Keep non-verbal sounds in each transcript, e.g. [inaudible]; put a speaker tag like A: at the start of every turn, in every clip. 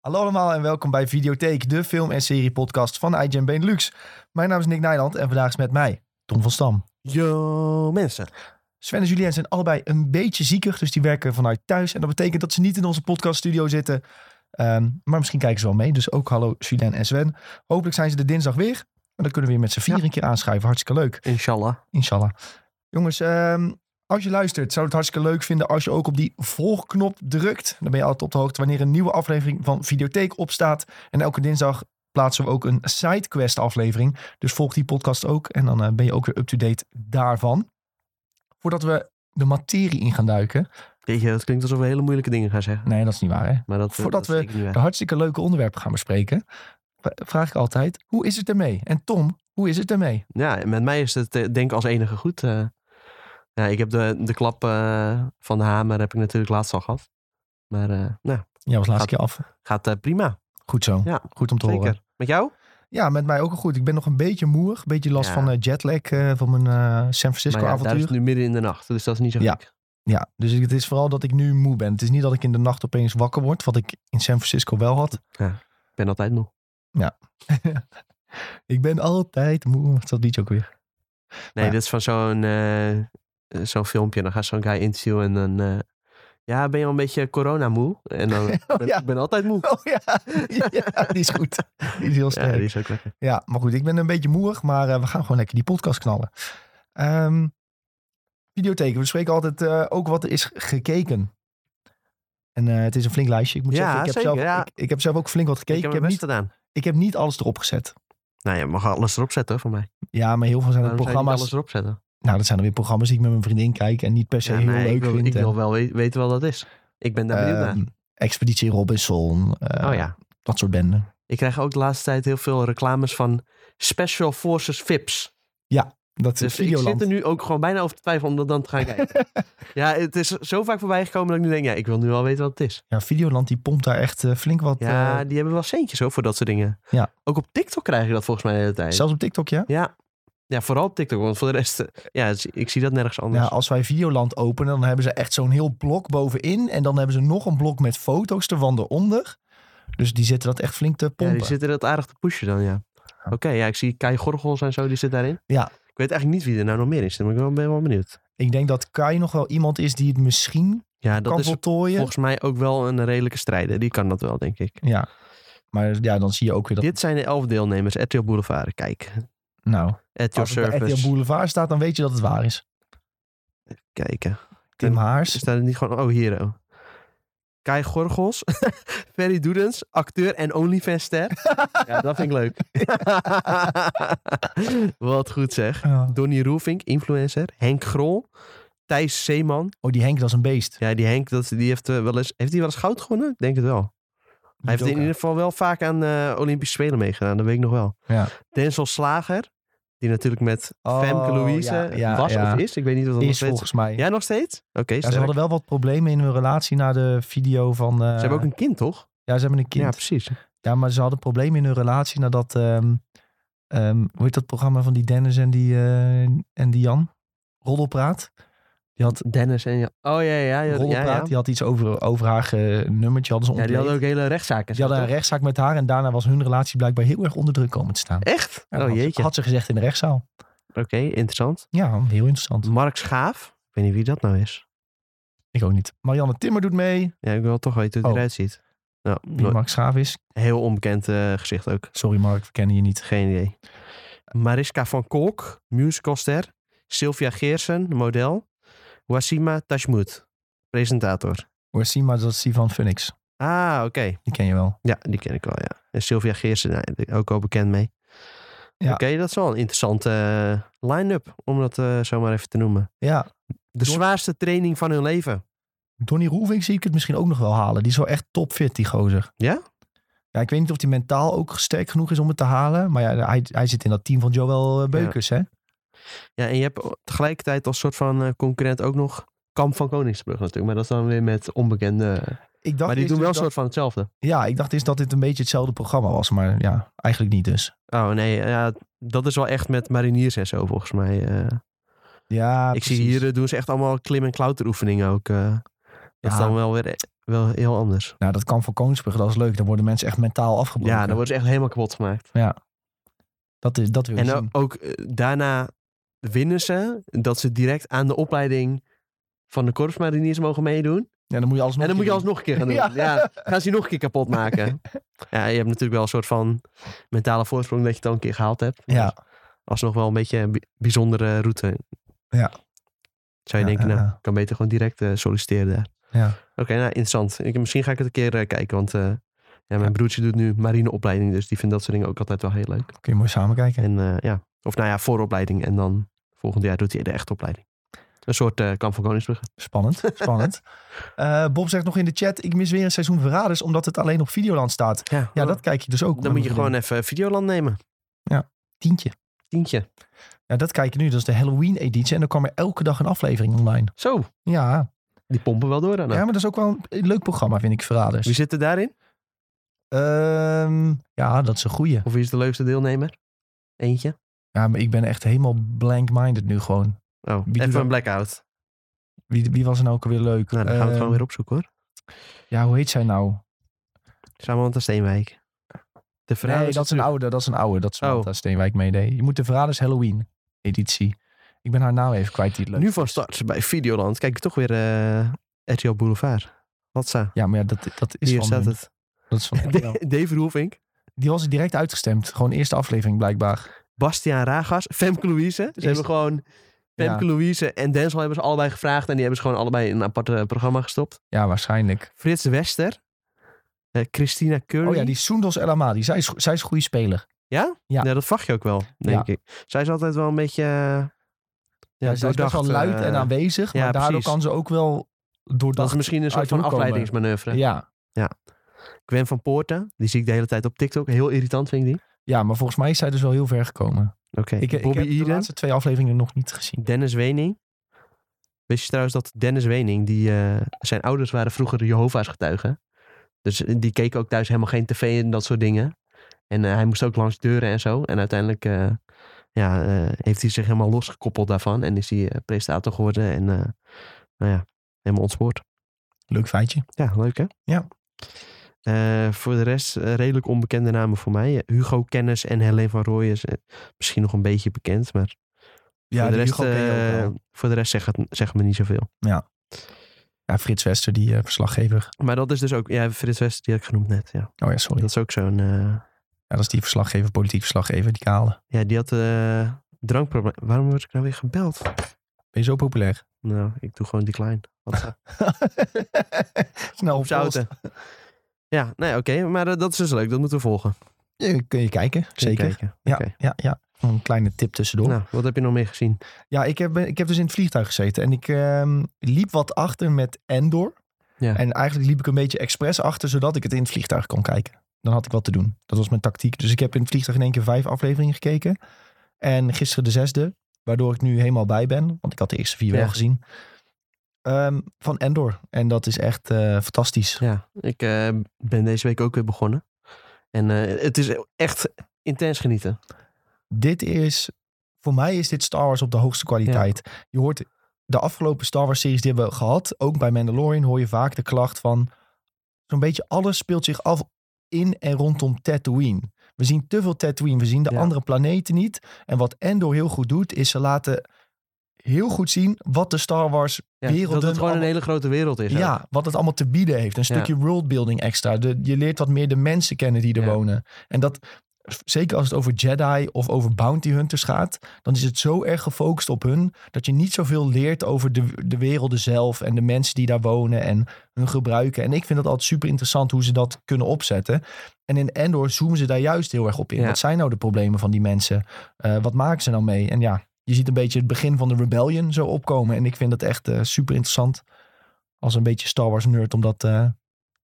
A: Hallo allemaal en welkom bij Videotheek, de film- en serie-podcast van IGN Benelux. Mijn naam is Nick Nijland en vandaag is met mij Tom van Stam.
B: Yo, mensen.
A: Sven en Julien zijn allebei een beetje ziekig, dus die werken vanuit thuis. En dat betekent dat ze niet in onze podcaststudio zitten. Ehm, maar misschien kijken ze wel mee, dus ook hallo Julien en Sven. Hopelijk zijn ze er dinsdag weer. En dan kunnen we weer met z'n vier
B: Ja.
A: een keer aanschuiven. Hartstikke leuk.
B: Inshallah.
A: Inshallah. Jongens, ehm, als je luistert, zou het hartstikke leuk vinden als je ook op die volgknop drukt. Dan ben je altijd op de hoogte wanneer een nieuwe aflevering van Videotheek opstaat. En elke dinsdag plaatsen we ook een sidequest aflevering. Dus volg die podcast ook en dan eh, ben je ook weer up-to-date daarvan. Voordat we de materie in gaan duiken.
B: Jeetje, dat klinkt alsof we hele moeilijke dingen gaan zeggen.
A: Nee, dat is niet waar hè.
B: Maar dat, eh,
A: Voordat
B: dat
A: we-
B: steek ik niet weg.
A: De hartstikke leuke onderwerpen gaan bespreken. v- Vraag ik altijd, hoe is het ermee? En Tom, hoe is het ermee?
B: Ja, en met mij is het eh, denk ik als enige goed. eh. ja, ik heb de, de klap eh, van de hamer heb ik natuurlijk laatst al gehad. Maar eh, nou,
A: Ja, was laatste
B: Gaat-
A: keer af.
B: gaat eh, prima.
A: Goed zo.
B: Ja,
A: Goed om te horen.
B: Zeker. Met jou?
A: Ja, met mij ook al goed. Ik ben nog een beetje moerig. Een beetje last
B: Ja.
A: van eh, jetlag eh, van mijn eh, San Francisco
B: Maar ja, daar is
A: avontuur.
B: het nu midden in de nacht, dus dat is niet zo
A: Ja.
B: gek.
A: Ja, dus het is vooral dat ik nu moe ben. Het is niet dat ik in de nacht opeens wakker word, wat ik in San Francisco wel had.
B: Ik ben altijd moe.
A: Ik ben altijd moe. Wat is dat liedje ook
B: [laughs]
A: weer?
B: Nee,
A: Maar-
B: dit is van zo'n eh, eh, zo'n filmpje. Dan gaat zo'n guy interviewen en dan... eh, ja, ben je al een beetje corona moe?
A: [laughs]
B: En dan,
A: Oh,
B: ben,
A: ja.
B: ik ben altijd moe.
A: Oh ja. [laughs] ja, die is goed. Die is heel
B: Ja,
A: sterk.
B: die is ook lekker.
A: Ja, maar goed, ik ben een beetje moerig, maar eh, we gaan gewoon lekker die podcast knallen. Ehm videotheek, we bespreken altijd eh, ook wat er is gekeken. En eh, het is een flink lijstje. Ik moet
B: Ja,
A: zeggen, ik heb,
B: zeker,
A: zelf,
B: ja.
A: ik, ik heb zelf ook flink wat gekeken.
B: ik heb
A: ik,
B: mijn
A: heb
B: best
A: niet,
B: gedaan.
A: ik heb niet alles erop gezet.
B: Nou, je mag alles erop zetten hoor, voor mij.
A: Ja, maar heel veel zijn er
B: Waarom zou je niet
A: programma's.
B: alles erop zetten?
A: Nou, dat zijn er weer programma's die ik met mijn vriendin kijk en niet per se
B: Ja,
A: heel
B: nee,
A: leuk
B: ik wil,
A: vind.
B: ik wil
A: En,
B: wel we- weten wat dat is. Ik ben daar benieuwd naar.
A: ehm, Expeditie Robinson, eh,
B: oh ja.
A: dat soort benden.
B: Ik krijg ook de laatste tijd heel veel reclames van Special Forces VIPs.
A: Dat
B: Dus
A: is
B: ik zit
A: Videoland.
B: er nu ook gewoon bijna over te twijfelen om dat dan te gaan
A: [laughs]
B: kijken. ja, het is zo vaak voorbij gekomen dat ik nu denk, ja, ik wil nu wel weten wat het is.
A: Ja, Videoland die pompt daar echt eh, flink wat.
B: Ja,
A: eh,
B: die hebben wel centjes hoor, voor dat soort dingen.
A: Ja.
B: Ook op TikTok krijg je dat volgens mij de hele tijd.
A: zelfs op TikTok, ja.
B: Ja. ja, vooral op TikTok, want voor de rest, eh, ja, het is- ik zie dat nergens anders.
A: Ja, als wij Videoland openen, dan hebben ze echt zo'n heel blok bovenin. En dan hebben ze nog een blok met foto's ervan eronder. Dus die zetten dat echt flink te
B: Ja,
A: pompen.
B: die zitten dat aardig te pushen dan, ja. Oké, ja, ik zie Kai Gorgels en zo, die zit daarin.
A: Ja.
B: Ik weet eigenlijk niet wie er nou nog meer in zit, maar ik ben wel- ben wel benieuwd.
A: Ik denk dat Kai nog wel iemand is die het misschien
B: Ja, dat
A: kan
B: is
A: voltooien.
B: volgens mij ook wel een redelijke strijder. Die kan dat wel, denk ik.
A: Ja, maar ja, dan zie je ook weer dat...
B: Dit zijn de elf deelnemers. RTL Boulevard, kijk.
A: nou,
B: At your
A: als het bij
B: service.
A: RTL Boulevard staat, dan weet je dat het waar is.
B: Kijken.
A: Tim
B: En-
A: Haars.
B: Is daar niet gewoon... Oh, hier. oh. Kai Gorgels. [laughs] Ferry Doedens. Acteur en OnlyFans-ster. ja, dat vind ik
A: [laughs]
B: leuk. Wat goed zeg.
A: Ja.
B: Donnie Roelvink, influencer. Henk Grol. Thijs Zeeman.
A: Oh, die Henk, dat is een beest.
B: Ja, die Henk, dat, die heeft, eh, wel eens, heeft hij wel eens goud gewonnen? Ik denk het wel.
A: Die
B: Hij heeft in
A: doka.
B: ieder geval wel vaak aan eh, Olympische Spelen meegedaan. Dat weet ik nog wel.
A: Ja.
B: Denzel Slager, die natuurlijk met
A: Oh,
B: Femke Louise
A: ja, ja,
B: was
A: ja.
B: of is. Ik weet niet of dat nog
A: is
B: steeds
A: volgens mij.
B: Ja, nog steeds? Oké,
A: Ja,
B: sterk.
A: ze
B: ze,
A: hadden wel wat problemen in hun relatie na de video van... eh,
B: hebben ook een kind, toch?
A: Ja, ze hebben een kind. Ja,
B: Ja, precies.
A: maar ze hadden problemen in hun relatie nadat... ehm ehm, hoe heet dat programma van die Dennis en die, eh, en die Jan? Roddelpraat. Die had,
B: Dennis en... Ja. Oh, ja, ja. Ja, ja,
A: Roddelpraat,
B: ja.
A: die had iets over, over haar eh, nummertje. Hadden ze
B: Ja,
A: ontleed.
B: die hadden ook hele rechtszaken.
A: Die hadden een
B: toch?
A: rechtszaak met haar en daarna was hun relatie blijkbaar heel erg onder druk komen te staan.
B: Echt?
A: Ja,
B: oh,
A: had, ze-
B: jeetje.
A: had ze gezegd in de rechtszaal.
B: Oké, interessant.
A: Ja, heel interessant.
B: Mark Schaaf. Ik weet niet wie dat nou is.
A: Ik ook niet. Marianne Timmer doet mee.
B: Ja, ik wil toch weten hoe hij
A: Oh.
B: eruit ziet. Nou,
A: Wie
B: nooit-
A: Mark Schaaf is.
B: heel onbekend eh, gezicht ook.
A: Sorry Mark, we kennen je niet.
B: Geen idee. Mariska van Kolk, musicalster. Sylvia Geersen, model. Wasima Tashmout, presentator.
A: Orsima, dat is die van Phoenix.
B: Ah, oké.
A: Die ken je wel.
B: Ja, die ken ik wel, ja. En Sylvia Geersen, nou, ook al bekend mee.
A: Ja.
B: Oké, dat is wel een interessante eh, line-up, om dat eh, zo maar even te noemen.
A: Ja,
B: De
A: Door-
B: zwaarste training van hun leven.
A: Donny Roelvink zie ik het misschien ook nog wel halen. Die is wel echt topfit, die gozer.
B: Ja?
A: Ja, ik weet niet of hij mentaal ook sterk genoeg is om het te halen. Maar ja, hij, hij zit in dat team van Joel eh, Beukers, hè?
B: Ja, en je hebt tegelijkertijd als soort van eh, concurrent ook nog Kamp van Koningsbrug natuurlijk. Maar dat is dan weer met onbekende...
A: Ik dacht
B: maar die
A: eerst
B: doen wel een
A: dus dat-
B: soort van hetzelfde.
A: Ja, ik dacht eerst dat dit een beetje hetzelfde programma was. Maar ja, eigenlijk niet dus.
B: Oh nee, ja, dat is wel echt met mariniers en zo volgens mij. eh.
A: Ja,
B: ik zie
A: precies.
B: hier eh, doen ze echt allemaal klim- en klauteroefeningen ook. eh. dat is
A: Ja.
B: dan wel weer wel heel anders.
A: Nou, dat kan voor Koningsbrug, dat is leuk. Dan worden mensen echt mentaal afgebroken.
B: Ja, dan worden ze echt helemaal kapot gemaakt.
A: dat, is, dat wil je
B: En
A: zien.
B: dan ook eh, daarna winnen ze dat ze direct aan de opleiding van de korpsmariniers mogen meedoen.
A: Ja, dan moet je alles nog
B: en dan moet je
A: doen.
B: alles nog een keer gaan doen.
A: Ja.
B: Ja. gaan ze die nog een keer kapot maken.
A: [laughs]
B: ja, je hebt natuurlijk wel een soort van mentale voorsprong dat je het al een keer gehaald hebt.
A: Ja.
B: Dus Alsnog wel een beetje een bi- bijzondere route.
A: Ja.
B: Zou je
A: Ja,
B: denken,
A: ja,
B: nou,
A: ja.
B: ik kan beter gewoon direct eh, solliciteren daar.
A: Ja.
B: Oké, nou interessant. Ik, misschien ga ik het een keer eh, kijken, want eh, ja, mijn broertje doet nu marineopleiding. Dus die vindt dat soort dingen ook altijd wel heel leuk.
A: Kun je mooi samen kijken.
B: En eh, ja, of nou ja, vooropleiding. En dan volgend jaar doet hij de echte opleiding. Een soort eh kamp van Koningsbrugge.
A: Spannend, spannend.
B: [laughs]
A: Eh, Bob zegt nog in de chat, ik mis weer een seizoen Verraders, omdat het alleen op Videoland staat.
B: Ja,
A: Ja, dat kijk je dus ook.
B: Oh. dan moet je gewoon eh, even Videoland nemen.
A: Tientje.
B: Tientje.
A: Ja, dat kijk je nu. Dat is de Halloween editie. En dan kwam er elke dag een aflevering online.
B: Zo,
A: Ja,
B: die pompen wel door dan.
A: ja maar dat is ook wel een- een leuk programma, vind ik, Verraders.
B: Nou. Wie zit er daarin?
A: Ehm, ja, dat is een goeie.
B: Of wie is de leukste deelnemer? Eentje?
A: Ja, maar ik ben echt helemaal blank-minded nu gewoon.
B: Oh,
A: doet
B: even
A: dat?
B: een blackout.
A: Wie, wie was er nou ook weer leuk?
B: Nou, dan gaan we het
A: Ehm,
B: gewoon weer opzoeken hoor.
A: Ja, hoe heet zij nou?
B: Samantha Steenwijk. De verhaal
A: nee, dat is een oude. Dat is een oude. Dat is
B: Oh.
A: Samantha Steenwijk meedeed. Je moet de Verraders Halloween editie. Ik ben haar naam even kwijt die het leuk.
B: Nu van start bij Videoland. Kijk, toch weer eh RTL Boulevard. Wat sa?
A: Ja, maar ja, dat, dat is
B: Hier
A: van
B: staat
A: hun.
B: het.
A: Dat is van
B: [laughs]
A: hun, ja.
B: Dave Roelvink.
A: Die was direct uitgestemd. Gewoon eerste aflevering blijkbaar.
B: Bastiaan Ragas, Femke Louise. Ze
A: Is-
B: hebben gewoon Femke
A: Ja.
B: Louise en Denzel hebben ze allebei gevraagd. En die hebben ze gewoon allebei in een apart eh, programma gestopt.
A: Ja, waarschijnlijk.
B: Frits Wester. eh, Christina Curry.
A: Oh ja, die Soendos El Amadi. Zij is, go- zij is een goede speler. ja.
B: Ja, Nou, dat vraag je ook wel, denk ik. Zij is altijd wel een beetje... eh, ja,
A: Ja, zij is best wel
B: doordacht,
A: luid
B: eh,
A: en aanwezig.
B: ja,
A: maar daardoor
B: precies.
A: kan ze ook wel
B: Dat is
A: doordacht.
B: misschien een soort
A: uit de
B: van
A: hoek komen.
B: afleidingsmanoeuvre.
A: Ja.
B: Gwen van Poorten, die zie ik de hele tijd op TikTok. Heel irritant vind ik die.
A: ja, maar volgens mij is zij dus wel heel ver gekomen.
B: Oké,
A: Ik, ik
B: Bobby
A: heb de
B: Eden.
A: laatste twee afleveringen nog niet gezien.
B: Dennis Wening. Wist je trouwens dat Dennis Wening, die, eh, zijn ouders waren vroeger Jehovah's getuigen. Dus eh, die keken ook thuis helemaal geen tv en dat soort dingen. En eh, hij moest ook langs deuren en zo. En uiteindelijk eh, ja, eh, heeft hij zich helemaal losgekoppeld daarvan. En is hij eh, presentator geworden en eh, nou ja, helemaal ontspoord.
A: Leuk feitje.
B: Ja, leuk hè?
A: Ja.
B: Eh, voor de rest eh, redelijk onbekende namen voor mij. Eh, Hugo Kennis en Helene van Rooij is eh, misschien nog een beetje bekend, maar
A: Ja,
B: voor, de
A: die
B: rest,
A: Hugo ken je ook
B: eh,
A: wel.
B: voor de rest zegt, het, zegt me niet zoveel.
A: Ja, Frits Wester, die eh, verslaggever.
B: Maar dat is dus ook... Ja, Frits West, die had ik genoemd net. Ja.
A: Oh ja, sorry.
B: Dat is ook zo'n... eh,
A: Ja, dat is die verslaggever, politiek verslaggever, die kale.
B: ja, die had eh drankprobleem. Waarom word ik nou weer gebeld?
A: Ben je zo populair? [laughs]
B: Nou, ik doe gewoon decline. [laughs] Wat,
A: Snel op
B: zouten. eh, Ja, nee, oké. maar eh, dat is dus leuk. Dat moeten we volgen. Kun
A: Je, kun je kijken,
B: je
A: zeker.
B: kijken.
A: Ja,
B: Oké.
A: ja, ja. Een kleine tip tussendoor.
B: Nou, wat heb je nog meer gezien?
A: Ja, ik heb, ik heb dus in het vliegtuig gezeten. En ik ehm, liep wat achter met Endor.
B: Ja.
A: En eigenlijk liep ik een beetje expres achter, zodat ik het in het vliegtuig kon kijken. Dan had ik wat te doen. Dat was mijn tactiek. Dus ik heb in het vliegtuig in één keer vijf afleveringen gekeken. En gisteren de zesde, waardoor ik nu helemaal bij ben. Want ik had de eerste vier
B: Ja.
A: wel gezien. Ehm, van Endor. En dat is echt eh, fantastisch.
B: Ja, ik eh, ben deze week ook weer begonnen. En eh, het is echt intens genieten.
A: dit is, voor mij is dit Star Wars op de hoogste kwaliteit. Je hoort de afgelopen Star Wars series die hebben we gehad, ook bij Mandalorian hoor je vaak de klacht van zo'n beetje alles speelt zich af in en rondom Tatooine. We zien te veel Tatooine, we zien de
B: Ja.
A: andere planeten niet. En wat Endor heel goed doet, is ze laten heel goed zien wat de Star Wars
B: Ja,
A: werelden...
B: dat het gewoon een
A: allemaal-
B: hele grote wereld is. ook.
A: ja, wat het allemaal te bieden heeft. Een
B: Ja.
A: stukje worldbuilding extra. De, je leert wat meer de mensen kennen die er
B: Ja.
A: wonen. En dat, zeker als het over Jedi of over bounty hunters gaat, dan is het zo erg gefocust op hun dat je niet zoveel leert over de, de werelden zelf en de mensen die daar wonen en hun gebruiken. En ik vind dat altijd super interessant hoe ze dat kunnen opzetten. En in Endor zoomen ze daar juist heel erg op in.
B: Ja.
A: Wat zijn nou de problemen van die mensen? Eh, wat maken ze nou mee? En ja, je ziet een beetje het begin van de rebellion zo opkomen. En ik vind dat echt eh, super interessant als een beetje Star Wars nerd om dat eh,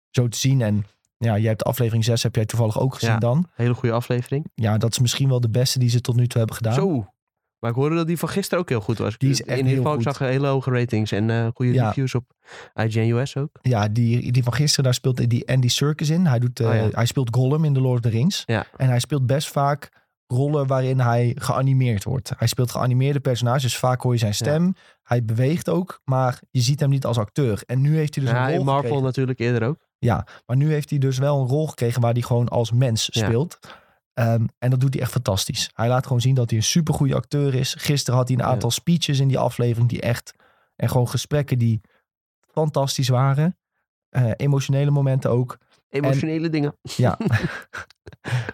A: zo te zien. En ja, jij hebt aflevering 6 heb jij toevallig ook gezien
B: Ja.
A: dan.
B: Hele goede aflevering.
A: Ja, dat is misschien wel de beste die ze tot nu toe hebben gedaan.
B: Zo. Maar ik hoorde dat die van gisteren ook heel goed was.
A: Die is echt
B: In ieder
A: heel
B: geval, ik
A: goed.
B: zag hele hoge ratings en eh, goede
A: Ja.
B: reviews op IGN US ook.
A: Ja, die, die van gisteren, daar speelt die Andy Serkis in. Hij, doet, eh,
B: Oh ja.
A: hij speelt Gollum in The Lord of the Rings.
B: Ja.
A: En hij speelt best vaak rollen waarin hij geanimeerd wordt. Hij speelt geanimeerde personages, dus vaak hoor je zijn stem. Hij beweegt ook, maar je ziet hem niet als acteur. En nu heeft hij dus
B: Ja,
A: een
B: in
A: rol
B: Marvel
A: gekregen.
B: natuurlijk eerder ook.
A: Maar nu heeft hij dus wel een rol gekregen waar hij gewoon als mens
B: Ja.
A: speelt. Ehm, en dat doet hij echt fantastisch. Hij laat gewoon zien dat hij een supergoeie acteur is. Gisteren had hij een
B: Ja.
A: aantal speeches in die aflevering die echt... En gewoon gesprekken die fantastisch waren. Eh, emotionele momenten ook.
B: Emotionele dingen.
A: Ja.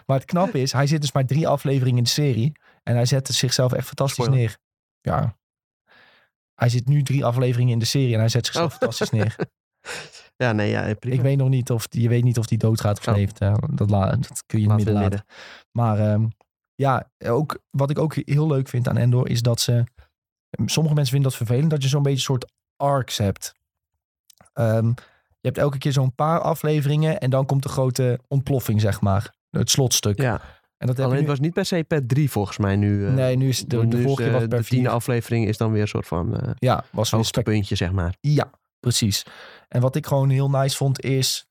A: maar het knappe is, hij zit dus maar drie afleveringen in de serie. En hij zet zichzelf echt fantastisch
B: Spoiler.
A: neer. Ja. Hij zit nu drie afleveringen in de serie en hij zet zichzelf
B: Oh.
A: fantastisch
B: [laughs]
A: neer.
B: Ja, nee, ja, prima.
A: Ik weet nog niet of die, je weet niet of die doodgaat of
B: Oh.
A: leeft. hè. Dat, la- dat kun je in het
B: Laten we
A: midden laten. Maar ehm, ja, ook, wat ik ook heel leuk vind aan Endor is dat ze. Sommige mensen vinden dat vervelend, dat je zo'n beetje een soort arcs hebt. Ehm, je hebt elke keer zo'n paar afleveringen en dan komt de grote ontploffing, zeg maar. Het slotstuk.
B: Ja.
A: En dat heb
B: Alleen
A: je
B: het
A: nu,
B: was niet per se per drie volgens mij nu. eh.
A: Nee, nu is het- de,
B: Want
A: de
B: nu is,
A: vorige keer
B: eh,
A: was het per
B: de tiende
A: vier.
B: aflevering is dan weer een soort van eh
A: Ja, was weer spek-
B: hoogtepuntje, zeg maar.
A: Ja, precies. En wat ik gewoon heel nice vond is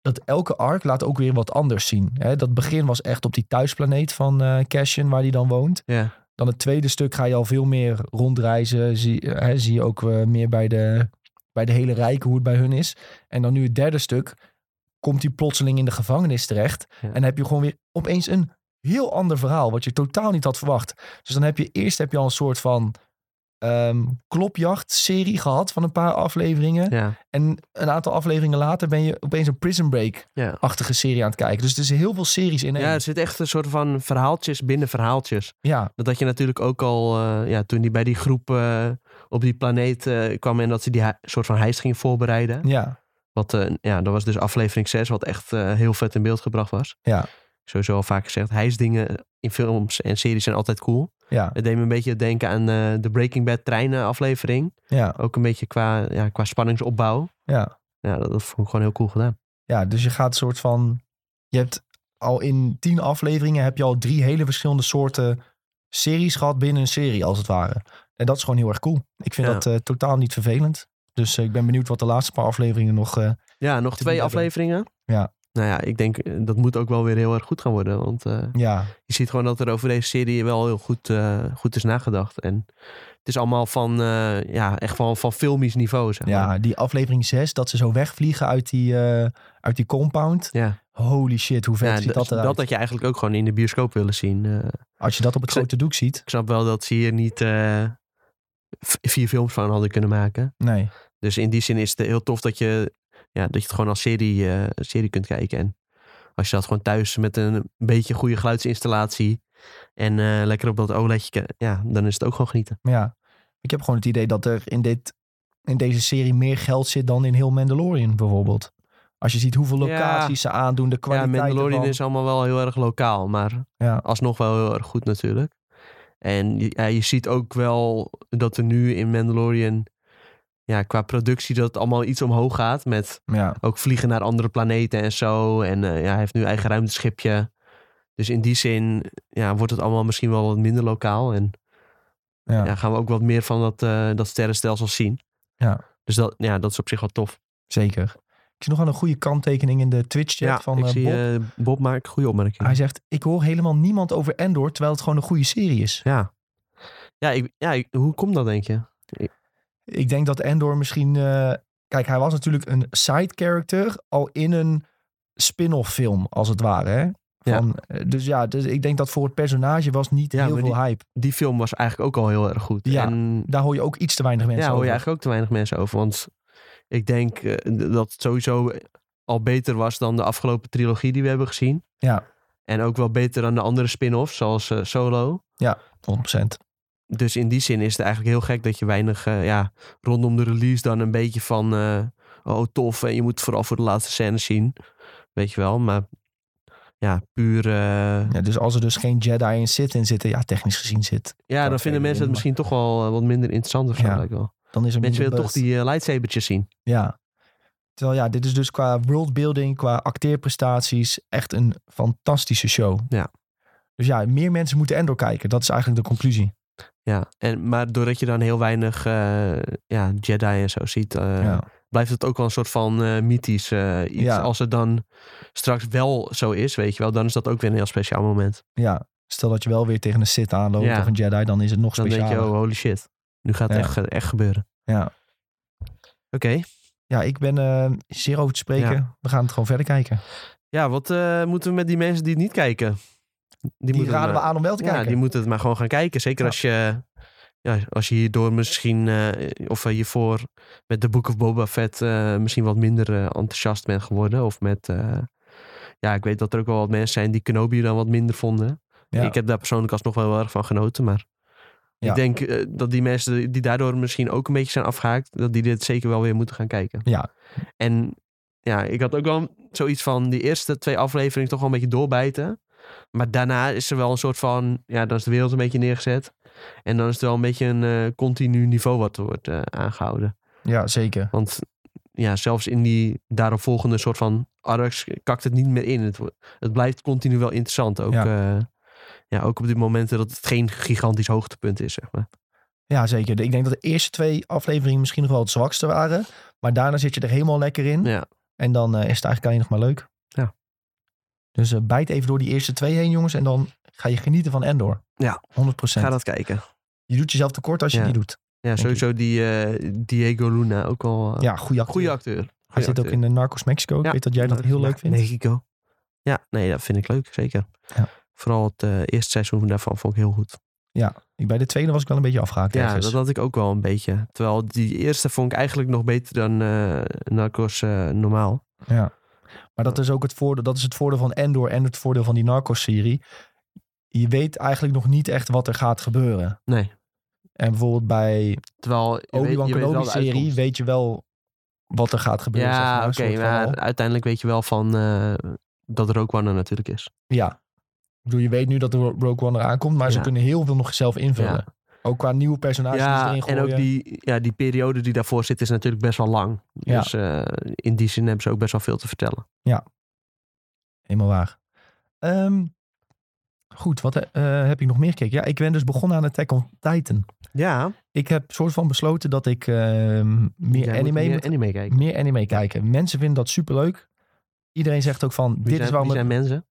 A: dat elke arc laat ook weer wat anders zien. Hè, dat begin was echt op die thuisplaneet van eh Cassian, waar hij dan woont.
B: Ja.
A: Dan het tweede stuk ga je al veel meer rondreizen. Zie, hè, zie je ook eh, meer bij de, bij de hele rijken hoe het bij hun is. En dan nu het derde stuk komt hij plotseling in de gevangenis terecht.
B: Ja.
A: En heb je gewoon weer opeens een heel ander verhaal, wat je totaal niet had verwacht. Dus dan heb je eerst heb je al een soort van ehm klopjacht-serie gehad van een paar afleveringen.
B: Ja.
A: En een aantal afleveringen later ben je opeens een Prison
B: Ja.
A: Break-achtige serie aan het kijken. Dus er zijn heel veel series in één.
B: ja, er zit echt een soort van verhaaltjes binnen verhaaltjes.
A: ja,
B: Dat had je natuurlijk ook al, eh, ja, toen die bij die groep eh, op die planeet eh, kwam en dat ze die hei- soort van heist ging voorbereiden.
A: ja.
B: Wat, eh, ja, dat was dus aflevering 6, wat echt eh, heel vet in beeld gebracht was.
A: Ja.
B: Sowieso al vaak gezegd, hijsdingen in films en series zijn altijd cool.
A: Ja,
B: Het deed me een beetje denken aan eh, de Breaking Bad treinen aflevering.
A: ja,
B: Ook een beetje qua, ja, qua spanningsopbouw.
A: ja.
B: Ja, dat, dat vond ik gewoon heel cool gedaan.
A: Ja, dus je gaat soort van... Je hebt al in tien afleveringen heb je al drie hele verschillende soorten series gehad binnen een serie, als het ware. En dat is gewoon heel erg cool. Ik vind
B: Ja.
A: dat eh, totaal niet vervelend. Dus eh, ik ben benieuwd wat de laatste paar afleveringen nog... eh,
B: Ja, nog
A: Te
B: twee
A: bieden.
B: afleveringen.
A: Ja.
B: Nou ja, ik denk eh, dat moet ook wel weer heel erg goed gaan worden. Want eh,
A: ja,
B: je ziet gewoon dat er over deze serie wel heel goed, eh, goed is nagedacht. En het is allemaal van, eh, ja, echt van, van filmisch niveau. Zeg maar.
A: ja, die aflevering 6, dat ze zo wegvliegen uit die, eh, uit die compound.
B: ja.
A: Holy shit, hoe vet
B: Ja,
A: ziet
B: dat,
A: dat
B: dat,
A: eruit.
B: had je eigenlijk ook gewoon in de bioscoop willen zien. eh.
A: Als je dat op het
B: Ik zou-
A: grote doek ziet.
B: ik snap wel dat ze hier niet eh, v- vier films van hadden kunnen maken.
A: Nee,
B: Dus in die zin is het heel tof dat je, ja, dat je het gewoon als serie, eh, serie kunt kijken. En als je dat gewoon thuis met een beetje goede geluidsinstallatie en eh, lekker op dat OLEDje, ke- ja, dan is het ook gewoon genieten.
A: maar ja. Ik heb gewoon het idee dat er in, dit, in deze serie meer geld zit dan in heel Mandalorian bijvoorbeeld. Als je ziet hoeveel
B: Ja.
A: locaties ze aandoen, de kwaliteit
B: ja, Mandalorian
A: ervan.
B: is allemaal wel heel erg lokaal, maar
A: Ja.
B: alsnog wel heel erg goed natuurlijk. En je- ja, je ziet ook wel dat er nu in Mandalorian, ja, qua productie, dat het allemaal iets omhoog gaat met
A: Ja,
B: ook vliegen naar andere planeten en zo. En eh, ja, hij heeft nu eigen ruimteschipje. Dus in die zin ja, wordt het allemaal misschien wel wat minder lokaal. En
A: ja.
B: ja. gaan we ook wat meer van dat, eh, dat sterrenstelsel zien.
A: Ja.
B: Dus dat, ja, dat is op zich wel tof.
A: zeker. Ik zie nog wel een goede kanttekening in de Twitch-chat van
B: ik
A: eh,
B: zie
A: Bob.
B: eh, Bob maakt goede opmerkingen.
A: Hij zegt, ik hoor helemaal niemand over Endor, terwijl het gewoon een goede serie is.
B: Ja, ja, ik, ja ik- hoe komt dat denk je?
A: Ik denk dat Endor misschien... eh, kijk, hij was natuurlijk een side character al in een spin-off film, als het ware. Hè? Van, eh, Dus ja, dus ik denk dat voor het personage was niet
B: Ja,
A: heel
B: maar
A: veel hype.
B: Die film was eigenlijk ook al heel erg goed.
A: Ja,
B: en,
A: Daar hoor je ook iets te weinig mensen
B: ja hoor
A: over.
B: je eigenlijk ook te weinig mensen over. Want ik denk eh, d- dat het sowieso eh, al beter was dan de afgelopen trilogie die we hebben gezien.
A: Ja.
B: En ook wel beter dan de andere spin-offs, zoals eh, Solo.
A: 100%.
B: Dus in die zin is het eigenlijk heel gek dat je weinig, eh, ja, rondom de release dan een beetje van, eh, oh tof, en je moet vooral voor de laatste scène zien. Weet je wel, maar ja, puur, eh, ja,
A: Ja, dus als er dus geen Jedi en Sith in zitten, ja, technisch gezien zit,
B: dan
A: dat
B: vinden
A: weet ik
B: mensen het
A: niet,
B: misschien toch wel eh, wat minder interessant of zo,
A: Ja.
B: lijkt wel.
A: dan is er
B: Mensen
A: minder
B: willen toch
A: buzz.
B: die eh, lightsabertjes zien.
A: Ja. Terwijl ja, dit is dus qua worldbuilding, qua acteerprestaties echt een fantastische show.
B: Ja.
A: Dus ja, meer mensen moeten Endor kijken. Dat is eigenlijk de conclusie.
B: Ja, en, maar doordat je dan heel weinig eh, ja, Jedi en zo ziet, eh,
A: ja.
B: blijft het ook wel een soort van eh, mythisch eh, iets.
A: Ja.
B: Als het dan straks wel zo is, weet je wel, dan is dat ook weer een heel speciaal moment.
A: ja. Stel dat je wel weer tegen een Sith aanloopt
B: Ja.
A: of een Jedi, dan is het nog
B: Dan denk
A: specialer.
B: je, oh holy shit. Nu gaat het
A: Ja.
B: echt, ge- echt gebeuren.
A: Ja.
B: Oké.
A: ja, ik ben eh, zeer over te spreken. We gaan het gewoon verder kijken.
B: Ja, wat eh, moeten we met die mensen die het niet kijken?
A: Die,
B: moeten
A: raden we
B: maar-
A: aan om wel te
B: Ja,
A: kijken.
B: die moeten het maar gewoon gaan kijken. Zeker
A: Ja.
B: als je... Ja, als je hierdoor misschien, eh, of eh, hiervoor met de Book of Boba Fett eh, misschien wat minder eh, enthousiast bent geworden. Of met, eh, ja, ik weet dat er ook wel wat mensen zijn die Kenobi dan wat minder vonden.
A: Ja.
B: Ik heb daar persoonlijk alsnog wel heel erg van genoten. Maar
A: Ja.
B: ik denk eh, dat die mensen die daardoor misschien ook een beetje zijn afgehaakt, dat die dit zeker wel weer moeten gaan kijken.
A: Ja.
B: En ja, ik had ook wel zoiets van die eerste twee afleveringen toch wel een beetje doorbijten. Maar daarna is er wel een soort van, ja, dan is de wereld een beetje neergezet. En dan is het wel een beetje een eh, continu niveau wat er wordt eh, aangehouden.
A: ja, zeker.
B: Want ja, zelfs in die daaropvolgende soort van arcs kakt het niet meer in. Het, wo- het blijft continu wel interessant. Ook, ja. ja, ook op die momenten dat het geen gigantisch hoogtepunt is, zeg maar.
A: Ja, zeker. Ik denk dat de eerste twee afleveringen misschien nog wel het zwakste waren. Maar daarna zit je er helemaal lekker in.
B: Ja.
A: En dan eh, is het eigenlijk alleen nog maar leuk.
B: Ja.
A: Dus eh, bijt even door die eerste twee heen, jongens. En dan ga je genieten van Endor.
B: Ja.
A: 100
B: Ga dat kijken.
A: Je doet jezelf tekort als je
B: Ja.
A: die doet.
B: Ja, sowieso die eh, Diego Luna ook al. eh
A: Ja, goede acteur.
B: Goede acteur.
A: Hij
B: Goeie
A: zit ook
B: acteur.
A: in de Narcos Mexico. Ik
B: Ja.
A: weet dat jij dat heel leuk vindt.
B: Mexico. Ja, nee, dat vind ik leuk, zeker.
A: Ja.
B: Vooral het eh, eerste seizoen daarvan vond ik heel goed.
A: Ik, bij de tweede was ik wel een beetje afgehaakt.
B: Ja,
A: ergens.
B: dat had ik ook wel een beetje. Terwijl die eerste vond ik eigenlijk nog beter dan eh Narcos eh, normaal.
A: Maar dat is ook het voordeel. Dat is het voordeel van Endor en het voordeel van die Narcos-serie. Je weet eigenlijk nog niet echt wat er gaat gebeuren.
B: Nee.
A: En bijvoorbeeld bij
B: Terwijl je weet-
A: Obi-Wan
B: je weet wel de
A: Kenobi-serie
B: uitkomst.
A: weet je wel wat er gaat gebeuren. zeg maar,
B: Ja,
A: een
B: oké,
A: soort van
B: maar eh,
A: al.
B: uiteindelijk weet je wel van eh, dat Rogue One er natuurlijk is.
A: Ja. Ik bedoel, je weet nu dat de Ro- Rogue One eraan komt, maar ze
B: Ja.
A: kunnen heel veel nog zelf invullen.
B: Ja.
A: Ook qua nieuwe personages die ze
B: Ja,
A: erin
B: en
A: gooien.
B: ook die, ja, die periode die daarvoor zit is natuurlijk best wel lang.
A: Ja.
B: Dus eh, in die zin hebben ze ook best wel veel te vertellen.
A: Helemaal waar. Ehm, goed, wat eh, eh, heb ik nog meer gekeken? Ja, ik ben dus begonnen aan Attack on Titan.
B: Ja,
A: Ik heb soort van besloten dat ik ehm, meer,
B: Dus jij moet
A: anime,
B: meer anime kijken.
A: meer anime kijken. Mensen vinden dat superleuk. Iedereen zegt ook van,
B: Wie
A: dit
B: zijn,
A: is waarom...
B: wie
A: het-
B: zijn mensen.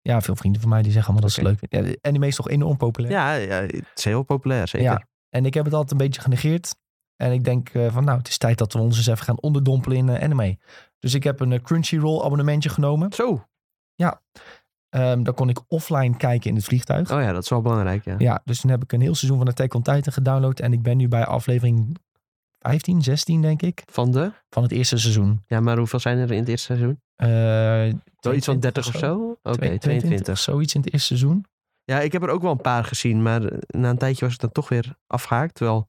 A: Ja, veel vrienden van mij die zeggen allemaal dat
B: Oké.
A: ze het leuk vinden. Ja, anime is toch enorm populair?
B: Ja, ja, het is heel populair, zeker.
A: Ja. En ik heb het altijd een beetje genegeerd. En ik denk eh, van nou, het is tijd dat we ons eens even gaan onderdompelen in eh, anime. Dus ik heb een eh, Crunchyroll abonnementje genomen.
B: Zo.
A: Ehm dan kon ik offline kijken in het vliegtuig.
B: Oh ja, dat is wel belangrijk, ja.
A: Ja, dus toen heb ik een heel seizoen van Attack on Titan gedownload. En ik ben nu bij aflevering 15, 16 denk ik,
B: Van de?
A: van het eerste seizoen.
B: Ja, maar hoeveel zijn er in het eerste seizoen?
A: Eh
B: Wel iets van 30 of zo? Oké, 22.
A: Zoiets in het eerste seizoen.
B: Ja, ik heb er ook wel een paar gezien, maar eh, na een tijdje was het dan toch weer afgehaakt. Terwijl,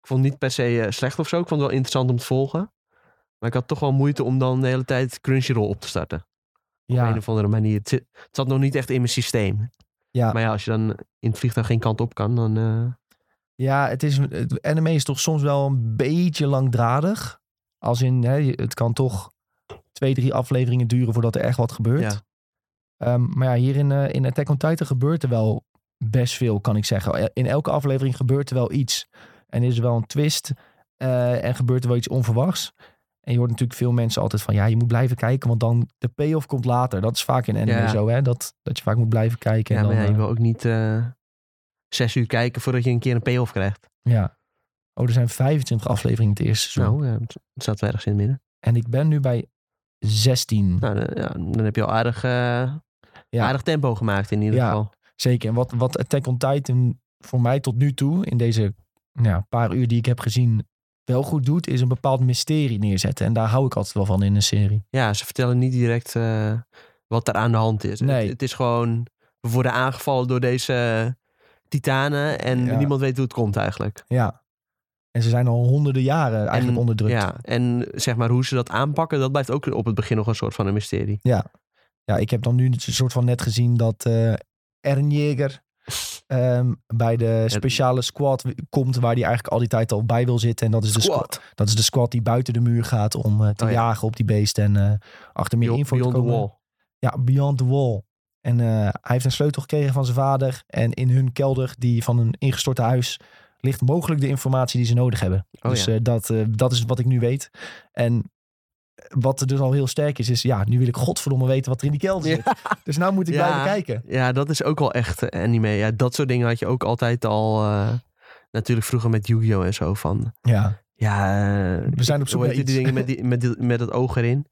B: ik vond het niet per se eh, slecht of zo. Ik vond het wel interessant om te volgen. Maar ik had toch wel moeite om dan de hele tijd Crunchyroll op te starten. op een
A: Ja,
B: of andere manier. Het, zit- het zat nog niet echt in mijn systeem.
A: Ja.
B: Maar ja, als je dan in het vliegtuig geen kant op kan, dan... eh,
A: ja het is, het, anime is toch soms wel een beetje langdradig. Als in, hè, je- het kan toch twee, drie afleveringen duren voordat er echt wat gebeurt.
B: Ja.
A: Ehm, maar ja, hier in, eh, in Attack on Titan gebeurt er wel best veel, kan ik zeggen. Eh, In elke aflevering gebeurt er wel iets. En is er wel een twist. eh, en gebeurt er wel iets onverwachts. En je hoort natuurlijk veel mensen altijd van... ja, je moet blijven kijken, want dan de payoff komt later. Dat is vaak in anime
B: Ja.
A: zo, hè? Dat, dat je vaak moet blijven kijken.
B: ja,
A: en dan,
B: maar ja, je
A: eh,
B: wil ook niet eh, zes uur kijken voordat je een keer een payoff krijgt.
A: ja. Oh, er zijn 25 afleveringen het eerste seizoen.
B: Nou, ja, het het zat ergens in het midden.
A: En ik ben nu bij 16.
B: Nou, dan, ja, dan heb je al aardig, eh,
A: Ja.
B: aardig tempo gemaakt in ieder
A: Ja.
B: geval.
A: Zeker. En wat, wat Attack on Titan voor mij tot nu toe, in deze nou, ja, paar uur die ik heb gezien, wel goed doet, is een bepaald mysterie neerzetten. En daar hou ik altijd wel van in een serie.
B: Ja, ze vertellen niet direct eh, wat er aan de hand is.
A: Nee.
B: Het, het is gewoon, we worden aangevallen door deze titanen en
A: Ja.
B: niemand weet hoe het komt eigenlijk.
A: Ja. En ze zijn al honderden jaren eigenlijk
B: En-
A: onderdrukt. Ja.
B: Ja, en zeg maar hoe ze dat aanpakken, dat blijft ook op het begin nog een soort van een mysterie.
A: ik heb dan nu dus een soort van net gezien dat eh Eren Jäger ehm, bij de speciale squad w- komt waar hij eigenlijk al die tijd al bij wil zitten. En dat is, de squad. dat is de squad die buiten de muur gaat om eh, te
B: Oh ja.
A: jagen op die beesten en eh, achter meer
B: Beyond-
A: info
B: Beyond
A: te
B: the
A: komen.
B: Wall.
A: Ja, Beyond the Wall. En eh, hij heeft een sleutel gekregen van zijn vader. En in hun kelder, die van een ingestort huis, ligt mogelijk de informatie die ze nodig hebben.
B: Oh
A: dus
B: ja.
A: eh, dat, eh, dat is wat ik nu weet. En wat er dus al heel sterk is, is ja, nu wil ik godverdomme weten wat er in die kelder zit. Dus nou moet ik
B: [laughs] Ja.
A: blijven kijken.
B: Ja, dat is ook wel echt eh, anime. Ja, dat soort dingen had je ook altijd al. eh, natuurlijk vroeger met Yu-Gi-Oh! en zo van.
A: Ja,
B: Ja, eh,
A: we zijn op zoek
B: hoe
A: naar
B: heet die
A: iets.
B: dingen met, die, met, die- met het oog erin?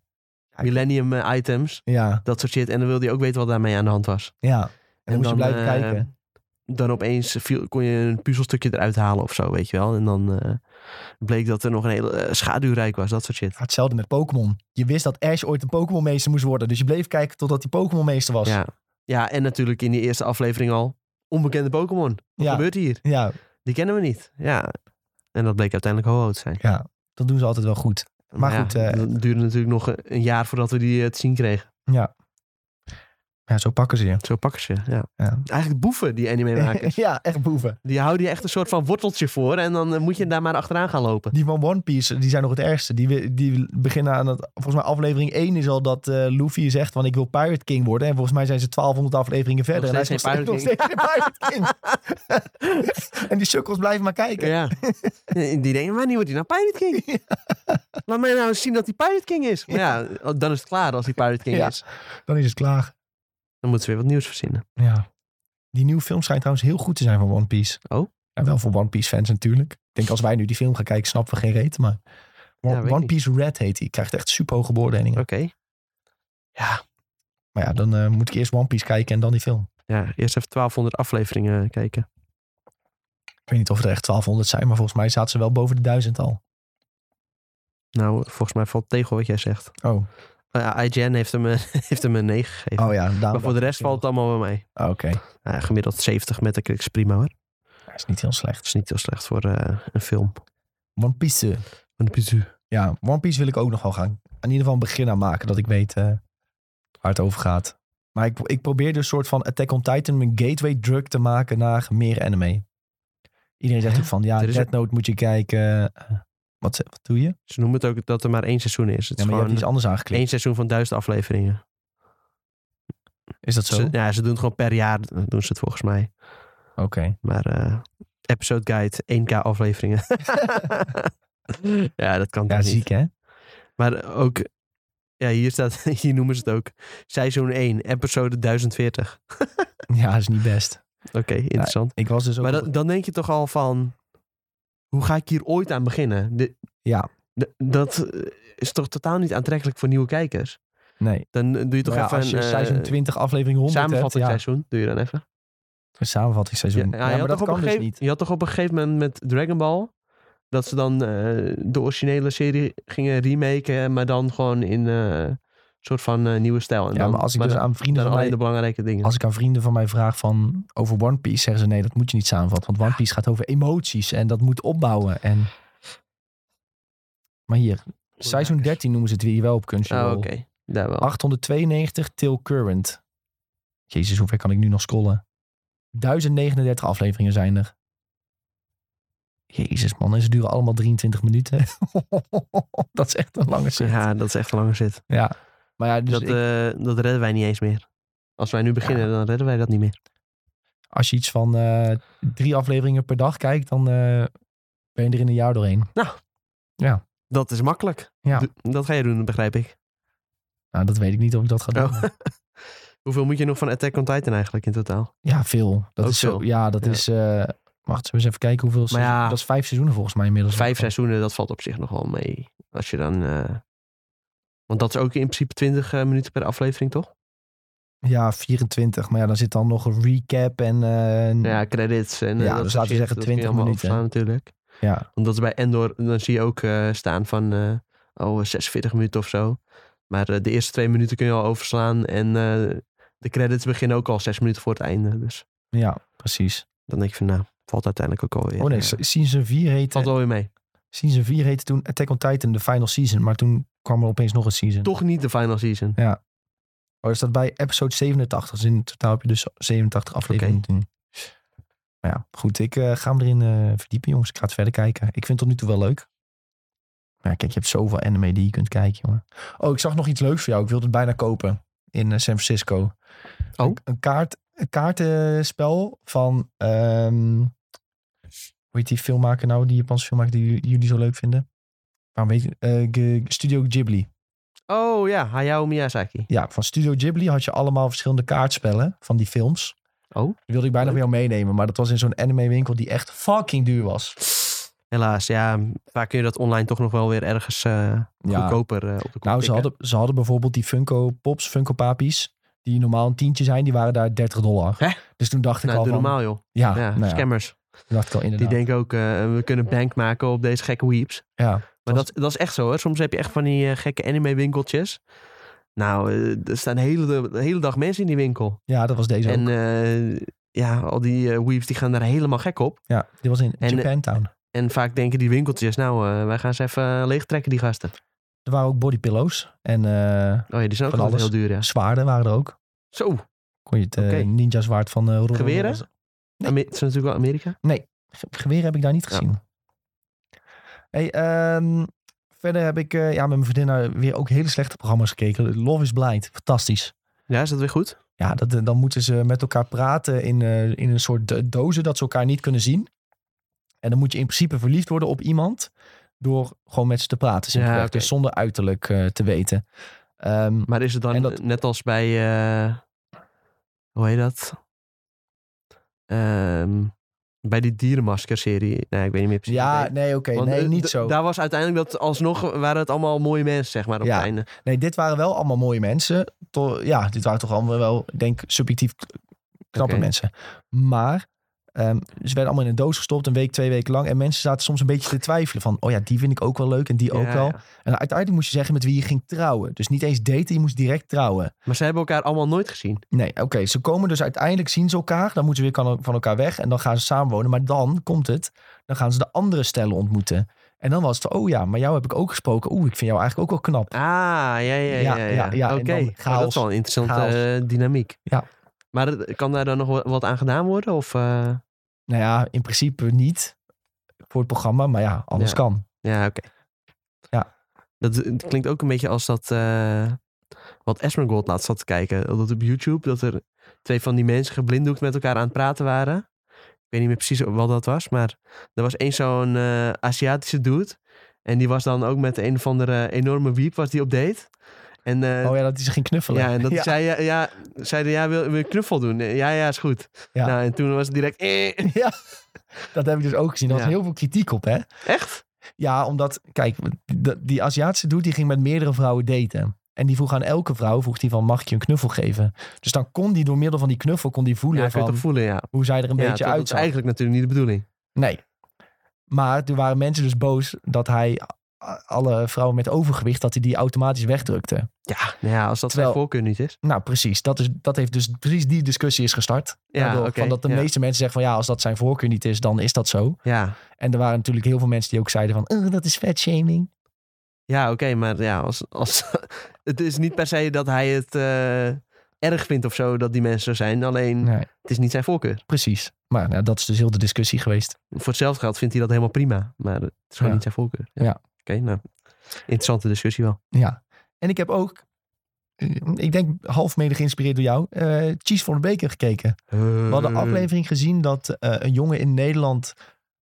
A: Ja, ik-
B: Millennium eh, items,
A: Ja,
B: dat soort shit. En dan wilde je ook weten wat daarmee aan de hand was.
A: ja. En dan
B: En
A: moet je
B: dan,
A: blijven
B: eh,
A: kijken.
B: Dan opeens viel, kon je een puzzelstukje eruit halen of zo, weet je wel. En dan eh, bleek dat er nog een hele eh, schaduwrijk was, dat soort shit.
A: Ja, hetzelfde met Pokémon. Je wist dat Ash ooit een Pokémonmeester moest worden. Dus je bleef kijken totdat hij Pokémonmeester was.
B: Ja. ja, en natuurlijk in die eerste aflevering al. Onbekende Pokémon. Wat
A: Ja.
B: gebeurt hier?
A: ja,
B: Die kennen we niet. Ja. En dat bleek uiteindelijk ho te zijn.
A: ja. dat doen ze altijd wel goed. Maar
B: ja,
A: goed, eh,
B: dat duurde natuurlijk nog een- een jaar voordat we die eh, te zien kregen.
A: Ja, zo pakken ze je.
B: Zo pakken ze, ja.
A: Ja.
B: Eigenlijk boeven, die
A: [laughs]
B: anime-makers.
A: ja, echt boeven.
B: die houden je echt een soort van worteltje voor en dan eh, moet je daar maar achteraan gaan lopen.
A: Die van One Piece, die zijn nog het ergste. Die, we- die beginnen aan het... Volgens mij aflevering 1 is al dat eh, Luffy zegt van ik wil Pirate King worden. En volgens mij zijn ze 1200 afleveringen verder.
B: Nog
A: en hij is nog
B: steeds
A: steeds, nog steeds geen Pirate King. [laughs] en die sukkels blijven maar kijken.
B: Ja. En eh, die denken, wanneer wordt die nou Pirate
A: [laughs]
B: King? Laat mij nou eens zien dat die Pirate King is. Maar ja, dan is het klaar als die Pirate King
A: Ja.
B: is.
A: Dan is het klaar.
B: Dan moeten ze weer wat nieuws verzinnen.
A: Ja. Die nieuwe film schijnt trouwens heel goed te zijn van One Piece.
B: Oh?
A: En wel voor One Piece fans natuurlijk. Ik denk als wij nu die film gaan kijken, snappen we geen reet. Maar
B: Ja, weet
A: One
B: niet. Oh.
A: Piece Red heet die. Krijgt echt super hoge beoordelingen.
B: Oké. Ja.
A: Maar ja, dan eh, moet ik eerst One Piece kijken en dan die film.
B: ja, eerst even 1200 afleveringen eh, kijken.
A: Ik weet niet of er echt 1200 zijn, maar volgens mij zaten ze wel boven de duizend al.
B: Nou, volgens mij valt tegen wat jij zegt.
A: Oh,
B: Eh, IGN heeft hem, eh, [laughs] heeft hem een 9 gegeven.
A: oh ja.
B: maar voor de rest valt het allemaal bij mij.
A: Oké,
B: Ja, gemiddeld 70 met de is prima hoor.
A: dat is niet heel slecht.
B: Dat is niet heel slecht voor eh, een film.
A: One Piece. eh,
B: Een pizu.
A: Ja, One Piece wil ik ook nog wel gaan. In ieder geval een begin aan maken, dat ik weet eh, waar het over gaat. Maar ik, ik probeer dus een soort van Attack on Titan mijn gateway drug te maken naar meer anime. Iedereen zegt
B: Ja,
A: ook van, ja,
B: er is
A: Death Note moet je kijken. Eh, Wat, ze- wat doe je?
B: Ze noemen het ook dat er maar één seizoen is. Het
A: Ja,
B: is
A: maar je hebt iets
B: gewoon
A: anders aangeklikt.
B: één seizoen van duizend afleveringen.
A: Is dat zo?
B: Ze,
A: Oké.
B: ja, ze doen het gewoon per jaar eh, doen ze het volgens mij. Maar eh, episode guide, 1k afleveringen. [laughs] ja, dat kan
A: Ja,
B: toch niet.
A: ziek hè? [laughs]
B: Maar ook, ja, hier staat, [laughs] hier noemen ze het ook. Seizoen 1, episode 1040.
A: Ja, dat is niet best.
B: Oké, interessant.
A: Ik was dus ook...
B: maar dan- dan denk je toch al van, hoe ga ik hier ooit aan beginnen? De-
A: Ja,
B: D- dat eh, is toch totaal niet aantrekkelijk voor nieuwe kijkers?
A: nee.
B: Dan eh, doe je toch
A: Maar Nou ja,
B: even
A: als je
B: een eh,
A: seizoen 20 aflevering 100 hebt,
B: samenvatting nou
A: ja,
B: seizoen. Doe je dan even.
A: een samenvatting seizoen. Ja,
B: je had
A: maar
B: toch
A: dat
B: op een
A: kan dus
B: gegeven-
A: niet.
B: Je had toch op een gegeven moment met Dragon Ball... dat ze dan eh, de originele serie gingen remaken... maar dan gewoon in eh, een soort van eh, nieuwe stijl. En
A: Ja,
B: dan,
A: maar als ik dus
B: dan,
A: aan vrienden van
B: dan alleen
A: mij
B: de belangrijke dingen.
A: Als ik aan vrienden van mij vraag van over One Piece, zeggen ze nee, dat moet je niet samenvatten. Want One Piece gaat over emoties en dat moet opbouwen. En... Maar hier, seizoen 13 noemen ze het weer wel op
B: Oh,
A: Crunchyroll.
B: oké. Daar wel.
A: 892 till current. Jezus, hoe ver kan ik nu nog scrollen? 1039 afleveringen zijn er. Jezus man, en ze duren allemaal 23 minuten. [laughs] dat is echt een lange zin.
B: ja, dat is echt een lange zit.
A: Maar ja, dus
B: dat,
A: ik-
B: eh, dat redden wij niet eens meer. Als wij nu beginnen, dan redden wij dat niet meer.
A: als je iets van eh, drie afleveringen per dag kijkt, dan eh, ben je er in een jaar doorheen.
B: Dat is makkelijk.
A: Ja.
B: Doe- Dat ga je doen, begrijp ik.
A: Nou, dat weet ik niet of ik dat ga doen.
B: Oh. Hoeveel moet je nog van Attack on Titan eigenlijk in totaal?
A: Ja, veel. Dat
B: Ook
A: is zo.
B: veel.
A: Ja, dat
B: Ja.
A: is. eh wacht, zullen we eens even kijken hoeveel. seizoen-
B: ja.
A: Dat is vijf seizoenen volgens mij inmiddels.
B: Vijf seizoenen, dat valt op zich nog wel mee. Als je dan... eh, Want dat is ook in principe 20 eh, minuten per aflevering, toch?
A: Ja, 24. Maar ja, dan zit dan nog een recap en. eh,
B: Ja, credits en... eh,
A: Ja,
B: dat
A: dus
B: soort
A: laten we
B: shit.
A: zeggen
B: Dat kun je
A: 20
B: allemaal
A: minuten.
B: opslaan natuurlijk.
A: ja.
B: Omdat bij Endor, dan zie je ook eh, staan van... eh, oh, 46 minuten of zo. Maar eh, de eerste twee minuten kun je al overslaan. En eh, de credits beginnen ook al zes minuten voor het einde. Dus
A: ja, precies.
B: dan denk je van, nou, valt uiteindelijk ook alweer.
A: Oh nee,
B: eh,
A: season 4 heette.
B: valt wel weer mee.
A: Season 4 heette toen Attack on Titan, de final season. Maar toen kwam er opeens nog een season.
B: Toch niet de final season.
A: Oh, is dat bij episode 87? Dus in totaal heb je dus 87 afleveringen. toen. Maar ja, goed. Ik eh, ga me erin eh, verdiepen, jongens. Ik ga het verder kijken. Ik vind het tot nu toe wel leuk. Maar ja, kijk, je hebt zoveel anime die je kunt kijken, jongen. Oh, ik zag nog iets leuks voor jou. Ik wilde het bijna kopen in eh, San Francisco.
B: Oh.
A: Een, een kaart, een kaartenspel van... ehm, hoe heet die filmmaker nou? Die Japanse filmmaker die j- jullie zo leuk vinden? Waarom weet je? eh, G- Studio Ghibli.
B: Oh ja, Hayao Miyazaki.
A: Ja, van Studio Ghibli had je allemaal verschillende kaartspellen van die films.
B: Oh.
A: Die wilde ik bijna
B: Leuk.
A: van jou meenemen, maar dat was in zo'n anime winkel die echt fucking duur was.
B: Helaas, ja. Vaak kun je dat online toch nog wel weer ergens eh,
A: Ja.
B: goedkoper eh, op de kop
A: Nou, ze
B: tikken.
A: hadden, ze hadden bijvoorbeeld die Funko Pops, Funko Papies, die normaal een tientje zijn, die waren daar 30 dollar.
B: Hè?
A: Dus toen dacht ik
B: Nou,
A: al
B: doe
A: van,
B: normaal joh.
A: Ja,
B: ja,
A: nou ja,
B: scammers.
A: toen dacht ik al
B: Die
A: inderdaad.
B: denken ook, eh, we kunnen bank maken op deze gekke weeps.
A: ja.
B: Maar
A: Dat
B: dat, dat is echt zo hoor. Soms heb je echt van die eh, gekke anime winkeltjes. Nou, eh, er staan de hele, de hele dag mensen in die winkel.
A: ja, dat was deze
B: En
A: ook.
B: eh, ja, al die eh weeps die gaan daar helemaal gek op.
A: Ja, die was in
B: en, eh,
A: Japantown.
B: En vaak denken die winkeltjes, nou, eh, wij gaan ze even eh, leegtrekken die gasten.
A: Er waren ook bodypillows en eh,
B: Oh ja, die zijn ook
A: Van
B: altijd
A: alles.
B: heel duur ja.
A: zwaarden waren er ook.
B: Zo,
A: Kon je het eh,
B: Oké.
A: ninja zwaard van eh Roro-
B: Geweren? Ame- het is natuurlijk wel Amerika.
A: Ge- Geweren heb ik daar niet gezien. Hey, ehm, verder heb ik eh, ja, met mijn vriendin naar weer ook hele slechte programma's gekeken. Love is Blind, fantastisch.
B: Ja, is dat weer goed?
A: Ja, dat, eh, dan moeten ze met elkaar praten in, eh, in een soort do- dozen dat ze elkaar niet kunnen zien. En dan moet je in principe verliefd worden op iemand door gewoon met ze te praten. simpelweg.
B: oké.
A: Dus zonder uiterlijk eh, te weten. Ehm,
B: Maar is het dan
A: En dat-
B: net als bij, eh, hoe heet dat? Ehm, bij die dierenmasker-serie. Nee, ik weet niet meer precies. hoe het
A: ja,
B: heet.
A: nee, oké.
B: Want,
A: nee,
B: eh,
A: niet
B: d-
A: zo.
B: Daar was uiteindelijk dat alsnog, waren het allemaal mooie mensen, zeg maar, op
A: Ja.
B: het einde.
A: Nee, dit waren wel allemaal mooie mensen. To- ja, dit waren toch allemaal wel, ik denk, subjectief k- knappe
B: Oké.
A: mensen. Maar ehm, ze werden allemaal in een doos gestopt, een week, twee weken lang. En mensen zaten soms een beetje te twijfelen van, oh ja, die vind ik ook wel leuk en die ook
B: Ja,
A: wel.
B: ja.
A: En uiteindelijk moest je zeggen met wie je ging trouwen. Dus niet eens daten, je moest direct trouwen.
B: Maar ze hebben elkaar allemaal nooit gezien.
A: Nee, oké, ze komen dus uiteindelijk, zien ze elkaar. Dan moeten ze weer kan- van elkaar weg en dan gaan ze samenwonen. Maar dan komt het, dan gaan ze de andere stellen ontmoeten. En dan was het, oh ja, maar jou heb ik ook gesproken. Oeh, ik vind jou eigenlijk ook wel knap.
B: Ah, ja, ja, ja.
A: Ja,
B: ja, ja,
A: ja, ja, en
B: Oké,
A: dan
B: Oh, dat
A: chaos.
B: is wel een interessante
A: Chaos.
B: eh, dynamiek.
A: Ja.
B: Maar het- kan daar dan nog wa- wat aan gedaan worden? Of, eh,
A: Nou ja, in principe niet voor het programma, maar ja, alles
B: Ja.
A: kan.
B: Ja, oké.
A: Ja.
B: Dat, eh, het klinkt ook een beetje als dat... eh wat Esmergold laatst zat te kijken. Dat op YouTube, dat er twee van die mensen geblinddoekt met elkaar aan het praten waren. Ik weet niet meer precies wat dat was, maar... Er was één zo'n eh, Aziatische dude. En die was dan ook met een of andere enorme wiep was die op date. En, eh,
A: oh ja, dat is geen knuffelen.
B: ja, en
A: [laughs]
B: dat
A: ja.
B: zei ja, ja, zeiden, ja, wil, wil je knuffel doen? Eh, Ja, ja, is goed.
A: Ja.
B: Nou, en toen was het direct... eh.
A: Ja, dat heb ik dus ook gezien. Daar was
B: Ja.
A: heel veel kritiek op, hè?
B: Echt?
A: Ja, omdat, kijk, d- die Aziatische dude die ging met meerdere vrouwen daten. En die vroeg aan elke vrouw, vroeg die van, mag ik je een knuffel geven? Dus dan kon die door middel van die knuffel, kon die voelen
B: Ja, kun je
A: van
B: het voelen, ja.
A: hoe zij er een
B: ja,
A: beetje
B: terwijl Dat is
A: uitzag.
B: eigenlijk natuurlijk niet de bedoeling.
A: Nee. Maar toen waren mensen dus boos dat hij a- alle vrouwen met overgewicht, dat hij die automatisch wegdrukte.
B: Ja, nou ja, als dat
A: Terwijl-
B: zijn voorkeur niet is.
A: Nou, precies. Dat, is, dat heeft dus precies die discussie is gestart.
B: Ja,
A: Daardoor,
B: oké,
A: van dat de
B: ja.
A: meeste mensen zeggen van ja, als dat zijn voorkeur niet is, dan is dat zo.
B: Ja,
A: En er waren natuurlijk heel veel mensen die ook zeiden van "Eh, dat is vetshaming.
B: ja oké, maar ja, als, als, [laughs] het is niet per se dat hij het eh, erg vindt of zo dat die mensen zo zijn. Alleen,
A: Nee,
B: het is niet zijn voorkeur.
A: precies. Maar nou, dat is dus heel de discussie geweest.
B: Voor hetzelfde geld vindt hij dat helemaal prima. Maar het is gewoon
A: Ja.
B: niet zijn voorkeur.
A: Ja.
B: Oké, nou, interessante discussie wel.
A: Ja. En ik heb ook, eh, ik denk half mede geïnspireerd door jou, eh Cheese voor de Beker gekeken. We hadden
B: Eh, Mm-hmm.
A: een aflevering gezien dat eh, een jongen in Nederland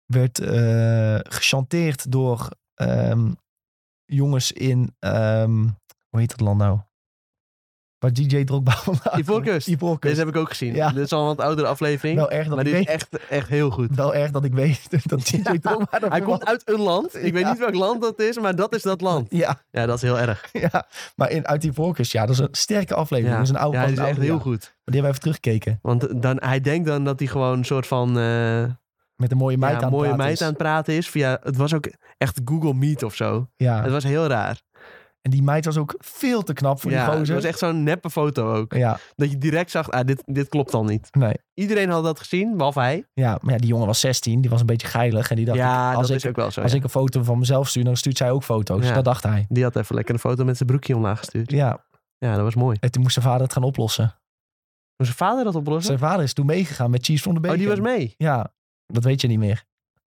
A: werd eh gechanteerd door ehm, jongens in, ehm, hoe heet dat land nou? Waar DJ Drogba [laughs] vandaan
B: Ivoorkust.
A: komt. Ivoorkust.
B: Deze heb ik ook gezien.
A: Ja.
B: Dit is al een wat oudere aflevering.
A: Wel erg dat
B: maar
A: ik
B: dit is
A: weet.
B: echt, echt heel
A: [laughs]
B: goed.
A: Wel erg dat ik weet [laughs] dat DJ
B: Ja.
A: Drogba er
B: Hij komt
A: was.
B: uit een land. Ik weet
A: Ja.
B: niet welk land dat is, maar dat is dat land.
A: Ja,
B: Ja, dat is heel erg.
A: ja, maar in, uit Ivoorkust, ja, dat is een sterke aflevering.
B: Ja,
A: Dat is een oude
B: Ja,
A: van
B: dit is
A: het
B: echt
A: oude
B: heel
A: jaar.
B: goed.
A: Maar Die hebben we even teruggekeken.
B: Want dan, hij denkt dan dat hij gewoon een soort van... eh,
A: Met een mooie meid
B: ja,
A: aan het
B: mooie
A: praten
B: meid
A: is.
B: aan het praten is. Via, het was ook echt Google Meet of zo.
A: Ja,
B: Het was heel raar.
A: en die meid was ook veel te knap voor
B: ja,
A: die
B: het
A: gozer.
B: was echt zo'n neppe foto ook.
A: Ja,
B: Dat je direct zag, ah, dit, dit klopt al niet.
A: nee.
B: Iedereen had dat gezien, behalve hij.
A: Ja, maar ja, die jongen was 16, die was een beetje geilig. En die dacht,
B: ja,
A: als,
B: dat
A: ik,
B: is ook wel zo.
A: als
B: ja.
A: ik een foto van mezelf stuur, dan stuurt zij ook foto's.
B: Ja.
A: Dat dacht hij.
B: Die had even lekker een foto met zijn broekje omlaag gestuurd.
A: Ja,
B: Ja, dat was mooi.
A: en toen moest zijn vader het gaan oplossen.
B: Moest zijn vader dat oplossen?
A: Zijn vader is toen meegegaan met Cheese van de Bacon.
B: Oh, die was mee?
A: Ja, dat weet je niet meer.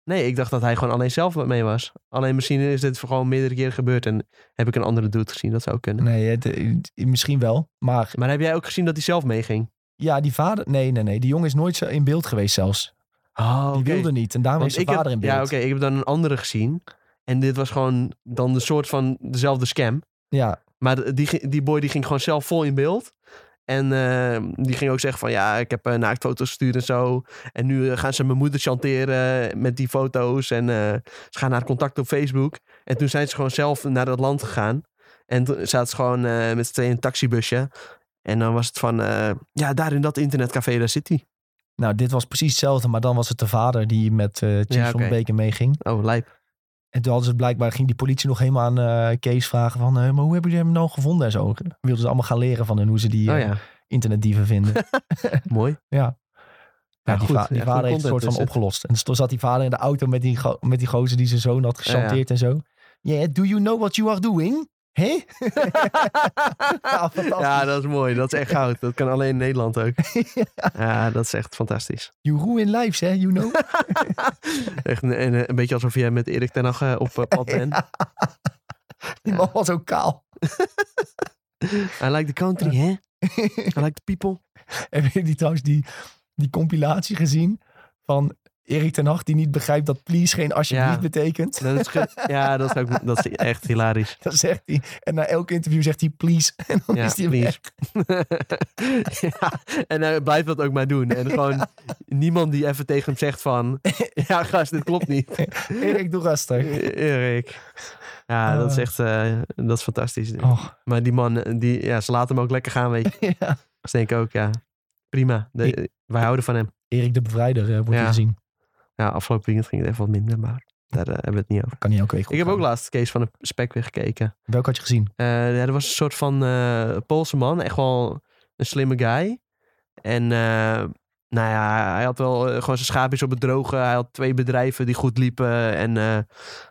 B: Nee, ik dacht dat hij gewoon alleen zelf mee was. Alleen misschien is dit gewoon meerdere keren gebeurd en heb ik een andere dude gezien. Dat zou kunnen.
A: Nee, het, eh, misschien wel. Maar
B: Maar heb jij ook gezien dat hij zelf meeging?
A: ja, die vader... Nee, nee, nee. Die jongen is nooit zo in beeld geweest zelfs.
B: Oh,
A: Die wilde niet. En daarom is zijn
B: ik
A: vader
B: heb,
A: in beeld.
B: Ja, oké, ik heb dan een andere gezien. En dit was gewoon dan de soort van dezelfde scam.
A: ja,
B: Maar de- die, gi- die boy die ging gewoon zelf vol in beeld. En eh, die ging ook zeggen van ja, ik heb eh, naaktfoto's gestuurd en zo. En nu eh, gaan ze mijn moeder chanteren met die foto's. En eh, ze gaan naar contact op Facebook. En toen zijn ze gewoon zelf naar dat land gegaan. En toen zaten ze gewoon eh, met z'n tweeën in een taxibusje. En dan was het van, eh, ja, daar in dat internetcafé, daar zit hij.
A: Nou, dit was precies hetzelfde, maar dan was het de vader die met eh Chief
B: Ja,
A: van
B: oké.
A: de Beken meeging.
B: Oh, lijp.
A: En toen hadden ze het blijkbaar, ging die politie nog helemaal aan eh, Kees vragen van, eh, maar hoe hebben jullie hem nou gevonden en zo. Wilden ze allemaal gaan leren van hun, hoe ze die
B: Oh
A: eh,
B: ja,
A: internetdieven
B: [laughs]
A: vinden. ja,
B: mooi.
A: die,
B: goed,
A: va- die
B: ja, goed
A: vader heeft het
B: content
A: soort van
B: is het.
A: opgelost. En toen zat die vader in de auto met die, go- met die gozer die zijn zoon had gechanteerd en zo. Yeah, do you know what you are doing? Hé? [laughs] ja, fantastisch.
B: Ja, dat is mooi. Dat is echt goud. Dat kan alleen in
A: [laughs]
B: Nederland ook. Ja, dat is echt fantastisch.
A: You ruin lives, hè, you
B: [laughs]
A: know.
B: Echt een, een, een beetje alsof jij met Erik ten Hag eh, op eh,
A: [laughs]
B: pad bent.
A: Die man was ook kaal.
B: I like the country, hè? I like the people.
A: Heb je die trouwens die, die compilatie gezien van Erik ten Hag die niet begrijpt dat please geen alsjeblieft
B: Ja.
A: betekent?
B: Dat is
A: [laughs]
B: ge- ja, dat is, ook, dat is echt hilarisch.
A: Dan zegt hij, en na elk interview zegt hij please. [laughs] En [laughs] dan
B: Ja,
A: is hij
B: please.
A: weg.
B: [laughs] ja, en hij blijft dat ook maar doen. En gewoon niemand die even tegen hem
A: [laughs]
B: zegt van... Ja, gast, dit klopt niet.
A: Erik, doe
B: [laughs]
A: rustig.
B: Erik. Ja, dat is
A: Ah.
B: echt... eh, dat is fantastisch.
A: Oh,
B: Maar die man, eh, die, ja, ze laten hem ook lekker gaan, weet je.
A: [laughs] ja.
B: Dus denk ik ook, ja, prima. De- eh, wij houden van hem.
A: Erik de Bevrijder eh, wordt
B: Ja.
A: hier gezien.
B: Ja, afgelopen weekend ging het even wat minder, maar daar eh, hebben we het niet over.
A: Kan niet elke week goed
B: Ik heb
A: gaan.
B: ook laatst Kees van de Spek weer gekeken.
A: Welke had je gezien?
B: Eh, ja, er was een soort van eh, Poolse man. Echt wel een slimme guy. En eh, nou ja, hij had wel eh, gewoon zijn schaapjes op het droge. Hij had twee bedrijven die goed liepen. En eh,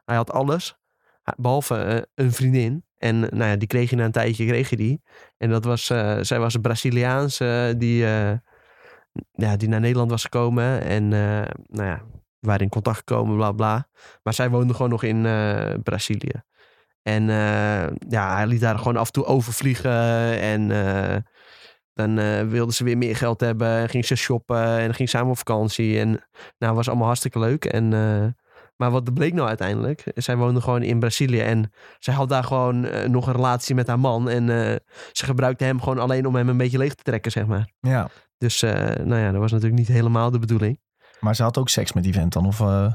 B: hij had alles. Hij- Behalve eh, een vriendin. En eh, nou ja, die kreeg je na een tijdje. Kreeg je die. En dat was, eh, zij was een Braziliaanse die, eh, ja, die naar Nederland was gekomen. En eh, nou ja, we waren in contact gekomen, bla bla. Maar zij woonde gewoon nog in eh, Brazilië. En eh, ja, hij liet haar gewoon af en toe overvliegen. En eh, dan eh, wilde ze weer meer geld hebben. En ging ze shoppen. En ging samen op vakantie. En nou, was allemaal hartstikke leuk. En, eh, maar wat bleek nou uiteindelijk? Zij woonde gewoon in Brazilië. En zij had daar gewoon eh, nog een relatie met haar man. En eh, ze gebruikte hem gewoon alleen om hem een beetje leeg te trekken, zeg maar.
A: Ja,
B: Dus eh, nou ja, dat was natuurlijk niet helemaal de bedoeling.
A: maar ze had ook seks met die vent dan? Of, eh,
B: Nou,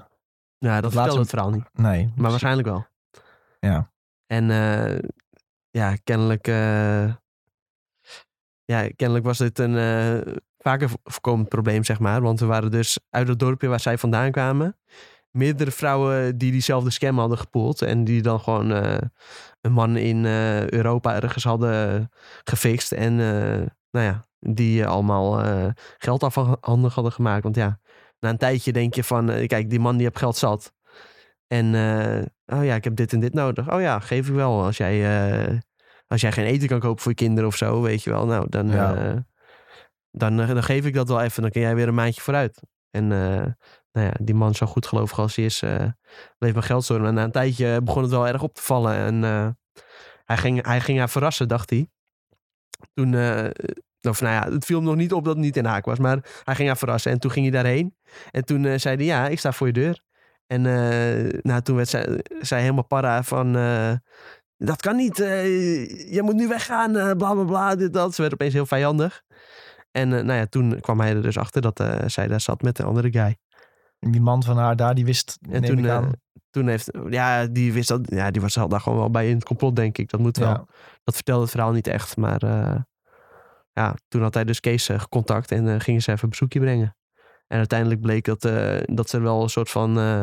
A: Dat
B: dat
A: laatste-
B: vertelde het verhaal niet.
A: nee.
B: Maar waarschijnlijk wel.
A: Ja.
B: En eh, ja, kennelijk, eh, ja, kennelijk was dit een eh, vaker vo- voorkomend probleem, zeg maar. Want we waren dus uit het dorpje waar zij vandaan kwamen. Meerdere vrouwen die diezelfde scam hadden gepoeld. En die dan gewoon eh, een man in eh, Europa ergens hadden gefixt. En eh, nou ja, die eh, allemaal eh, geld afhandig hadden gemaakt. Want ja, na een tijdje denk je van, eh, kijk, die man die heeft geld zat. En eh, oh ja, ik heb dit en dit nodig. Oh ja, geef ik wel. Als jij, eh, als jij geen eten kan kopen voor je kinderen of zo, weet je wel. Nou, dan,
A: Ja.
B: eh, dan, eh, dan geef ik dat wel even. Dan kun jij weer een maandje vooruit. En eh, nou ja, die man zo goed gelovig als hij is, eh bleef mijn geld zorgen. En na een tijdje eh, begon het wel erg op te vallen. En eh, hij, ging, hij ging haar verrassen, dacht hij. Toen, eh, of nou ja, het viel hem nog niet op dat het niet in haak was. Maar hij ging haar verrassen. En toen ging hij daarheen. En toen eh, zei hij, ja, ik sta voor je deur. En eh, nou, toen werd zij, zij helemaal para van... eh, dat kan niet, eh, je moet nu weggaan, eh, bla bla bla, dit dat. Ze werd opeens heel vijandig. En eh, nou ja, toen kwam hij er dus achter dat eh, zij daar zat met de andere guy.
A: Die man van haar daar, die wist,
B: En
A: neem
B: toen,
A: ik aan.
B: eh, toen heeft, ja, die wist dat, ja, die was zat daar gewoon wel bij in het complot, denk ik. Dat moet wel.
A: ja.
B: Dat vertelde het verhaal niet echt, maar eh, ja, toen had hij dus Kees eh, gecontact en eh, gingen ze even een bezoekje brengen. En uiteindelijk bleek dat, eh, dat ze er wel een soort van eh,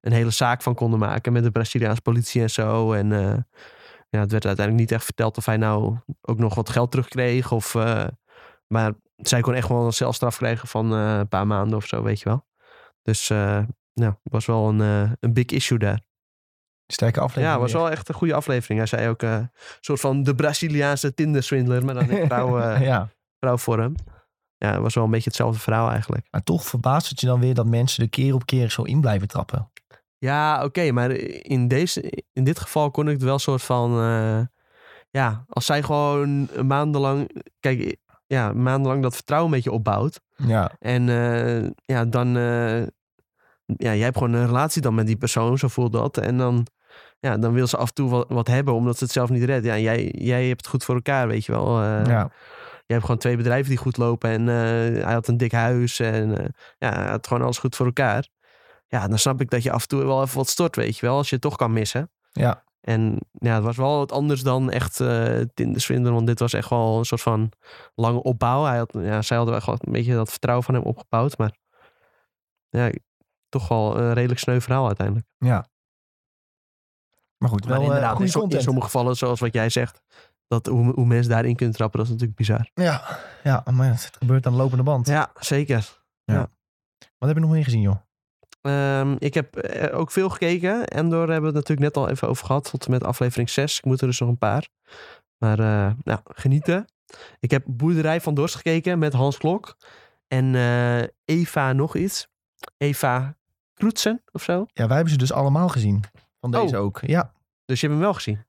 B: een hele zaak van konden maken met de Braziliaanse politie en zo. En eh, ja, het werd uiteindelijk niet echt verteld of hij nou ook nog wat geld terugkreeg. Of, eh, maar zij kon echt wel een celstraf krijgen van eh, een paar maanden of zo, weet je wel. Dus eh nou, was wel een, eh, een big issue daar.
A: Sterke aflevering.
B: Ja, was
A: [laughs]
B: wel echt een goede aflevering. Hij zei ook eh, een soort van de Braziliaanse Tinder-swindler, maar [laughs] dan in vrouw,
A: weer.
B: eh
A: [laughs] ja.
B: vrouwvorm. Ja, het was wel een beetje hetzelfde verhaal eigenlijk.
A: Maar toch verbaast het je dan weer dat mensen er keer op keer zo in blijven trappen.
B: Ja, oké, maar in, deze, in dit geval kon ik het wel een soort van... eh, ja, als zij gewoon maandenlang... Kijk, ja, maandenlang dat vertrouwen met je opbouwt.
A: Ja,
B: En eh, ja, dan... eh, ja, jij hebt gewoon een relatie dan met die persoon, zo voelt dat. En dan ja, dan wil ze af en toe wat, wat hebben, omdat ze het zelf niet redt. Ja, en jij, jij hebt het goed voor elkaar, weet je wel. Eh,
A: ja.
B: Je hebt gewoon twee bedrijven die goed lopen. En eh, hij had een dik huis. En eh, ja, hij had gewoon alles goed voor elkaar. Ja, dan snap ik dat je af en toe wel even wat stort, weet je wel. Als je het toch kan missen.
A: Ja.
B: En ja, het was wel wat anders dan echt eh Tinderswindelen. Want dit was echt wel een soort van lange opbouw. Hij had, ja, zij hadden echt wel een beetje dat vertrouwen van hem opgebouwd. Maar ja, toch wel een redelijk sneu verhaal uiteindelijk.
A: Maar goed, wel
B: maar
A: eh,
B: inderdaad, in,
A: goede
B: so- in
A: content.
B: sommige gevallen, zoals wat jij zegt. Dat hoe, hoe mensen daarin kunnen trappen, dat is natuurlijk bizar.
A: Ja, ja, maar ja, het gebeurt aan de lopende band.
B: Ja, zeker.
A: Wat heb je nog meer gezien, joh?
B: Ehm, ik heb eh, ook veel gekeken. Endor hebben we het natuurlijk net al even over gehad. Tot en met aflevering 6. Ik moet er dus nog een paar. Maar eh, nou, genieten. Ik heb Boerderij van Dorst gekeken met Hans Klok. En eh, Eva nog iets. Eva Kroetsen of zo.
A: Ja, wij hebben ze dus allemaal gezien. Van
B: Oh.
A: deze ook. Ja.
B: Dus je hebt hem wel gezien.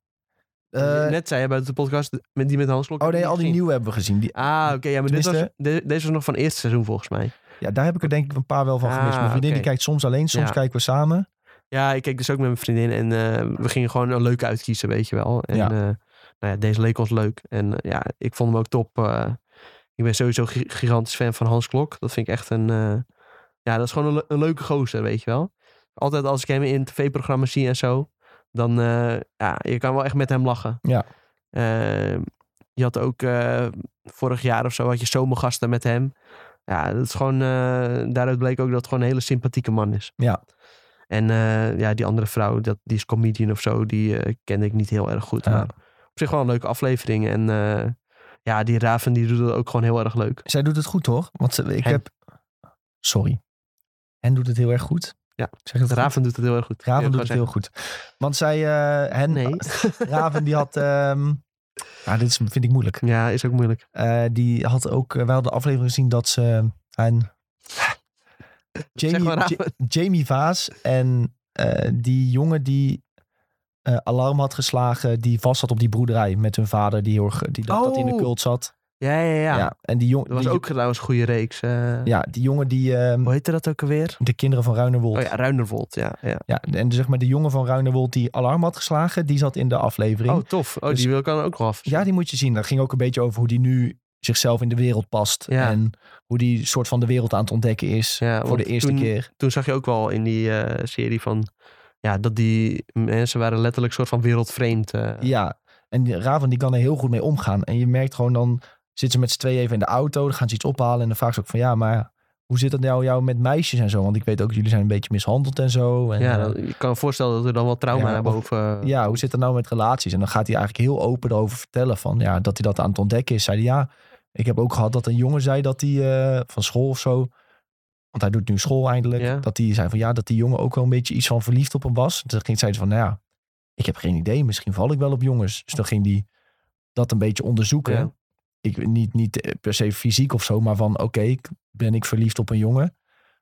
A: Eh,
B: net zei je bij de podcast met die met Hans Klok.
A: oh
B: heb
A: nee,
B: je
A: al die
B: gezien.
A: nieuwe hebben we gezien. Die,
B: Ah, oké. ja, maar dit was,
A: Tenminste-
B: de- deze was nog van het eerste seizoen volgens mij.
A: ja, daar heb ik er denk ik een paar wel van gemist.
B: Ah,
A: Mijn vriendin die
B: oké.
A: kijkt soms alleen, soms
B: Ja.
A: kijken we samen.
B: Ja, ik keek dus ook met mijn vriendin en eh, we gingen gewoon een leuke uitkiezen, weet je wel. En
A: Ja.
B: eh, nou ja, deze leek ons leuk. En eh, ja, ik vond hem ook top. eh. ik ben sowieso gi- gigantisch fan van Hans Klok. Dat vind ik echt een... eh, ja, dat is gewoon een, le- een leuke gozer, weet je wel. Altijd als ik hem in tv-programma's zie en zo, dan... eh, ja, je kan wel echt met hem lachen.
A: Ja.
B: Eh, je had ook eh, vorig jaar of zo had je zomergasten met hem. Ja, dat is gewoon... eh, daaruit bleek ook dat het gewoon een hele sympathieke man is.
A: Ja.
B: En eh, ja, die andere vrouw, dat, die is comedian of zo, die eh, kende ik niet heel erg goed.
A: Ja.
B: Maar op zich wel een leuke aflevering. En eh, ja, die Raven die doet het ook gewoon heel erg leuk.
A: Zij doet het goed, hoor. Want ze- ik
B: Hen.
A: heb... Sorry. En doet het heel erg goed.
B: Ja.
A: Ik zeg het
B: Raven doet het heel erg goed.
A: Raven
B: Wil ik
A: doet het
B: gewoon
A: heel goed. Want zij, eh, hen,
B: Nee.
A: [laughs] Raven die had,
B: [laughs]
A: ehm ja, dit is, vind ik moeilijk.
B: zeggen. Ja, is ook moeilijk.
A: Eh, die had ook, eh, wij hadden de aflevering gezien dat ze hen,
B: zeg maar
A: Jamie,
B: Raven.
A: Ja- Jamie Vaas en eh, die jongen die eh, alarm had geslagen, die vast zat op die broederij met hun vader, die, heel erg- die dacht dat hij in de
B: Oh.
A: cult zat.
B: Ja, ja, ja.
A: Ja. en die jongen,
B: Dat was
A: die,
B: ook trouwens een goede reeks. eh.
A: ja, die jongen die, ehm,
B: Hoe heette dat ook alweer?
A: de kinderen van Ruinerwold.
B: Oh ja, Ruinerwold. Ja, ja.
A: Ja, en dus zeg maar de jongen van Ruinerwold die alarm had geslagen, die zat in de aflevering.
B: Oh, tof. Oh,
A: Dus-
B: die wil ik dan ook nog af.
A: Ja, die moet je zien. Dat ging ook een beetje over hoe die nu zichzelf in de wereld past.
B: Ja.
A: En hoe die soort van de wereld aan het ontdekken is.
B: Ja,
A: voor
B: want
A: de eerste
B: toen-
A: keer.
B: toen zag je ook wel in die eh, serie van... Ja, dat die mensen waren letterlijk soort van wereldvreemd. eh.
A: Ja. En die Raven die kan er heel goed mee omgaan. En je merkt gewoon dan zitten ze met z'n tweeën even in de auto. Dan gaan ze iets ophalen. En dan vragen ze ook van ja, maar hoe zit dat nou jou met meisjes en zo? Want ik weet ook, jullie zijn een beetje mishandeld en zo. En,
B: Ja,
A: eh,
B: dan- ik kan me voorstellen dat er dan wel trauma eh,
A: Ja,
B: naar
A: of-
B: boven...
A: ja, hoe zit dat nou met relaties? En dan gaat hij eigenlijk heel open erover vertellen van ja, dat hij dat aan het ontdekken is. Zei hij, ja, ik heb ook gehad dat een jongen zei dat hij eh, van school of zo, want hij doet nu school eindelijk,
B: Ja.
A: dat hij zei van ja, dat die jongen ook wel een beetje iets van verliefd op hem was. Toen ging zei hij van nou ja, ik heb geen idee, misschien val ik wel op jongens. Dus dan ging hij dat een beetje onderzoeken.
B: Ja.
A: Ik, niet, niet eh, per se fysiek of zo, maar van oké, ik- ben ik verliefd op een jongen?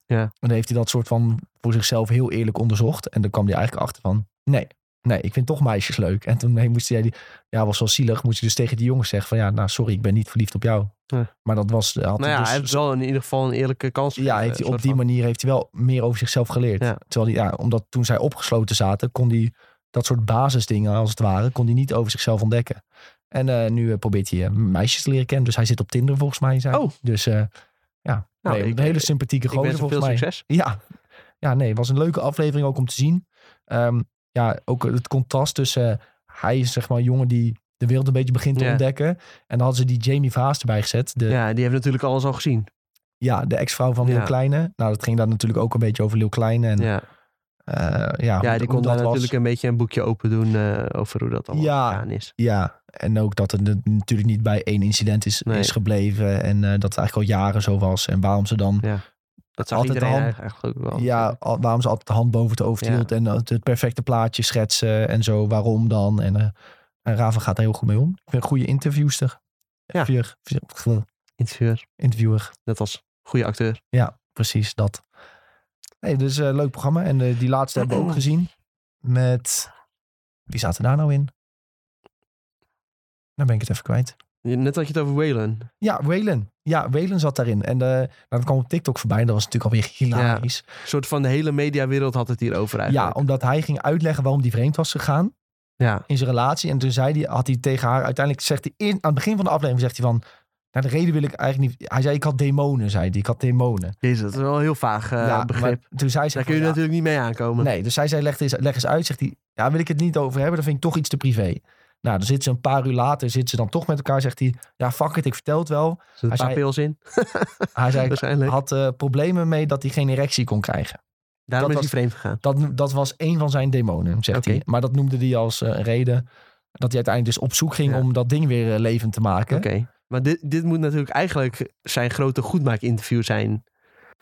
B: Ja.
A: En dan heeft hij dat soort van voor zichzelf heel eerlijk onderzocht. En dan kwam hij eigenlijk achter van, nee, nee, ik vind toch meisjes leuk. En toen nee, moest hij, die- ja, was wel zielig, moest hij dus tegen die jongens zeggen van, ja, nou, sorry, ik ben niet verliefd op jou.
B: Ja.
A: Maar dat was, had
B: Nou
A: hij
B: ja, hij heeft
A: dus,
B: wel in ieder geval een eerlijke kans
A: ja, heeft
B: gegeven,
A: hij, op
B: soort
A: die
B: van.
A: manier heeft hij wel meer over zichzelf geleerd.
B: Ja.
A: Terwijl hij, ja, omdat toen zij opgesloten zaten, kon hij dat soort basisdingen als het ware, kon hij niet over zichzelf ontdekken. En eh, nu eh, probeert hij eh, meisjes te leren kennen. Dus hij zit op Tinder volgens mij. Zei. hij.
B: Oh.
A: Dus eh, ja,
B: Nou,
A: nee,
B: ik-
A: een hele sympathieke
B: Ik
A: gozer
B: wens hem
A: volgens
B: veel
A: mij.
B: succes.
A: Ja. ja, nee, het was een leuke aflevering ook om te zien. Ehm, ja, ook het contrast tussen... eh, hij is zeg maar een jongen die de wereld een beetje begint te
B: Ja.
A: ontdekken. En dan hadden ze die Jamie Vaas erbij gezet. De, ja.
B: Ja, die heeft natuurlijk alles al gezien.
A: de ex-vrouw van Lil
B: Ja.
A: Kleine. Nou, dat ging daar natuurlijk ook een beetje over Lil Kleine. En, eh,
B: Ja,
A: ja.
B: ja
A: hoe-
B: die
A: hoe
B: kon daar
A: dat was.
B: natuurlijk een beetje een boekje open doen eh, over hoe dat allemaal
A: Ja.
B: gegaan is.
A: Ja, en ook dat het n- natuurlijk niet bij één incident is,
B: Nee.
A: is gebleven. En eh, dat het eigenlijk al jaren zo was. En waarom ze dan...
B: Dat zag
A: Altijd
B: iedereen
A: de hand-
B: eigenlijk ook wel.
A: Ja, al- waarom ze altijd de hand boven het hoofd
B: Ja.
A: hield en het het perfecte plaatje schetsen en zo. Waarom dan? En, eh, en Raven gaat daar heel goed mee om. Ik vind een goede interviewster.
B: Ja.
A: Vier- vier-
B: Interieur,
A: Interviewer.
B: net als goede acteur.
A: Ja, precies dat. Nee, dus een leuk programma. En eh, die laatste hebben we ook gezien. Met... Wie zaten daar nou in? Nou ben ik het even kwijt.
B: Net had je het over Waylon.
A: Ja, Waylon. Ja, Waylon zat daarin. En eh, nou, dat kwam op TikTok voorbij. En dat was natuurlijk alweer hilarisch.
B: Een soort van de hele mediawereld had het hier over
A: Ja,
B: eigenlijk.
A: omdat hij ging uitleggen waarom die vreemd was gegaan
B: Ja.
A: in zijn relatie. En toen zei die, had hij tegen haar uiteindelijk zegt hij in, aan het begin van de aflevering zegt hij van. Nou, de reden wil ik eigenlijk niet. Hij zei ik had demonen, zei hij. Ik had demonen.
B: Jezus, dat is wel een heel vaag eh,
A: ja,
B: begrip.
A: maar toen zei ze van,
B: Daar kun je
A: ja,
B: natuurlijk niet mee aankomen.
A: Nee, dus zij zei, leg eens, leg eens uit. Zegt hij, ja, wil ik het niet over hebben. Dan vind ik toch iets te privé. Nou, dan zitten ze een paar uur later, zitten ze dan toch met elkaar. Zegt hij, ja, fuck it, ik vertel het
B: [laughs]
A: wel.
B: Er zitten
A: Hij
B: een paar
A: zei-
B: pils in,
A: Hij zei, ik
B: waarschijnlijk.
A: had eh, problemen mee dat hij geen erectie kon krijgen.
B: Daarom
A: dat
B: is hij vreemd gegaan.
A: Dat, dat was één van zijn demonen, zegt
B: Oké.
A: hij. Maar dat noemde hij als eh, een reden dat hij uiteindelijk dus op zoek ging
B: Ja.
A: om dat ding weer eh, levend te maken.
B: Oké. Maar dit, dit moet natuurlijk eigenlijk zijn grote goedmaak-interview zijn.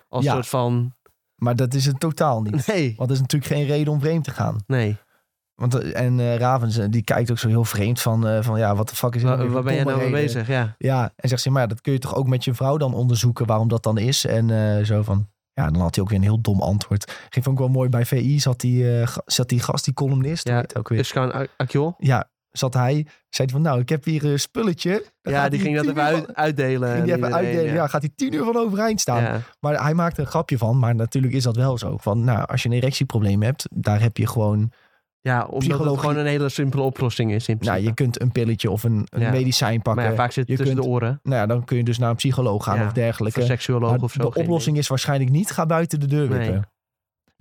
B: Als
A: Ja.
B: soort van...
A: Maar dat is het totaal niet.
B: Nee,
A: Want er is natuurlijk geen reden om vreemd te gaan.
B: nee.
A: Want, eh, en eh, Ravens, eh, die kijkt ook zo heel vreemd van, eh, van ja, wat de fuck is dit
B: Waar,
A: nou weer
B: waar
A: voor
B: ben jij nou mee
A: domme reden?
B: bezig? Ja.
A: Ja, en zegt ze, maar ja, dat kun je toch ook met je vrouw dan onderzoeken waarom dat dan is. En eh, zo van, ja, dan had hij ook weer een heel dom antwoord. Ging vond ik wel mooi, bij VI zat die, eh, ga- zat die gast, die columnist,
B: Ja,
A: ja, ook weer.
B: Dus gewoon Akjol.
A: Ja, zat hij, zei hij van, nou, ik heb hier een spulletje. Daar
B: Ja,
A: gaat
B: die
A: hij
B: ging dat
A: tien
B: even
A: uur
B: uit-
A: van-
B: uitdelen.
A: ging die
B: aan
A: even
B: iedereen,
A: uitdelen, ja. gaat hij tien uur van overeind staan.
B: Ja.
A: Maar hij maakte een grapje van, maar natuurlijk is dat wel zo. Van, nou, als je een erectieprobleem hebt, daar heb je gewoon... nou,
B: Ja, omdat
A: Psychologie-
B: het gewoon een hele simpele oplossing is in
A: Nou,
B: principe.
A: je kunt een pilletje of een, een
B: Ja.
A: medicijn pakken.
B: maar ja, vaak zit het
A: je
B: tussen
A: kunt-
B: de oren.
A: Nou ja, dan kun je dus naar een psycholoog gaan
B: Ja,
A: of
B: Of
A: dergelijke.
B: een seksuoloog
A: Maar
B: of zo.
A: de
B: geen
A: oplossing is waarschijnlijk niet ga buiten de deur
B: Nee.
A: wippen.
B: idee.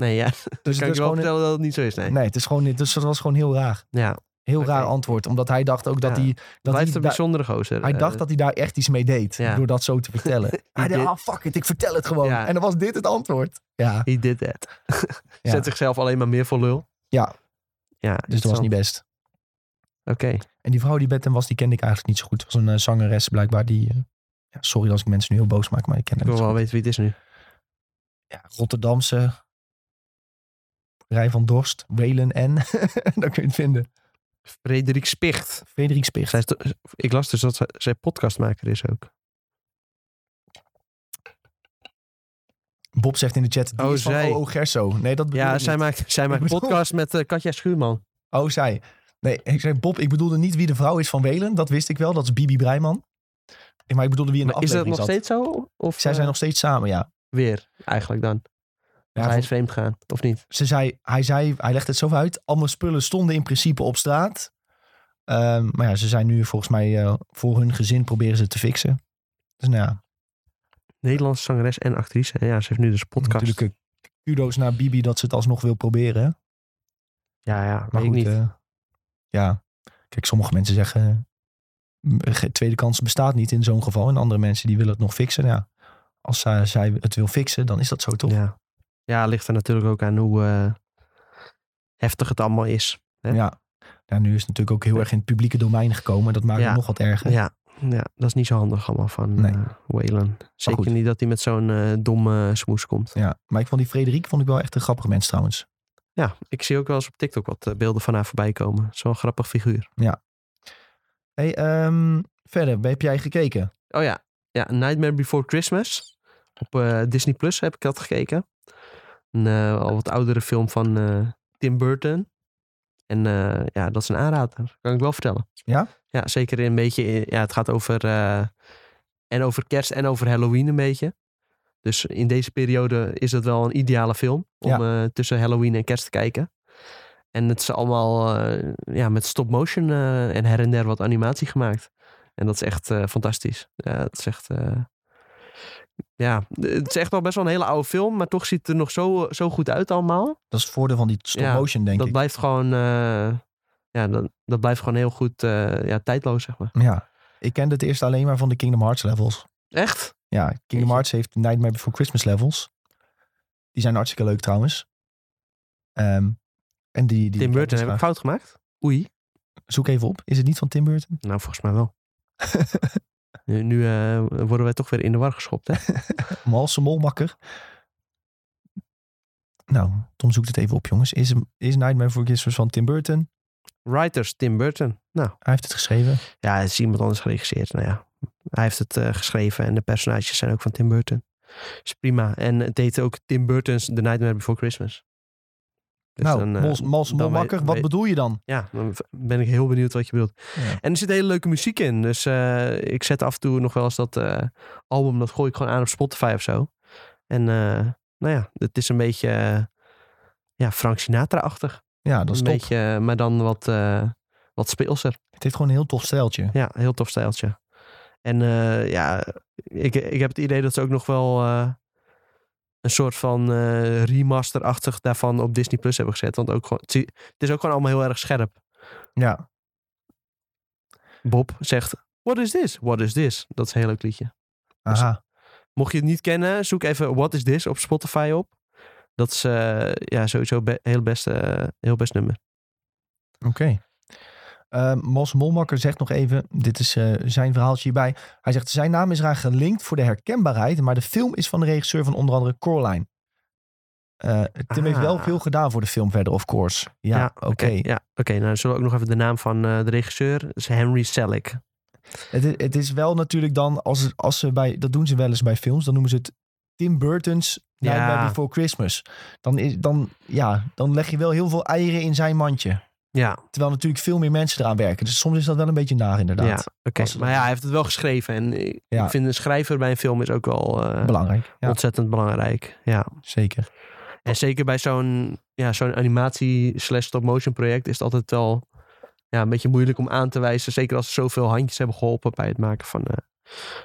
B: Nee, ja.
A: Dus
B: kan
A: het
B: ik
A: is
B: je wel
A: gewoon
B: vertellen dat het niet zo is. Nee.
A: nee. het is gewoon dus dat was gewoon heel raar.
B: Ja.
A: Heel
B: Oké.
A: raar antwoord, omdat hij dacht ook dat
B: Ja.
A: hij dat hij,
B: Blijft een
A: da-
B: bijzondere gozer.
A: hij
B: eh,
A: dacht dat hij daar echt iets mee deed
B: Ja.
A: door dat zo te
B: [laughs]
A: vertellen. hij dacht,
B: dit.
A: ah fuck it, ik vertel het gewoon.
B: Ja.
A: En dan was dit het antwoord. Ja, dus
B: He did [laughs] that.
A: Ja.
B: Zet zichzelf alleen maar meer voor lul.
A: Ja.
B: Ja,
A: dus dat was niet best.
B: Oké.
A: En die vrouw die bed hem was, die kende ik eigenlijk niet zo goed. Het was een eh, zangeres blijkbaar die eh, ja, sorry als ik mensen nu heel boos maak, maar ik ken
B: Ik
A: hem
B: wil
A: niet. zo
B: wel
A: goed.
B: weten wie het is nu.
A: Ja, Rotterdamse Rij van Dorst, Welen en [laughs] dan kun je het vinden.
B: Frederik Spicht.
A: Frederik Spicht.
B: Zij is to- ik las dus dat zij, zij podcastmaker is ook.
A: Bob zegt in de chat, die
B: Oh,
A: is van
B: zij.
A: O.O. Gerso. Nee, dat bedoel
B: Ja,
A: ik
B: zij
A: niet.
B: maakt, zij maakt
A: bedoel-
B: podcast met eh, Katja Schuurman.
A: Oh, zij. Nee, ik zei Bob, ik bedoelde niet wie de vrouw is van Welen. Dat wist ik wel, dat is Bibi Breiman. Ik- Maar ik bedoelde wie in de
B: Maar is dat
A: aflevering
B: nog
A: zat.
B: steeds zo? Of
A: Zij
B: eh,
A: zijn nog steeds samen, ja.
B: weer eigenlijk dan?
A: ja
B: hij
A: van-
B: is vreemd gegaan, of niet?
A: ze zei, hij, zei, hij legde het zo uit, al mijn spullen stonden in principe op straat. Ehm, maar ja, ze zijn nu volgens mij eh, voor hun gezin proberen ze het te fixen. Dus nou ja,
B: Nederlandse zangeres en actrice. En ja, ze heeft nu dus een podcast.
A: natuurlijk eh, kudo's naar Bibi dat ze het alsnog wil proberen. hè.
B: ja, ja,
A: Maar
B: weet ik
A: goed,
B: niet.
A: eh, ja. Kijk, sommige mensen zeggen... eh, ge- tweede kans bestaat niet in zo'n geval. En andere mensen die willen het nog fixen. Nou Ja, als zij, zij het wil fixen, dan is dat zo toch? Ja.
B: Ja. ja, ligt er natuurlijk ook aan hoe eh, heftig het allemaal is. hè?
A: ja. nu is het natuurlijk ook heel erg in het publieke domein gekomen. Dat maakt
B: Ja.
A: het nog wat erger.
B: Ja, ja, dat is niet zo handig allemaal van
A: Nee.
B: eh Waylon. Zeker
A: goed.
B: niet dat hij met zo'n eh, domme smoes komt.
A: Ja. Maar ik vond die Frederik vond ik wel echt een grappig mens trouwens.
B: Ja, ik zie ook wel eens op TikTok wat eh, beelden van haar voorbij komen. Zo'n grappig figuur.
A: Hey, ehm, verder, heb jij gekeken?
B: Oh ja, ja Nightmare Before Christmas. Op eh, Disney Plus heb ik dat gekeken. Een eh, al wat oudere film van eh, Tim Burton. En eh, ja, dat is een aanrader. Kan ik wel vertellen.
A: Ja?
B: Ja, zeker een beetje. in- Ja, het gaat over. eh, en over kerst en over Halloween een beetje. Dus in deze periode is dat wel een ideale film. Om eh, tussen Halloween en kerst te kijken. En het is allemaal eh, ja, met stop motion eh, en her en der wat animatie gemaakt. En dat is echt eh, fantastisch. Ja, het is echt. eh, ja, het is echt wel best wel een hele oude film, maar toch ziet het er nog zo, eh, zo goed uit allemaal.
A: Dat is het voordeel van die stop
B: Ja,
A: motion, denk
B: dat
A: ik.
B: blijft gewoon, eh, ja, dat, dat blijft gewoon heel goed, eh, ja, tijdloos zeg maar.
A: Ja. Ik kende het eerst alleen maar van de Kingdom Hearts levels.
B: Echt?
A: Ja, Kingdom
B: Jeetje.
A: Hearts heeft Nightmare Before Christmas levels. Die zijn hartstikke leuk trouwens. Ehm, en die, die
B: Tim
A: die-
B: Burton, heb ik fout gemaakt? Oei.
A: Zoek even op. Is het niet van Tim Burton?
B: Nou, volgens mij wel. nu nu eh, worden wij toch weer in de war geschopt, hè?
A: Malse Molmakker. Nou, Tom zoekt het even op, jongens. Is, is Nightmare Before Christmas van Tim Burton?
B: Writers Tim Burton. Nou,
A: Hij heeft het geschreven.
B: ja, het is iemand anders geregisseerd. Nou ja, hij heeft het eh, geschreven en de personages zijn ook van Tim Burton. Is prima. En het heette ook Tim Burton's The Nightmare Before Christmas. Dus
A: nou,
B: dan, eh,
A: Mals, Mals
B: dan weet-
A: Molmakker, wat
B: weet-
A: bedoel je dan?
B: Ja, dan v- ben ik heel benieuwd wat je bedoelt.
A: Ja.
B: En er zit hele leuke muziek in. Dus eh, ik zet af en toe nog wel eens dat eh, album, dat gooi ik gewoon aan op Spotify of zo. En eh, nou ja, het is een beetje eh, ja, Frank Sinatra-achtig.
A: Ja, dat is
B: een
A: top.
B: beetje, eh, maar dan wat, eh, wat speelser.
A: Het heeft gewoon een heel tof stijltje.
B: Ja, heel tof stijltje. En eh, ja, ik, ik heb het idee dat ze ook nog wel eh, een soort van eh, remaster-achtig daarvan op Disney Plus hebben gezet. Want ook gewoon, het zie- het is ook gewoon allemaal heel erg scherp.
A: Ja,
B: Bob zegt, what is this? What is this? Dat is een heel leuk liedje. Dus-
A: aha.
B: Mocht je het niet kennen, zoek even What Is This op Spotify op. Dat is eh, ja, sowieso be- heel, best, eh, heel best nummer.
A: Oké. Eh, Mals Molmakker zegt nog even, dit is eh, zijn verhaaltje hierbij. Hij zegt, zijn naam is eraan gelinkt voor de herkenbaarheid, maar de film is van de regisseur van onder andere Coraline. Eh, Tim heeft wel
B: Ah.
A: veel gedaan voor de film verder, of course. Ja, oké.
B: Ja, oké. nou, dan zullen we ook nog even de naam van eh, de regisseur. Dat is Henry Selick.
A: Het, i- het is wel natuurlijk dan, als, als ze bij, dat doen ze wel eens bij films, dan noemen ze het Tim Burton's
B: Ja.
A: Nightmare Before Christmas. Dan, is, dan, ja, dan leg je wel heel veel eieren in zijn mandje.
B: Ja,
A: Terwijl natuurlijk veel meer mensen eraan werken. Dus soms is dat wel een beetje naar
B: ja
A: inderdaad.
B: oké.
A: Als-
B: Maar ja, hij heeft het wel geschreven. En eh, ik
A: Ja.
B: ik vind een schrijver bij een film is ook wel eh,
A: Belangrijk, ja,
B: ontzettend belangrijk. Ja.
A: zeker.
B: En zeker bij zo'n ja, zo'n animatie slash stop motion project is het altijd wel ja, een beetje moeilijk om aan te wijzen. Zeker als er zoveel handjes hebben geholpen bij het maken van, eh,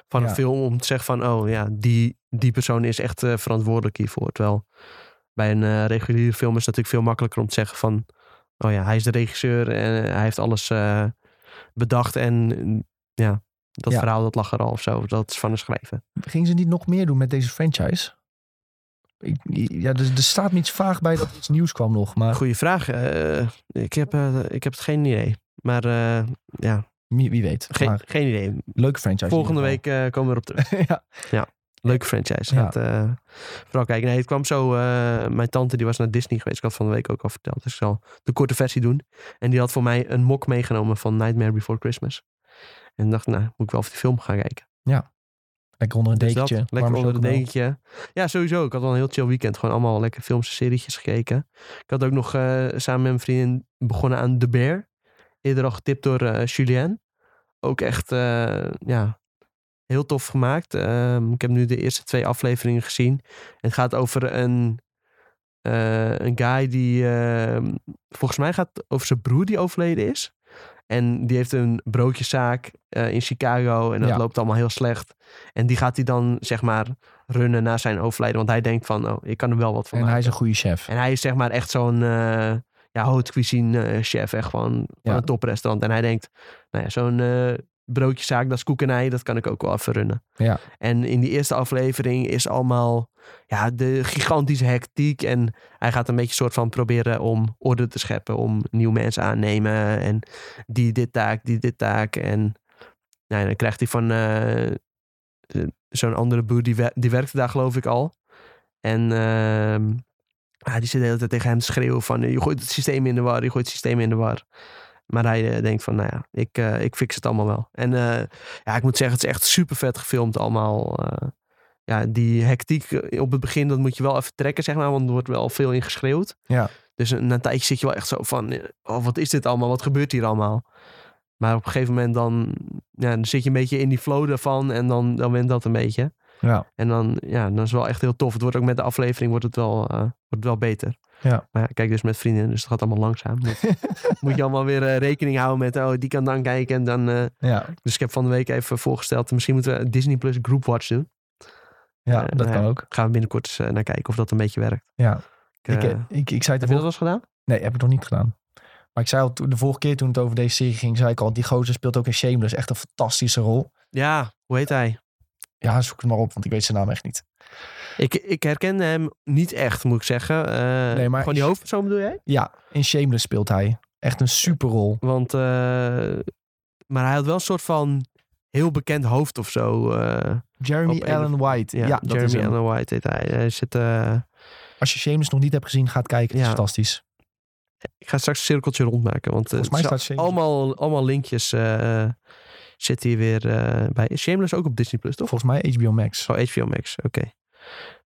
B: van
A: Ja.
B: een film. Om te zeggen van, oh ja, die, die persoon is echt eh, verantwoordelijk hiervoor. Terwijl bij een eh, reguliere film is het natuurlijk veel makkelijker om te zeggen van... Oh ja, hij is de regisseur en hij heeft alles eh, bedacht en mm, ja, dat
A: Ja.
B: verhaal dat lag er al of zo. Dat is van een schrijver.
A: Gingen ze niet nog meer doen met deze franchise? Ik, ja, dus er, er staat me iets vaag bij dat er iets nieuws kwam nog. Maar
B: Goeie vraag. eh, ik, heb, eh, ik heb het geen idee. Maar eh, ja,
A: wie, wie weet.
B: Geen,
A: maar
B: geen idee.
A: leuke franchise. in
B: Volgende
A: ieder
B: week eh, komen we erop terug.
A: geval. ja.
B: Leuke
A: [laughs]
B: franchise.
A: Ja.
B: Gaat, eh, vooral kijken. Nee, het kwam zo. eh, mijn tante die was naar Disney geweest. Ik had van de week ook al verteld. Dus ik zal de korte versie doen. En die had voor mij een mok meegenomen van Nightmare Before Christmas. En ik dacht, nou, moet ik wel even die film gaan kijken.
A: Lekker onder een
B: Dus dat,
A: dekentje.
B: lekker
A: warme
B: onder een
A: chocomel.
B: dekentje. Ja, sowieso. Ik had al een heel chill weekend. Gewoon allemaal lekker films en serietjes gekeken. Ik had ook nog eh, samen met mijn vriendin begonnen aan The Bear. Eerder al getipt door eh, Julien. Ook echt, eh, ja, heel tof gemaakt. Ehm, ik heb nu de eerste twee afleveringen gezien. En het gaat over een, eh, een guy die, ehm, volgens mij gaat het over zijn broer die overleden is. En die heeft een broodjeszaak eh, in Chicago. En dat
A: Ja.
B: loopt allemaal heel slecht. En die gaat hij dan, zeg maar, runnen na zijn overlijden. Want hij denkt van, oh, ik kan er wel wat van
A: En hij
B: maken.
A: is een goede chef.
B: En hij is zeg maar echt zo'n eh ja, haute cuisine eh, chef. Echt gewoon van
A: Ja.
B: een toprestaurant. En hij denkt, nou ja, zo'n eh broodjeszaak, dat is koek en ei. Dat kan ik ook wel even runnen.
A: Ja.
B: En in die eerste aflevering is allemaal ja, de gigantische hectiek. En hij gaat een beetje soort van proberen om orde te scheppen. Om nieuwe mensen aannemen. En die dit taak, die dit taak. En nou ja, dan krijgt hij van eh, eh, zo'n andere boer, die, wer- die werkte daar geloof ik al. En ehm, ah, die zit de hele tijd tegen hem te schreeuwen van... eh, je gooit het systeem in de war, je gooit het systeem in de war. Maar hij eh, denkt van, nou ja, ik, eh, ik fix het allemaal wel. En eh, ja, ik moet zeggen, het is echt super vet gefilmd allemaal. eh. ja, die hectiek eh, op het begin, dat moet je wel even trekken, zeg maar. Want er wordt wel veel in geschreeuwd.
A: Ja.
B: Dus eh, na een tijdje zit je wel echt zo van... eh, Oh, wat is dit allemaal? Wat gebeurt hier allemaal? Maar op een gegeven moment dan, ja, dan zit je een beetje in die flow daarvan. En dan, dan went dat een beetje.
A: Ja.
B: En dan, ja, dan is het wel echt heel tof. Het wordt ook met de aflevering wordt het wel, eh, wordt het wel beter.
A: Ja.
B: Maar ja, ik kijk dus met vrienden, dus het gaat allemaal langzaam.
A: [laughs]
B: Moet, moet je allemaal weer eh, rekening houden met, oh, die kan dan kijken. En dan, eh,
A: Ja,
B: dus ik heb van de week even voorgesteld, misschien moeten we Disney Plus Group Watch doen.
A: ja
B: Eh,
A: dat
B: nou
A: kan
B: ja,
A: ook.
B: Gaan we binnenkort eens eh, naar kijken of dat een beetje werkt.
A: Ja.
B: Ik,
A: Ik,
B: eh,
A: eh, ik, ik zei het de
B: heb
A: vorige...
B: je dat wel eens gedaan?
A: Nee, heb ik nog niet gedaan. Maar ik zei al, toen- de vorige keer toen het over deze serie ging, zei ik al, die gozer speelt ook in Shameless. Echt een fantastische rol.
B: Ja, hoe heet hij?
A: Ja, zoek het maar op, want ik weet zijn naam echt niet.
B: Ik, ik herkende hem niet echt, moet ik zeggen. Eh,
A: maar-
B: Gewoon die hoofdpersoon bedoel jij?
A: Ja, in Shameless speelt hij. Echt een superrol.
B: Want, eh, maar hij had wel een soort van heel bekend hoofd of zo. eh.
A: Jeremy
B: Op een
A: Allen White. Ja,
B: ja,
A: dat is
B: Jeremy
A: hem.
B: Allen White heet hij. Hij zit, eh,
A: Als je Shameless nog niet hebt gezien, ga het kijken. Het
B: Ja.
A: is fantastisch.
B: ik ga straks een cirkeltje rondmaken, want eh,
A: Volgens mij
B: het
A: staat
B: zijn
A: Shameless-
B: allemaal, allemaal linkjes eh, eh, zit hier weer eh, bij. Is Shameless ook op Disney Plus, toch?
A: Volgens mij HBO Max.
B: Oh, HBO Max, oké.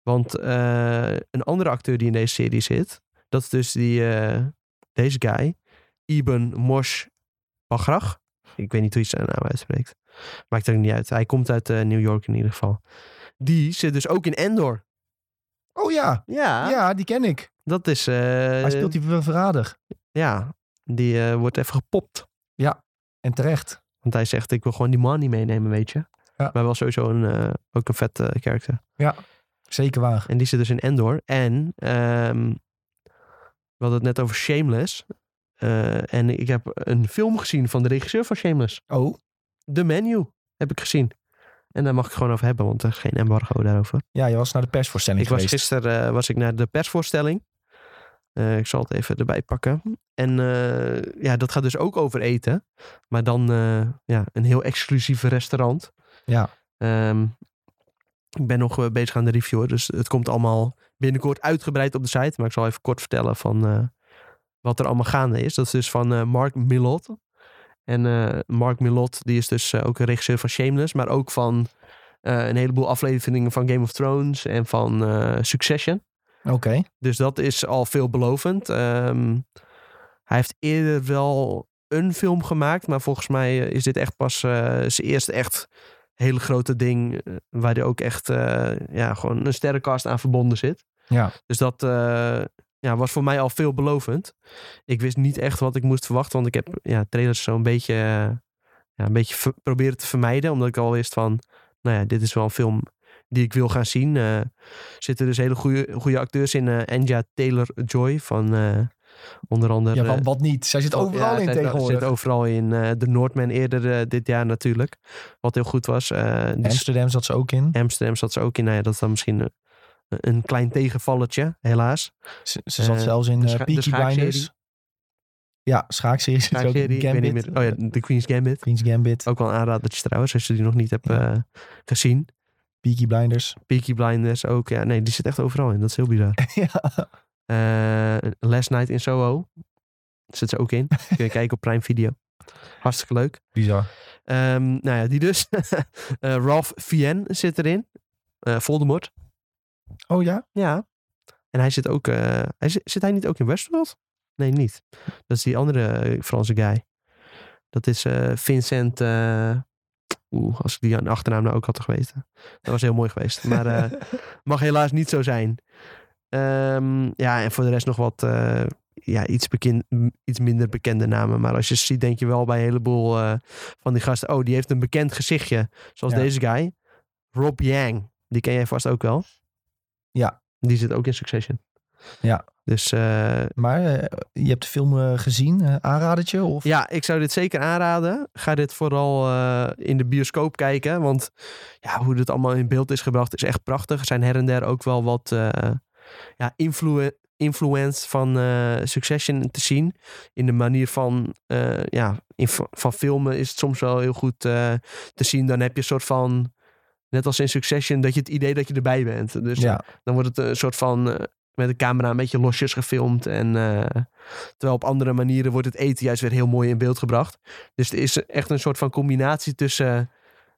B: Want eh, een andere acteur die in deze serie zit, Dat is dus die, eh, deze guy, Ibn Mosh Bagrach. Ik weet niet hoe je zijn naam uitspreekt. Maakt ook niet uit. Hij komt uit eh, New York in ieder geval. Die zit dus ook in Endor.
A: Oh ja.
B: Ja,
A: Ja, die ken ik.
B: dat is... eh,
A: Hij speelt die ver- verrader.
B: Ja, die eh, wordt even gepopt.
A: En terecht.
B: Want hij zegt, ik wil gewoon die money meenemen, weet je. Maar wel sowieso een, eh, ook een vet eh, karakter.
A: Zeker waar.
B: En die zit dus in Endor. En ehm, we hadden het net over Shameless. Eh, en ik heb een film gezien van de regisseur van Shameless.
A: Oh.
B: The Menu heb ik gezien. En daar mag ik gewoon over hebben, want er is geen embargo daarover.
A: Ja, je was naar de persvoorstelling
B: Ik was
A: geweest.
B: gisteren eh, was ik naar de persvoorstelling. Eh, ik zal het even erbij pakken. En eh, ja, dat gaat dus ook over eten. Maar dan eh, ja, een heel exclusief restaurant.
A: Ja.
B: Ehm, ik ben nog eh, bezig aan de review. hoor. Dus het komt allemaal binnenkort uitgebreid op de site. Maar ik zal even kort vertellen van eh, wat er allemaal gaande is. Dat is dus van eh, Mark Millot. En eh, Mark Millot, die is dus eh, ook een regisseur van Shameless. Maar ook van eh, een heleboel afleveringen van Game of Thrones en van eh, Succession.
A: Oké.
B: Dus dat is al veelbelovend. Ehm, hij heeft eerder wel een film gemaakt, maar volgens mij eh, is dit echt pas eh, zijn eerste echt hele grote ding. eh, Waar hij ook echt eh, ja, gewoon een sterrenkast aan verbonden zit.
A: Ja.
B: Dus dat eh, ja, was voor mij al veelbelovend. Ik wist niet echt wat ik moest verwachten, want ik heb ja, trailers zo'n beetje, eh, ja, een beetje ver- proberen te vermijden. Omdat ik al wist van, nou ja, dit is wel een film die ik wil gaan zien. Eh, zitten dus hele goede acteurs in. eh Anja Taylor-Joy van eh, onder andere...
A: Ja,
B: eh,
A: van wat niet. Zij zit overal
B: ja,
A: in
B: zij
A: tegenwoordig.
B: Zit overal in. eh, de Noordman eerder eh, dit jaar natuurlijk. Wat heel goed was. Eh, die s-
A: Amsterdam zat ze ook in.
B: Amsterdam zat ze ook in. Nou ja, dat is dan misschien een, een klein tegenvalletje, helaas.
A: Ze, ze zat
B: Eh,
A: zelfs in
B: de
A: eh
B: scha- de
A: Peaky
B: schaakserie.
A: Blinders. Ja, schaakserie [laughs] zit ze ook
B: Serie,
A: in.
B: ik weet niet
A: Gambit.
B: meer. Oh ja, Oh. The Queen's Gambit.
A: Queen's Gambit.
B: Ook wel een aanradertje trouwens, als je die nog niet hebt
A: Ja.
B: eh, gezien.
A: Peaky Blinders.
B: Peaky Blinders ook. Ja, nee, die zit echt overal in. Dat is heel bizar.
A: [laughs] ja.
B: Eh, Last Night in Soho. Zit ze ook in.
A: [laughs]
B: Kun je kijken op Prime Video. Hartstikke leuk.
A: Bizar.
B: Ehm, nou ja, die dus. [laughs] Eh, Ralph Fiennes zit erin. Eh Voldemort.
A: Oh ja?
B: Ja. En hij zit ook... eh, hij zit, zit hij niet ook in Westworld? Nee, niet. Dat is die andere eh, Franse guy. Dat is eh, Vincent... eh, Oeh, als ik die aan achternaam nou ook had geweten. Dat was heel mooi geweest. Maar eh, mag helaas niet zo zijn. Ehm, ja, en voor de rest nog wat... eh, ja, iets, bekend, m- iets minder bekende namen. Maar als je ze ziet, denk je wel bij een heleboel eh, van die gasten... Oh, die heeft een bekend gezichtje. Zoals
A: Ja.
B: deze guy. Rob Yang. Die ken jij vast ook wel.
A: Ja.
B: Die zit ook in Succession.
A: Ja.
B: Dus eh,
A: [laughs] maar eh, je hebt de film eh, gezien, eh, aanradertje? Of?
B: ja, ik zou dit zeker aanraden. Ga dit vooral eh, in de bioscoop kijken. Want ja, hoe dit allemaal in beeld is gebracht is echt prachtig. Er zijn her en der ook wel wat eh, ja, influ- influence van eh, Succession te zien. In de manier van, eh, ja, in v- van filmen is het soms wel heel goed eh, te zien. Dan heb je een soort van, net als in Succession, dat je het idee dat je erbij bent. Dus
A: Ja.
B: dan wordt het een soort van eh, met de camera een beetje losjes gefilmd. En eh, terwijl op andere manieren wordt het eten juist weer heel mooi in beeld gebracht. Dus er is echt een soort van combinatie tussen eh,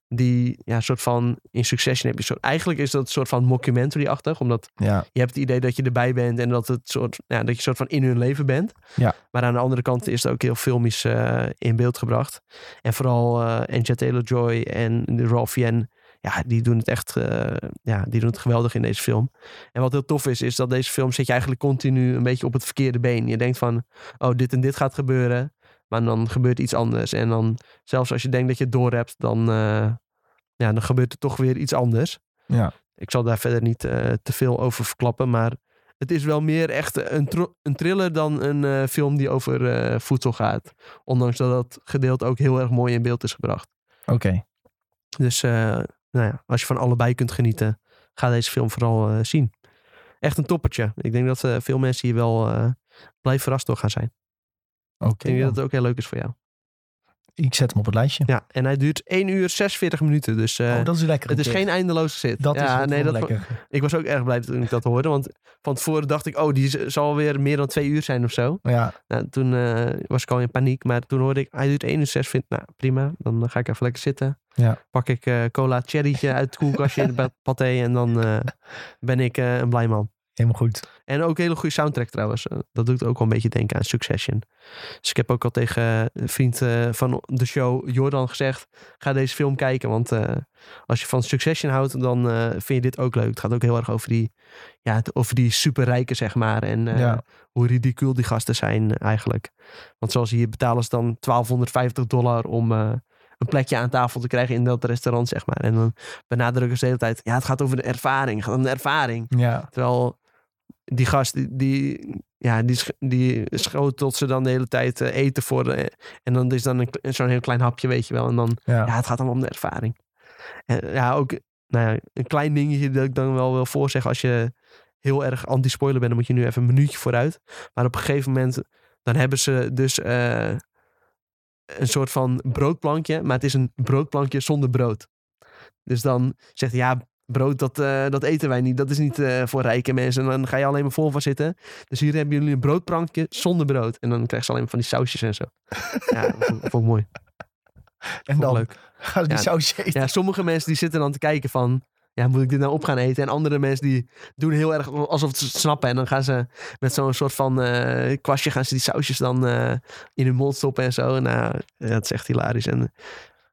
B: die ja, soort van in Succession heb je zo. Eigenlijk is dat een soort van mockumentary-achtig, omdat
A: ja.
B: je hebt het idee dat je erbij bent en dat, het soort, ja, dat je soort van in hun leven bent.
A: Ja.
B: Maar aan de andere kant is het ook heel filmisch eh, in beeld gebracht. En vooral eh Anja Taylor-Joy en de Ralph Yen, ja, die doen het echt eh, ja, die doen het geweldig in deze film. En wat heel tof is, is dat deze film zit je eigenlijk continu een beetje op het verkeerde been. Je denkt van, oh, dit en dit gaat gebeuren, maar dan gebeurt iets anders. En dan, zelfs als je denkt dat je het door hebt, dan, eh, ja, dan gebeurt er toch weer iets anders.
A: Ja.
B: Ik zal daar verder niet eh, te veel over verklappen, maar het is wel meer echt een, tro- een thriller dan een eh, film die over eh, voedsel gaat. Ondanks dat dat gedeelte ook heel erg mooi in beeld is gebracht.
A: Oké.
B: Dus eh, nou ja, als je van allebei kunt genieten, ga deze film vooral eh, zien. Echt een toppertje. Ik denk dat eh, veel mensen hier wel eh, blij verrast door gaan zijn.
A: Oké.
B: Ik denk
A: dan.
B: dat het ook heel leuk is voor jou.
A: Ik zet hem op het lijstje.
B: Ja, en hij duurt 1 uur 46 minuten. Dus eh,
A: oh, dat is lekker.
B: het is geen eindeloos zit.
A: Dat
B: ja,
A: is
B: nee, dat,
A: lekker.
B: Ik was ook erg blij toen ik dat hoorde. Want van tevoren dacht ik, oh, die z- zal weer meer dan twee uur zijn of zo.
A: Ja,
B: Nou, toen eh, was ik al in paniek. Maar toen hoorde ik, hij doet 1 uur 6. Vind, nou, prima. Dan eh, ga ik even lekker zitten.
A: Ja.
B: Pak ik eh, cola cherrytje uit het koelkastje in het ba- paté. En dan eh, ben ik eh, een blij man.
A: Helemaal goed.
B: En ook een hele goede soundtrack trouwens. Eh, Dat doet ook wel een beetje denken aan Succession. Dus ik heb ook al tegen eh, een vriend eh, van de show, Jordan, gezegd... ga deze film kijken, want eh, als je van Succession houdt... dan eh, vind je dit ook leuk. Het gaat ook heel erg over die, ja, het- over die superrijken, zeg maar. En eh,
A: Ja.
B: hoe ridicuul die gasten zijn eh, eigenlijk. Want zoals hier betalen ze dan 1250 dollar om... eh, een plekje aan tafel te krijgen in dat restaurant, zeg maar. En dan benadrukken ze de hele tijd... ja, het gaat over de ervaring, het gaat om de ervaring.
A: Ja,
B: Terwijl die gast, die, die, ja, die, sch- die schotelt ze dan de hele tijd eh, eten voor. eh, en dan is dan een kle- zo'n heel klein hapje, weet je wel. En dan,
A: ja.
B: ja, het gaat allemaal om de ervaring. En ja, ook nou ja, een klein dingetje dat ik dan wel wil voorzeggen. Als je heel erg anti-spoiler bent, dan moet je nu even een minuutje vooruit. Maar op een gegeven moment, dan hebben ze dus eh, een soort van broodplankje. Maar het is een broodplankje zonder brood. Dus dan zegt hij, ja, brood, dat, eh, dat eten wij niet. Dat is niet eh, voor rijke mensen. En dan ga je alleen maar vol van zitten. Dus hier hebben jullie een broodplankje zonder brood. En dan krijgen ze alleen maar van die sausjes en zo. Ja, dat vond ik- vond ik mooi.
A: en
B: Vond ik
A: dan [laughs]
B: leuk.
A: gaan ze die
B: Ja.
A: saus eten.
B: Ja, sommige mensen die zitten dan te kijken van... Ja, moet ik dit nou op gaan eten? En andere mensen die doen heel erg alsof ze het snappen. En dan gaan ze met zo'n soort van eh, kwastje... gaan ze die sausjes dan eh, in hun mond stoppen en zo. Nou, ja, dat is echt hilarisch. En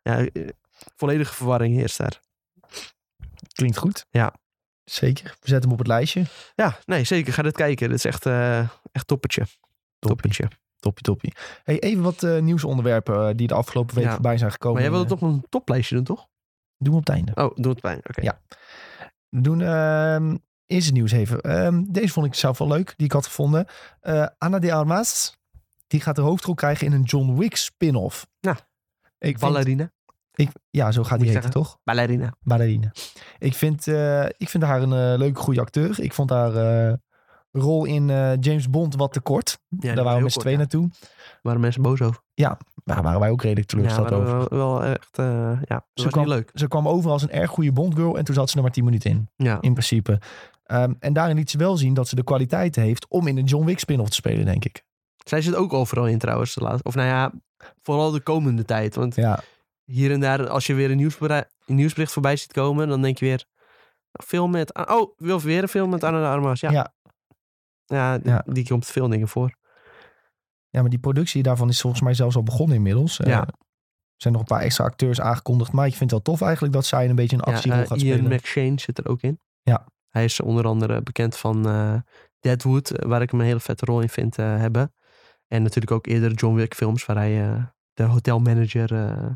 B: ja, eh, volledige verwarring heerst daar.
A: Klinkt goed.
B: Ja.
A: Zeker. We zetten hem op het lijstje.
B: Ja, nee, zeker. Ga dit kijken. Dit is echt, eh echt toppertje. Toppertje.
A: Toppie, toppie. Hey, even wat eh, nieuwsonderwerpen eh, die de afgelopen week
B: Ja.
A: voorbij zijn gekomen.
B: Maar jij wilde
A: Eh,
B: toch een toplijstje doen, toch?
A: Doen we op het einde.
B: Oh, doe het bij. Oké.
A: Ja. We doen ehm eerst het nieuws even. Ehm, deze vond ik zelf wel leuk, die ik had gevonden. Eh Ana de Armas, die gaat de hoofdrol krijgen in een John Wick spin-off.
B: Ja.
A: Ik vind,
B: Nou, Ballerina.
A: ik, ja, zo gaat die
B: Moet je
A: heten,
B: zeggen.
A: toch?
B: Ballerina.
A: Ballerina. Ik vind, eh, ik vind haar een eh, leuke, goede acteur. Ik vond haar eh, rol in eh, James Bond wat te kort.
B: Ja,
A: Daar waren we met z'n tweeën naartoe.
B: Waren mensen boos over?
A: Maar daar waren wij ook redelijk teleurgesteld
B: waren
A: over.
B: we wel, wel echt, eh, ja. Dat was
A: kwam-
B: niet leuk.
A: Ze kwam over als een erg goede Bondgirl en toen zat ze er maar 10 minuten in.
B: Ja.
A: in principe. Ehm, en daarin liet ze wel zien dat ze de kwaliteit heeft om in een John Wick spin-off te spelen, denk ik.
B: Zij zit ook overal in trouwens. De laatste. Of nou ja, vooral de komende tijd. Want
A: Ja,
B: hier en daar, als je weer een nieuwsbericht, een nieuwsbericht voorbij ziet komen, dan denk je weer... Film met... An- Oh, wil weer een film met Anna de Armas. Ja.
A: Ja.
B: Ja, die,
A: Ja.
B: die komt veel dingen voor.
A: ja, maar die productie daarvan is volgens mij zelfs al begonnen inmiddels. Eh,
B: Ja.
A: er zijn nog een paar extra acteurs aangekondigd. Maar ik vind het wel tof eigenlijk dat zij een beetje een actierol
B: eh,
A: gaat
B: Ian
A: spelen.
B: McShane zit er ook in.
A: Ja.
B: Hij is onder andere bekend van eh, Deadwood, eh, waar ik hem een hele vette rol in vind eh, hebben. En natuurlijk ook eerder John Wick films, waar hij eh, de hotelmanager... eh,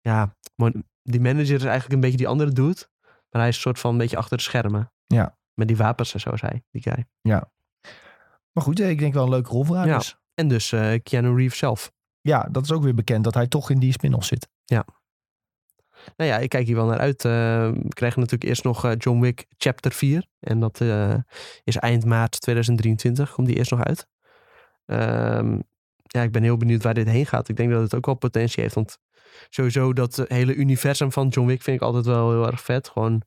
B: ja, mon- die manager is eigenlijk een beetje die andere dude. Maar hij is een soort van een beetje achter de schermen.
A: Ja.
B: Met die wapens en zo, zei die guy.
A: Maar goed, eh, ik denk wel een leuke rol voor haar.
B: Ja.
A: Dus.
B: En dus eh, Keanu Reeves zelf.
A: ja, dat is ook weer bekend dat hij toch in die spin-off zit.
B: Nou ja, ik kijk hier wel naar uit. Eh, we krijgen natuurlijk eerst nog eh, John Wick Chapter 4. En dat eh, is eind maart 2023. Komt die eerst nog uit. Ehm, ja, ik ben heel benieuwd waar dit heen gaat. Ik denk dat het ook wel potentie heeft. Want sowieso dat eh, hele universum van John Wick vind ik altijd wel heel erg vet. Gewoon,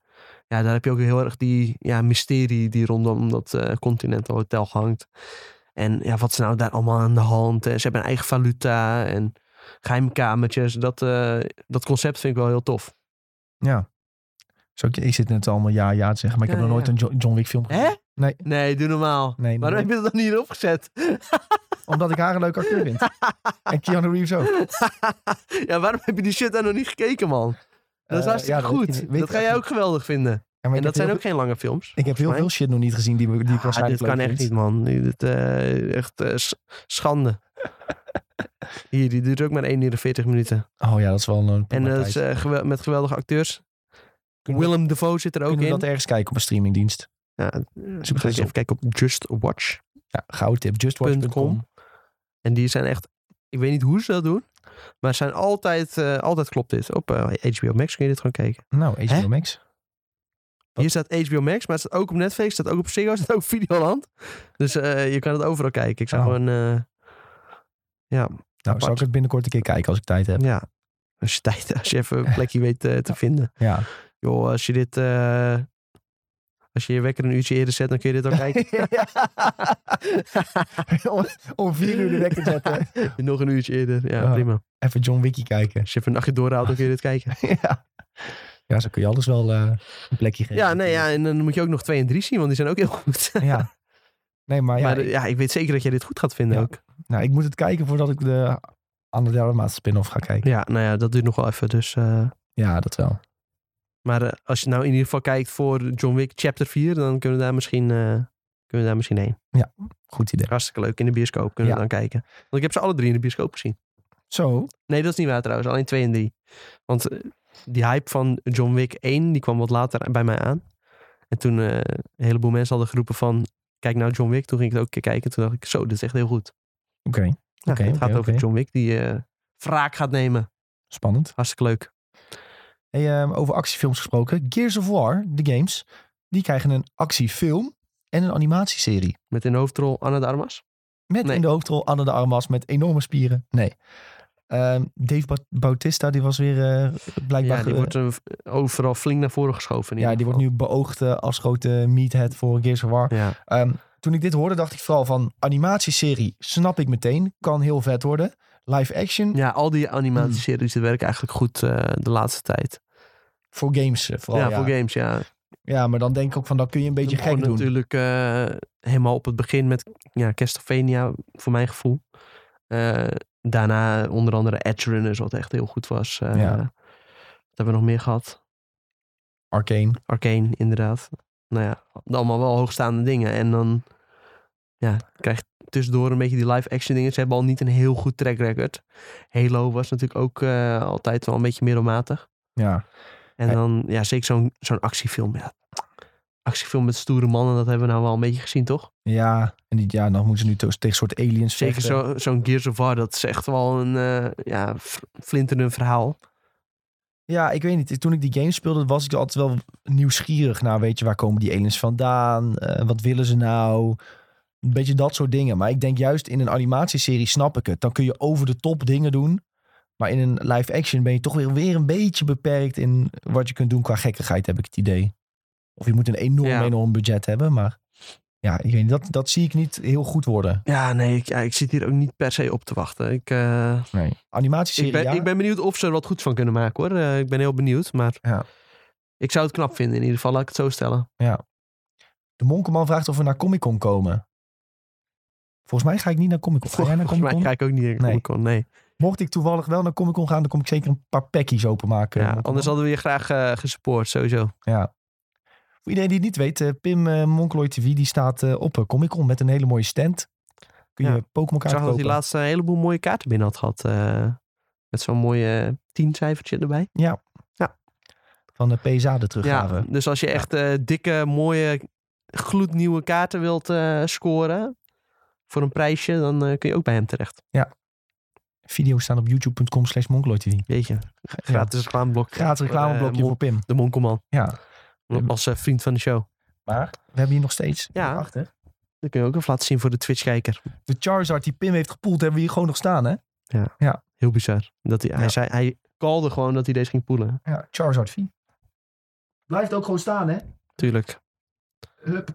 B: ja, daar heb je ook heel erg die ja, mysterie die rondom dat eh, Continental Hotel hangt. En ja, wat is nou daar allemaal aan de hand? En ze hebben een eigen valuta en geheimkamertjes. Dat, eh, dat concept vind ik wel heel tof.
A: Zo, ik, ik zit net allemaal ja, ja te zeggen, maar ik
B: Ja,
A: heb nog
B: ja.
A: nooit een Jo- John Wick film gezien.
B: Hè?
A: Nee.
B: Nee, doe normaal.
A: Nee,
B: Waarom
A: nee.
B: heb je dat dan niet opgezet? [laughs]
A: Omdat ik haar een leuke acteur vind. en Keanu Reeves ook.
B: ja, waarom heb je die shit daar nog niet gekeken, man? Dat is
A: Eh,
B: hartstikke
A: ja, dat weet
B: goed.
A: ik niet. Weet
B: dat
A: ik
B: ga
A: echt
B: jij
A: niet.
B: ook geweldig vinden.
A: Ja, maar
B: En
A: ik heb
B: dat zijn
A: heel
B: ook geen lange films.
A: veel- Ik heb heel
B: mij.
A: veel shit nog niet gezien die, we- die ik
B: Ah,
A: waarschijnlijk
B: dit kan
A: leuk
B: echt
A: vind.
B: niet, man. Dit, eh, echt eh, s-
A: [laughs]
B: schande. Hier, die duurt ook maar 1 uur en 40 minuten.
A: Oh ja, dat is wel een
B: En
A: prima
B: dat
A: tijd.
B: is eh, gewel- met geweldige acteurs.
A: Kunnen we-
B: Willem Dafoe zit er ook
A: Kunnen
B: in.
A: we dat ergens kijken op een streamingdienst?
B: Ja, eh,
A: Zoek
B: ga
A: dat
B: ik
A: eens
B: even
A: op.
B: kijken op Just Watch.
A: Ja, Nou, gouden tip. Justwatch.com.
B: En die zijn echt, ik weet niet hoe ze dat doen, maar zijn altijd, eh, altijd klopt dit. Op eh, HBO Max kun je dit gewoon kijken.
A: Nou, HBO
B: Hè?
A: Max. Wat?
B: Hier staat HBO Max, maar het staat ook op Netflix, staat ook op Ziggo, [laughs] staat ook op Videoland. Dus eh, je kan het overal kijken. Ik zou
A: Oh.
B: gewoon, eh, ja,
A: Nou, zou ik het binnenkort een keer kijken als ik tijd heb.
B: ja. Als je tijd, [laughs] als
A: [laughs]
B: je even een plekje weet eh, te vinden.
A: Ja.
B: Joh, als je dit, eh, als je je wekker een uurtje eerder zet, dan kun je dit
A: [laughs]
B: ook kijken.
A: om, om vier uur de wekker
B: [laughs]
A: zetten.
B: Nog een uurtje eerder, ja,
A: Ja.
B: prima. [laughs]
A: Even John Wickie kijken. [laughs]
B: Als je even een nachtje doorhoudt, dan kun je dit kijken.
A: ja. Ja, zo kun je alles wel eh, een plekje geven.
B: Ja, nee, ja, en dan moet je ook nog 2 en 3 zien, want die zijn ook heel [laughs] goed.
A: Ja. Nee,
B: [laughs]
A: maar, ja,
B: maar
A: ik,
B: eh, ja, ik weet zeker dat jij dit goed gaat vinden
A: Ja.
B: ook.
A: nou, ik moet het kijken voordat ik de Anne de Armas spin-off ga kijken.
B: Ja, nou ja, dat duurt nog wel even. Dus, eh,
A: Ja, dat wel.
B: maar eh, als je nou in ieder geval kijkt voor John Wick Chapter 4, dan kunnen we daar misschien, eh, kunnen we daar misschien heen.
A: Goed idee.
B: Hartstikke leuk. In de bioscoop kunnen
A: Ja.
B: we dan kijken. Want ik heb ze alle drie in de bioscoop gezien.
A: Zo,
B: Nee, dat is niet waar trouwens. Alleen 2 en 3. Want eh, die hype van John Wick 1, die kwam wat later bij mij aan. En toen eh, een heleboel mensen hadden geroepen van... Kijk nou John Wick. Toen ging ik het ook een keer kijken. Toen dacht ik, zo, dit is echt heel goed.
A: oké.
B: Ja,
A: Oké,
B: het
A: oké,
B: gaat over
A: oké.
B: John Wick die eh wraak gaat nemen.
A: Spannend.
B: Hartstikke leuk.
A: Hey, ehm, over actiefilms gesproken. Gears of War, de games, die krijgen een actiefilm en een animatieserie.
B: Met in de hoofdrol Anna de Armas.
A: Met
B: Nee.
A: in de hoofdrol Anne de Armas met enorme spieren. Nee. Ehm, Dave Ba- Bautista, die was weer eh, blijkbaar...
B: ja, die
A: ge-
B: wordt eh, overal flink naar voren geschoven. in
A: ja, die
B: ieder
A: wordt nu beoogd eh, als grote meathead voor Gears of War.
B: geval. Ja.
A: Ehm, toen ik dit hoorde, dacht ik vooral van animatieserie snap ik meteen. Kan heel vet worden. Live action
B: ja, al die
A: Hmm.
B: animatieseries die werken eigenlijk goed eh, de laatste tijd.
A: voor games eh, vooral.
B: ja,
A: Ja,
B: voor games, ja.
A: Ja, maar dan denk ik ook van, dan kun je een beetje
B: We begonnen
A: gek doen.
B: natuurlijk eh, helemaal op het begin met ja, Castlevania, voor mijn gevoel. Eh, daarna onder andere Edge Runners, wat echt heel goed was. Eh,
A: Ja.
B: Wat hebben we nog meer gehad?
A: Arcane.
B: Arcane, inderdaad. Nou ja, allemaal wel hoogstaande dingen. En dan ja, krijg je tussendoor een beetje die live-action dingen. Ze hebben al niet een heel goed track record. Halo was natuurlijk ook eh, altijd wel een beetje middelmatig.
A: Ja.
B: En
A: Hey.
B: dan, ja, zeker zo'n zo'n actiefilm. Ja. Actiefilm met stoere mannen, dat hebben we nou wel een beetje gezien, toch?
A: Ja, en die, ja, dan moeten ze nu to- tegen soort aliens
B: Zeker
A: vechten.
B: zo- zo'n Gears of War, dat is echt wel een eh ja, v- flinterend verhaal.
A: Ja, ik weet niet. Toen ik die game speelde, was ik altijd wel nieuwsgierig naar, weet je, waar komen die aliens vandaan? Eh, wat willen ze nou? Een beetje dat soort dingen. Maar ik denk juist in een animatieserie snap ik het. Dan kun je over de top dingen doen. Maar in een live action ben je toch weer, weer een beetje beperkt in wat je kunt doen qua gekkigheid, heb ik het idee. Of je moet een enorm,
B: Ja.
A: enorm budget hebben. Maar ja, ik weet niet, dat, dat zie ik niet heel goed worden.
B: Ja, nee, ik, ja, ik zit hier ook niet per se op te wachten. Ik, eh,
A: Nee. Animatieserie,
B: ik, ben,
A: ja.
B: ik ben benieuwd of ze er wat goeds van kunnen maken, hoor. Eh, ik ben heel benieuwd, maar
A: Ja.
B: ik zou het knap vinden in ieder geval, laat ik het zo stellen.
A: De Monkeman vraagt of we naar Comic Con komen. Volgens mij ga ik niet naar Comic Con. Ga jij naar
B: Volgens
A: Comic Con?
B: mij ga ik ook niet naar
A: Nee.
B: Comic Con, nee.
A: Mocht ik toevallig wel naar Comic Con gaan, dan kom ik zeker een paar packies openmaken.
B: Ja,
A: Monkeman.
B: anders hadden we je graag eh, gesupport, sowieso.
A: Voor iedereen die het niet weet, eh, Pim eh Monkloy TV die staat eh, op eh, Comic Con met een hele mooie stand. Kun je
B: Ja.
A: Pokémon
B: Ik
A: kaarten
B: zag dat
A: kopen.
B: hij laatst een heleboel mooie kaarten binnen had gehad. eh, met zo'n mooie eh, tiencijfertje erbij.
A: Van eh, de PSA de teruggave.
B: Ja, dus als je echt eh, dikke, mooie, gloednieuwe kaarten wilt eh, scoren voor een prijsje, dan eh, kun je ook bij hem terecht.
A: Video's staan op youtube.com slash Monkloy TV.
B: Weet je, gratis reclameblok.
A: Gratis reclameblokje
B: Voor, eh,
A: voor Pim.
B: de Monkelman,
A: Ja.
B: als eh, vriend van de show.
A: Maar we hebben hier nog steeds.
B: Ja.
A: Achter.
B: Dat kun je ook even laten zien voor de Twitch-kijker.
A: De Charizard die Pim heeft gepoeld, hebben we hier gewoon nog staan, hè?
B: Heel bizar. Dat hij,
A: Ja.
B: hij, zei, hij calde gewoon dat hij deze ging poelen.
A: Ja, Charizard V. Blijft ook gewoon staan, hè? [laughs]
B: Tuurlijk.
A: Hup.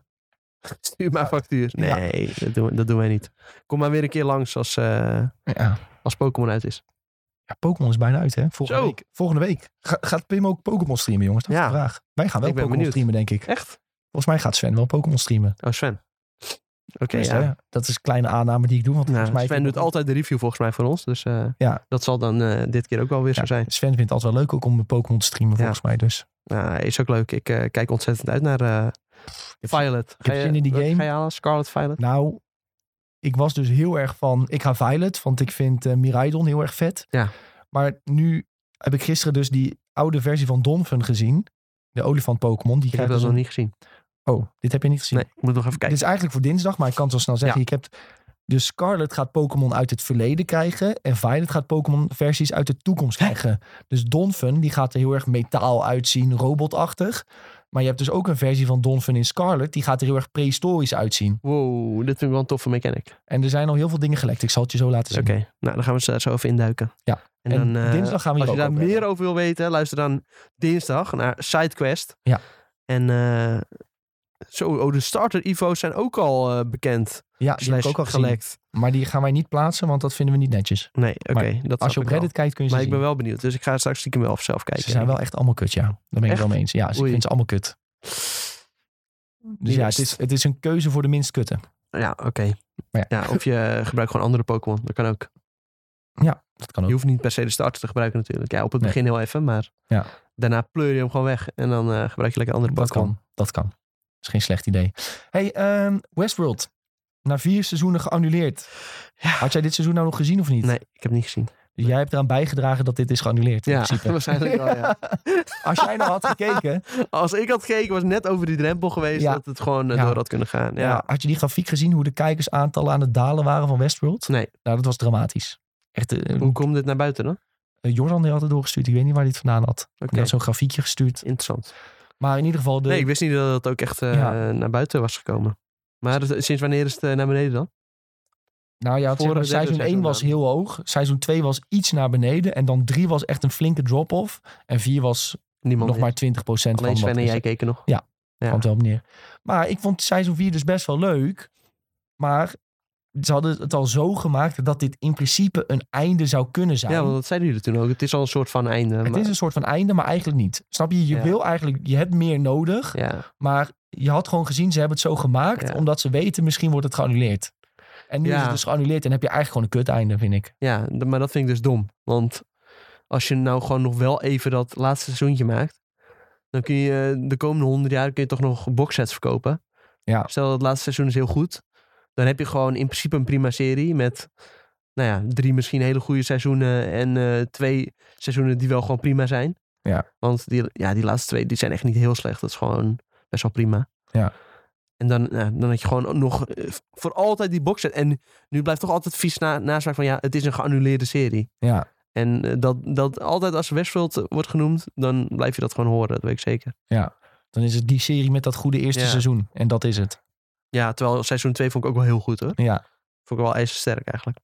B: Stuur maar factuur.
A: Ja.
B: Nee, dat, doen, we- dat doen wij niet. Kom maar weer een keer langs als, eh,
A: Ja.
B: als Pokémon uit is.
A: Ja, Pokémon is bijna uit, hè? Volgende
B: Zo.
A: week. Volgende week. Ga- gaat Pim ook Pokémon streamen, jongens? Dat is
B: Ja.
A: de vraag. Wij gaan wel
B: Ik ben
A: Pokémon
B: benieuwd.
A: streamen, denk ik.
B: Echt?
A: Volgens mij gaat Sven wel Pokémon streamen.
B: Oh, Sven. Oké,
A: Dus,
B: ja.
A: eh, dat is een kleine aanname die ik doe. Want
B: Nou,
A: volgens mij
B: Sven doet altijd de review volgens mij voor ons. Dus eh,
A: Ja.
B: dat zal dan eh, dit keer ook wel weer zo
A: Ja.
B: zijn.
A: Sven vindt het altijd wel leuk ook om Pokémon te streamen, volgens mij. Dus
B: Nou, is ook leuk. Ik eh, kijk ontzettend uit naar eh, Violet.
A: heb zin in die
B: wat
A: game.
B: Ga je halen? Scarlet Violet?
A: nou, ik was dus heel erg van. Ik ga Violet, want ik vind eh, Miraidon heel erg vet.
B: Ja.
A: Maar nu heb ik gisteren dus die oude versie van Donphan gezien. De olifant Pokémon. Die
B: Ik heb
A: krijgt
B: dat
A: dus
B: nog
A: een-
B: niet gezien.
A: Oh, dit heb je niet gezien.
B: Nee, ik moet nog even kijken.
A: Dit is eigenlijk voor dinsdag, maar ik kan het wel snel zeggen. Ik heb, dus Scarlet gaat Pokémon uit het verleden krijgen. En Violet gaat Pokémon versies uit de toekomst krijgen. Dus Donphan, die gaat er heel erg metaal uitzien, robotachtig. Maar je hebt dus ook een versie van Donphan in Scarlet. Die gaat er heel erg prehistorisch uitzien.
B: Wow, dit vind ik wel een toffe mechanic.
A: En er zijn al heel veel dingen gelekt. Ik zal het je zo laten zien.
B: Oké, nou dan gaan we ze zo even induiken.
A: Ja.
B: En,
A: En
B: dan, eh,
A: dinsdag gaan we hier
B: Als je
A: ook
B: daar
A: over
B: meer
A: hebben.
B: over wil weten, luister dan dinsdag naar SideQuest.
A: Ja.
B: En eh, Zo, oh, de starter-ivo's zijn ook al eh, bekend.
A: Ja, die heb
B: slash
A: ik ook al gezien.
B: gelekt.
A: Maar die gaan wij niet plaatsen, want dat vinden we niet netjes.
B: Nee, oké. dat
A: Als je
B: snap
A: op
B: ik wel.
A: Reddit kijkt, kun je ze
B: Maar ik
A: zien.
B: ben wel benieuwd. Dus ik ga straks stiekem wel zelf kijken.
A: Ze zijn wel echt allemaal kut, ja. Daar ben ik
B: Echt?
A: wel mee eens. Ja, ze
B: Oei.
A: vinden ze allemaal kut. Dus
B: Die
A: ja, het
B: rest.
A: is, het is een keuze voor de minst kutte.
B: Ja, oké.
A: Maar
B: Ja, of je [laughs] gebruikt gewoon andere Pokémon. Dat kan ook.
A: Dat kan
B: Je
A: ook.
B: hoeft niet per se de starter te gebruiken natuurlijk. Ja, op het
A: Nee.
B: begin heel even, maar
A: Ja.
B: daarna pleur je hem gewoon weg. En dan eh, gebruik je lekker andere
A: Dat
B: Pokémon.
A: kan. Dat kan. is geen slecht idee. hey, ehm, Westworld. Na vier seizoenen geannuleerd.
B: Ja.
A: Had jij dit seizoen nou nog gezien of niet?
B: Nee, ik heb het niet gezien.
A: Dus jij hebt eraan bijgedragen dat dit is geannuleerd. in [laughs]
B: Ja,
A: principe.
B: [laughs] waarschijnlijk wel, ja.
A: Als jij nou had gekeken,
B: Als ik had gekeken, was net over die drempel geweest
A: Ja.
B: dat het gewoon eh,
A: Ja.
B: door had kunnen gaan. [laughs] Ja.
A: ja, had je die grafiek gezien hoe de kijkersaantallen aan het dalen waren van Westworld?
B: Nee.
A: Nou, dat was dramatisch. Echt, eh,
B: Hoe komt dit naar buiten dan?
A: eh, Jordan die had het doorgestuurd. Ik weet niet waar hij het vandaan had.
B: Oké,
A: Die had zo'n grafiekje gestuurd.
B: interessant.
A: Maar in ieder geval, de,
B: Nee, ik wist niet dat het ook echt eh,
A: Ja.
B: naar buiten was gekomen. Maar het- sinds wanneer is het eh, naar beneden dan?
A: Nou ja,
B: Voor
A: zeg maar,
B: het derde
A: seizoen 1
B: seizoen
A: was
B: dan.
A: heel hoog. Seizoen 2 was iets naar beneden. En dan 3 was echt een flinke drop-off. En 4 was
B: Niemand.
A: nog
B: meer.
A: maar 20% van
B: Alleen
A: wat
B: Sven en
A: is-
B: jij keken nog.
A: Ja.
B: Ja.
A: kwam het wel op neer. Maar ik vond seizoen 4 dus best wel leuk. Maar ze hadden het al zo gemaakt dat dit in principe een einde zou kunnen zijn.
B: Ja, want dat zeiden jullie toen ook. Het is al een soort van einde.
A: het
B: maar-
A: is een soort van einde, maar eigenlijk niet. Snap je? Je
B: Ja.
A: wil eigenlijk, je hebt meer nodig.
B: ja.
A: Maar je had gewoon gezien, ze hebben het zo gemaakt.
B: Ja.
A: Omdat ze weten, misschien wordt het geannuleerd. En nu
B: Ja.
A: is het dus geannuleerd en heb je eigenlijk gewoon een kut einde, vind ik.
B: ja, d- maar dat vind ik dus dom. Want als je nou gewoon nog wel even dat laatste seizoentje maakt, dan kun je eh, de komende honderd jaar kun je toch nog boxsets verkopen.
A: Ja.
B: Stel dat het laatste seizoen is heel goed, dan heb je gewoon in principe een prima serie met nou ja, drie misschien hele goede seizoenen en eh, twee seizoenen die wel gewoon prima zijn.
A: Ja.
B: Want die, ja, die laatste twee die zijn echt niet heel slecht. Dat is gewoon best wel prima.
A: Ja.
B: En dan, nou, dan had je gewoon nog eh, voor altijd die boxset. En nu blijft toch altijd vies na, nasmaak van ja, het is een geannuleerde serie.
A: Ja,
B: En eh, dat, dat altijd als Westworld eh, wordt genoemd, dan blijf je dat gewoon horen, dat weet ik zeker.
A: Dan is het die serie met dat goede eerste
B: Ja.
A: seizoen. En dat is het.
B: Ja, terwijl seizoen 2 vond ik ook wel heel goed hoor.
A: Ja.
B: Vond ik wel ijzersterk eigenlijk.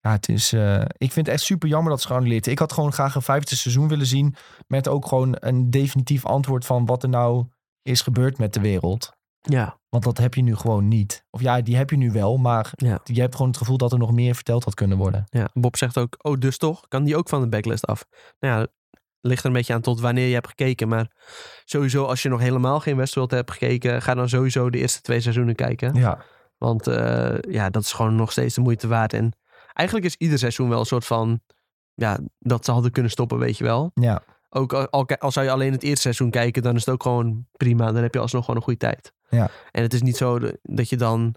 A: Ja, het is, eh, ik vind het echt super jammer dat ze geannuleerd is. Ik had gewoon graag een vijfde seizoen willen zien. Met ook gewoon een definitief antwoord van wat er nou is gebeurd met de wereld.
B: Ja.
A: Want dat heb je nu gewoon niet. Of ja, die heb je nu wel. Maar
B: Ja.
A: je hebt gewoon het gevoel dat er nog meer verteld had kunnen worden.
B: ja. Bob zegt ook, oh dus toch, kan die ook van de backlist af? Nou ja, ligt er een beetje aan tot wanneer je hebt gekeken. Maar sowieso als je nog helemaal geen Westworld hebt gekeken, ga dan sowieso de eerste twee seizoenen kijken.
A: Ja,
B: Want eh, ja, dat is gewoon nog steeds de moeite waard. En eigenlijk is ieder seizoen wel een soort van... Ja, dat ze hadden kunnen stoppen, weet je wel.
A: ja.
B: Ook al, al, al zou je alleen het eerste seizoen kijken, dan is het ook gewoon prima. Dan heb je alsnog gewoon een goede tijd.
A: Ja.
B: En het is niet zo de- dat je dan,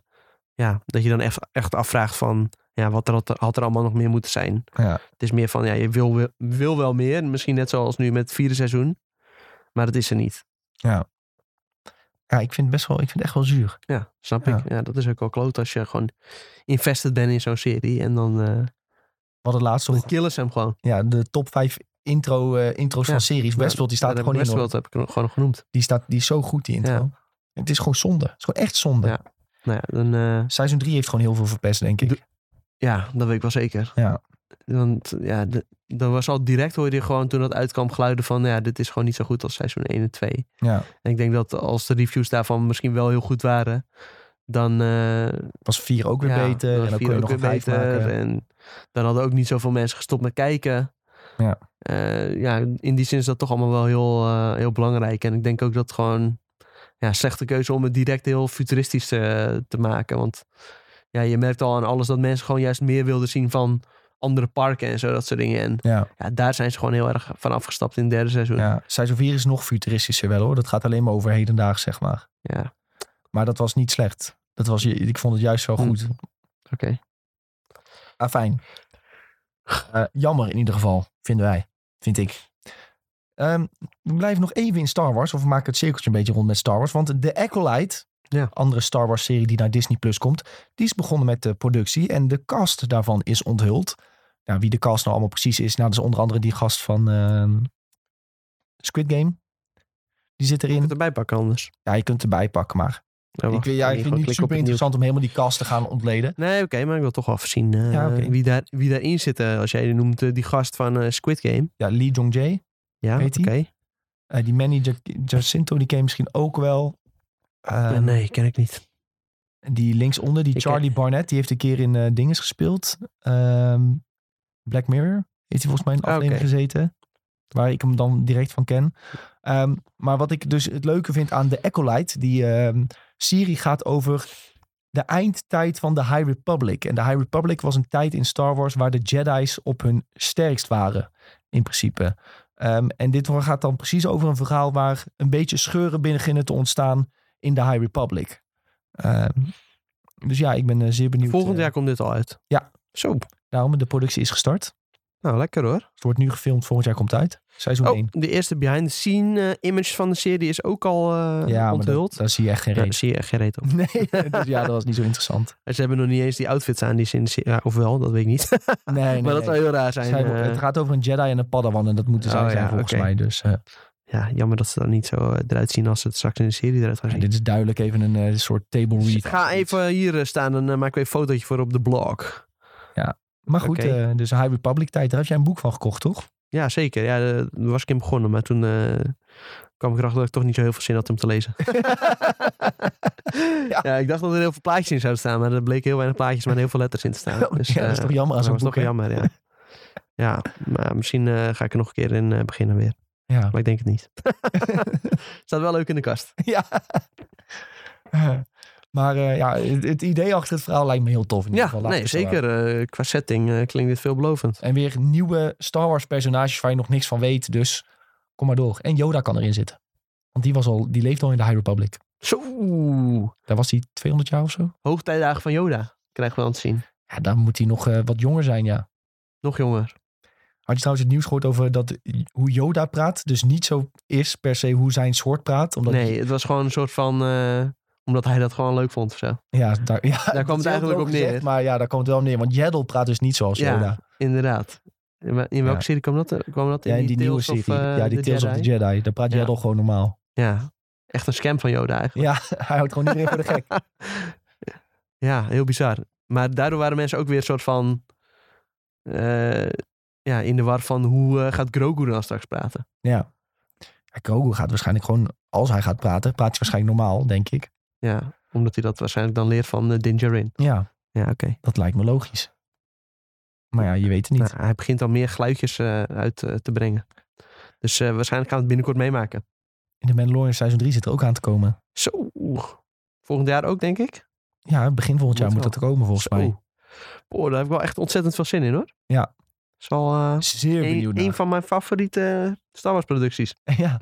B: ja, dat je dan echt, echt afvraagt van... Ja, wat er, had, had er allemaal nog meer moeten zijn.
A: Ja.
B: Het is meer van, ja, je wil, we- wil wel meer. Misschien net zoals nu met het vierde seizoen. Maar dat is er niet.
A: ja ik, vind het best wel, ik vind het echt wel zuur.
B: Ja, snap
A: Ja.
B: ik. Ja, dat is ook wel kloot als je gewoon invested bent in zo'n serie. En dan... eh,
A: Wat het laatste.
B: Dan killen ze hem gewoon.
A: Ja, de top 5 intro, eh, intro's
B: Ja.
A: van series. Westworld, die staat er
B: Nou, Dat
A: gewoon in. hoor.
B: heb ik Westworld heb ik nog- gewoon genoemd.
A: Die, staat, die is zo goed, die intro. Het is gewoon zonde. Het is gewoon echt zonde.
B: Ja. Nou ja, dan, eh,
A: Seizoen 3 heeft gewoon heel veel verpest, denk ik.
B: De- ja, dat weet ik wel zeker.
A: Ja.
B: Want ja, de- dan was al direct hoorde je gewoon toen dat uitkwam geluiden van... ja, dit is gewoon niet zo goed als seizoen 1 en 2.
A: Ja.
B: En ik denk dat als de reviews daarvan misschien wel heel goed waren... dan... eh,
A: was vier ook weer
B: ja,
A: beter.
B: dan
A: En dan
B: vier
A: kun je
B: ook
A: nog een
B: weer eh,
A: vijf maken.
B: En dan hadden ook niet zoveel mensen gestopt met kijken.
A: Ja.
B: Eh, ja, in die zin is dat toch allemaal wel heel, eh, heel belangrijk. En ik denk ook dat het gewoon ja, slechte keuze om het direct heel futuristisch eh, te maken. Want ja, je merkt al aan alles dat mensen gewoon juist meer wilden zien van andere parken en zo, dat soort dingen. En
A: Ja,
B: ja, daar zijn ze gewoon heel erg van afgestapt in het derde seizoen. Ja.
A: ja, seizoen 4 is nog futuristischer wel hoor. Dat gaat alleen maar over hedendaags, zeg maar.
B: Ja.
A: Maar dat was niet slecht. Dat was, ik vond het juist wel
B: Hm.
A: goed.
B: Oké.
A: Ah, fijn. Eh, jammer in ieder geval, vinden wij. Vind ik. Ehm, we blijven nog even in Star Wars. Of we maken het cirkeltje een beetje rond met Star Wars. Want The Acolyte,
B: Ja.
A: andere Star Wars serie die naar Disney Plus komt... die is begonnen met de productie. En de cast daarvan is onthuld. Nou, wie de cast nou allemaal precies is... Nou, dat is onder andere die gast van ehm, Squid Game. Die zit
B: Ik moet
A: erin.
B: erbij pakken anders.
A: Ja, je kunt erbij pakken, maar...
B: Ja,
A: Ik,
B: wacht,
A: weet-
B: kan
A: ja, ik vind
B: hier gewoon
A: het niet
B: klikken op
A: super
B: het nieuws.
A: interessant om helemaal die cast te gaan ontleden.
B: Nee, oké, maar ik wil toch wel even zien eh,
A: Ja, oké.
B: wie, daar, wie daarin zit. eh, als jij noemt eh, die gast van eh, Squid Game.
A: Ja, Lee Jong-jae.
B: Ja,
A: Heet
B: oké.
A: die? Eh, die Manny Jac- Jacinto, die ken je misschien ook wel. Ehm,
B: nee, ken ik niet.
A: En Die linksonder, die
B: Ik, eh,
A: Charlie Barnett, die heeft een keer in eh Dinges gespeeld. Ehm, Black Mirror heeft hij volgens mij in een
B: Ah,
A: aflevering
B: oké.
A: gezeten. Waar ik hem dan direct van ken. Ehm, maar wat ik dus het leuke vind aan de Acolyte, die ehm, serie gaat over de eindtijd van de High Republic. En de High Republic was een tijd in Star Wars waar de Jedi's op hun sterkst waren, in principe. Ehm, en dit gaat dan precies over een verhaal waar een beetje scheuren beginnen te ontstaan in de High Republic. Ehm, dus ja, ik ben eh, zeer benieuwd.
B: Volgend
A: eh,
B: jaar komt dit al uit.
A: Ja.
B: Zo.
A: Daarom, de productie is gestart.
B: Nou, lekker hoor.
A: Het wordt nu gefilmd, volgend jaar komt het uit. Seizoen
B: Oh,
A: 1.
B: de eerste behind-the-scene eh, image van de serie is ook al eh
A: Ja, maar dat,
B: onthuld.
A: daar zie je echt geen
B: Ja, daar
A: reden.
B: [laughs] zie je echt geen reet op. [laughs]
A: Nee, [laughs] dus ja, dat was niet zo interessant.
B: En Ze hebben nog niet eens die outfits aan die ze in de serie... Ja, of wel, dat weet ik niet.
A: Nee, nee,
B: [laughs] [laughs] maar dat
A: nee.
B: zou heel raar zijn.
A: Zij-
B: eh.
A: het gaat over een Jedi en een Padawan en dat moeten zij
B: Oh
A: zijn
B: ja,
A: volgens
B: oké.
A: mij. Dus eh,
B: ja, jammer dat ze dat niet zo eh, eruit zien als ze het straks in de serie eruit gaan
A: ja,
B: zien.
A: dit is duidelijk even een eh, soort table read.
B: Ik Dus ga even hier eh, staan en eh, maak ik weer een fotootje voor op de blog.
A: Maar goed,
B: Oké.
A: eh, dus High Republic tijd, daar heb jij een boek van gekocht, toch?
B: Ja, zeker. Ja, eh, daar was ik in begonnen. Maar toen eh, kwam ik erachter dat ik toch niet zo heel veel zin had om te lezen. [laughs]
A: [laughs]
B: ja. ik dacht dat er heel veel plaatjes in zouden staan. Maar er bleek heel weinig plaatjes, maar heel veel letters in te [laughs] staan. Dus,
A: ja, dat is
B: eh,
A: toch jammer als
B: dat
A: een
B: was
A: boek,
B: toch
A: hè?
B: jammer, [laughs] ja. ja, maar misschien eh, ga ik er nog een keer in eh, beginnen weer.
A: Ja.
B: Maar ik denk het niet. [laughs] Staat wel leuk in de kast.
A: ja. Eh, [laughs] maar eh, ja, het, het idee achter het verhaal lijkt me heel tof. In ieder
B: Ja,
A: geval, laat ik
B: nee,
A: het zo
B: zeker. eh, qua setting eh, klinkt dit veelbelovend.
A: En weer nieuwe Star Wars personages waar je nog niks van weet. Dus kom maar door. En Yoda kan erin zitten. Want die, was al, die leeft al in de High Republic.
B: Zo!
A: Daar was hij 200 jaar of zo.
B: Hoogtijdagen van Yoda krijgen we aan het zien.
A: Ja, dan moet hij nog eh, wat jonger zijn, ja.
B: Nog jonger.
A: Had je trouwens het nieuws gehoord over dat, eh, hoe Yoda praat? Dus niet zo is per se hoe zijn soort praat. Omdat
B: Nee, het was gewoon een soort van... eh, omdat hij dat gewoon leuk vond of zo.
A: ja, daar, ja, dat
B: kwam het
A: is heel
B: eigenlijk
A: droog
B: op neer.
A: gezegd, maar ja, daar kwam het wel op neer. Want Yaddle praat dus niet zoals
B: Ja.
A: Yoda.
B: Inderdaad. In wel- in welke
A: Ja.
B: serie kwam dat? Kwam dat in
A: Ja, in
B: die,
A: die, nieuwe
B: Tales
A: serie.
B: of, eh,
A: ja, die Tales of the Jedi. Daar praat
B: Ja.
A: Yaddle gewoon normaal.
B: Ja, echt een scam van Yoda eigenlijk.
A: Ja, [laughs] hij houdt gewoon iedereen voor de
B: [laughs]
A: gek.
B: Ja, heel bizar. Maar daardoor waren mensen ook weer een soort van... eh, ja, in de war van hoe eh, gaat Grogu dan straks praten?
A: Ja. Ja, Grogu gaat waarschijnlijk gewoon, als hij gaat praten, praat hij waarschijnlijk normaal, denk ik.
B: Ja, omdat hij dat waarschijnlijk dan leert van eh, Din Djarin.
A: Ja,
B: Ja, oké.
A: dat lijkt me logisch. Maar ja, je weet het niet.
B: Nou, hij begint al meer geluidjes eh, uit eh, te brengen. Dus eh, waarschijnlijk gaan we het binnenkort meemaken.
A: In de Mandalorian seizoen 3 zit er ook aan te komen.
B: Zo. Volgend jaar ook, denk ik.
A: Ja, begin volgend jaar
B: Moet
A: moet dat er komen volgens
B: Zo.
A: mij.
B: Boah, daar heb ik wel echt ontzettend veel zin in, hoor.
A: Ja.
B: Zal eh
A: Zeer
B: een,
A: benieuwd
B: een
A: naar.
B: van mijn favoriete Star Wars
A: [laughs]
B: producties.
A: Ja.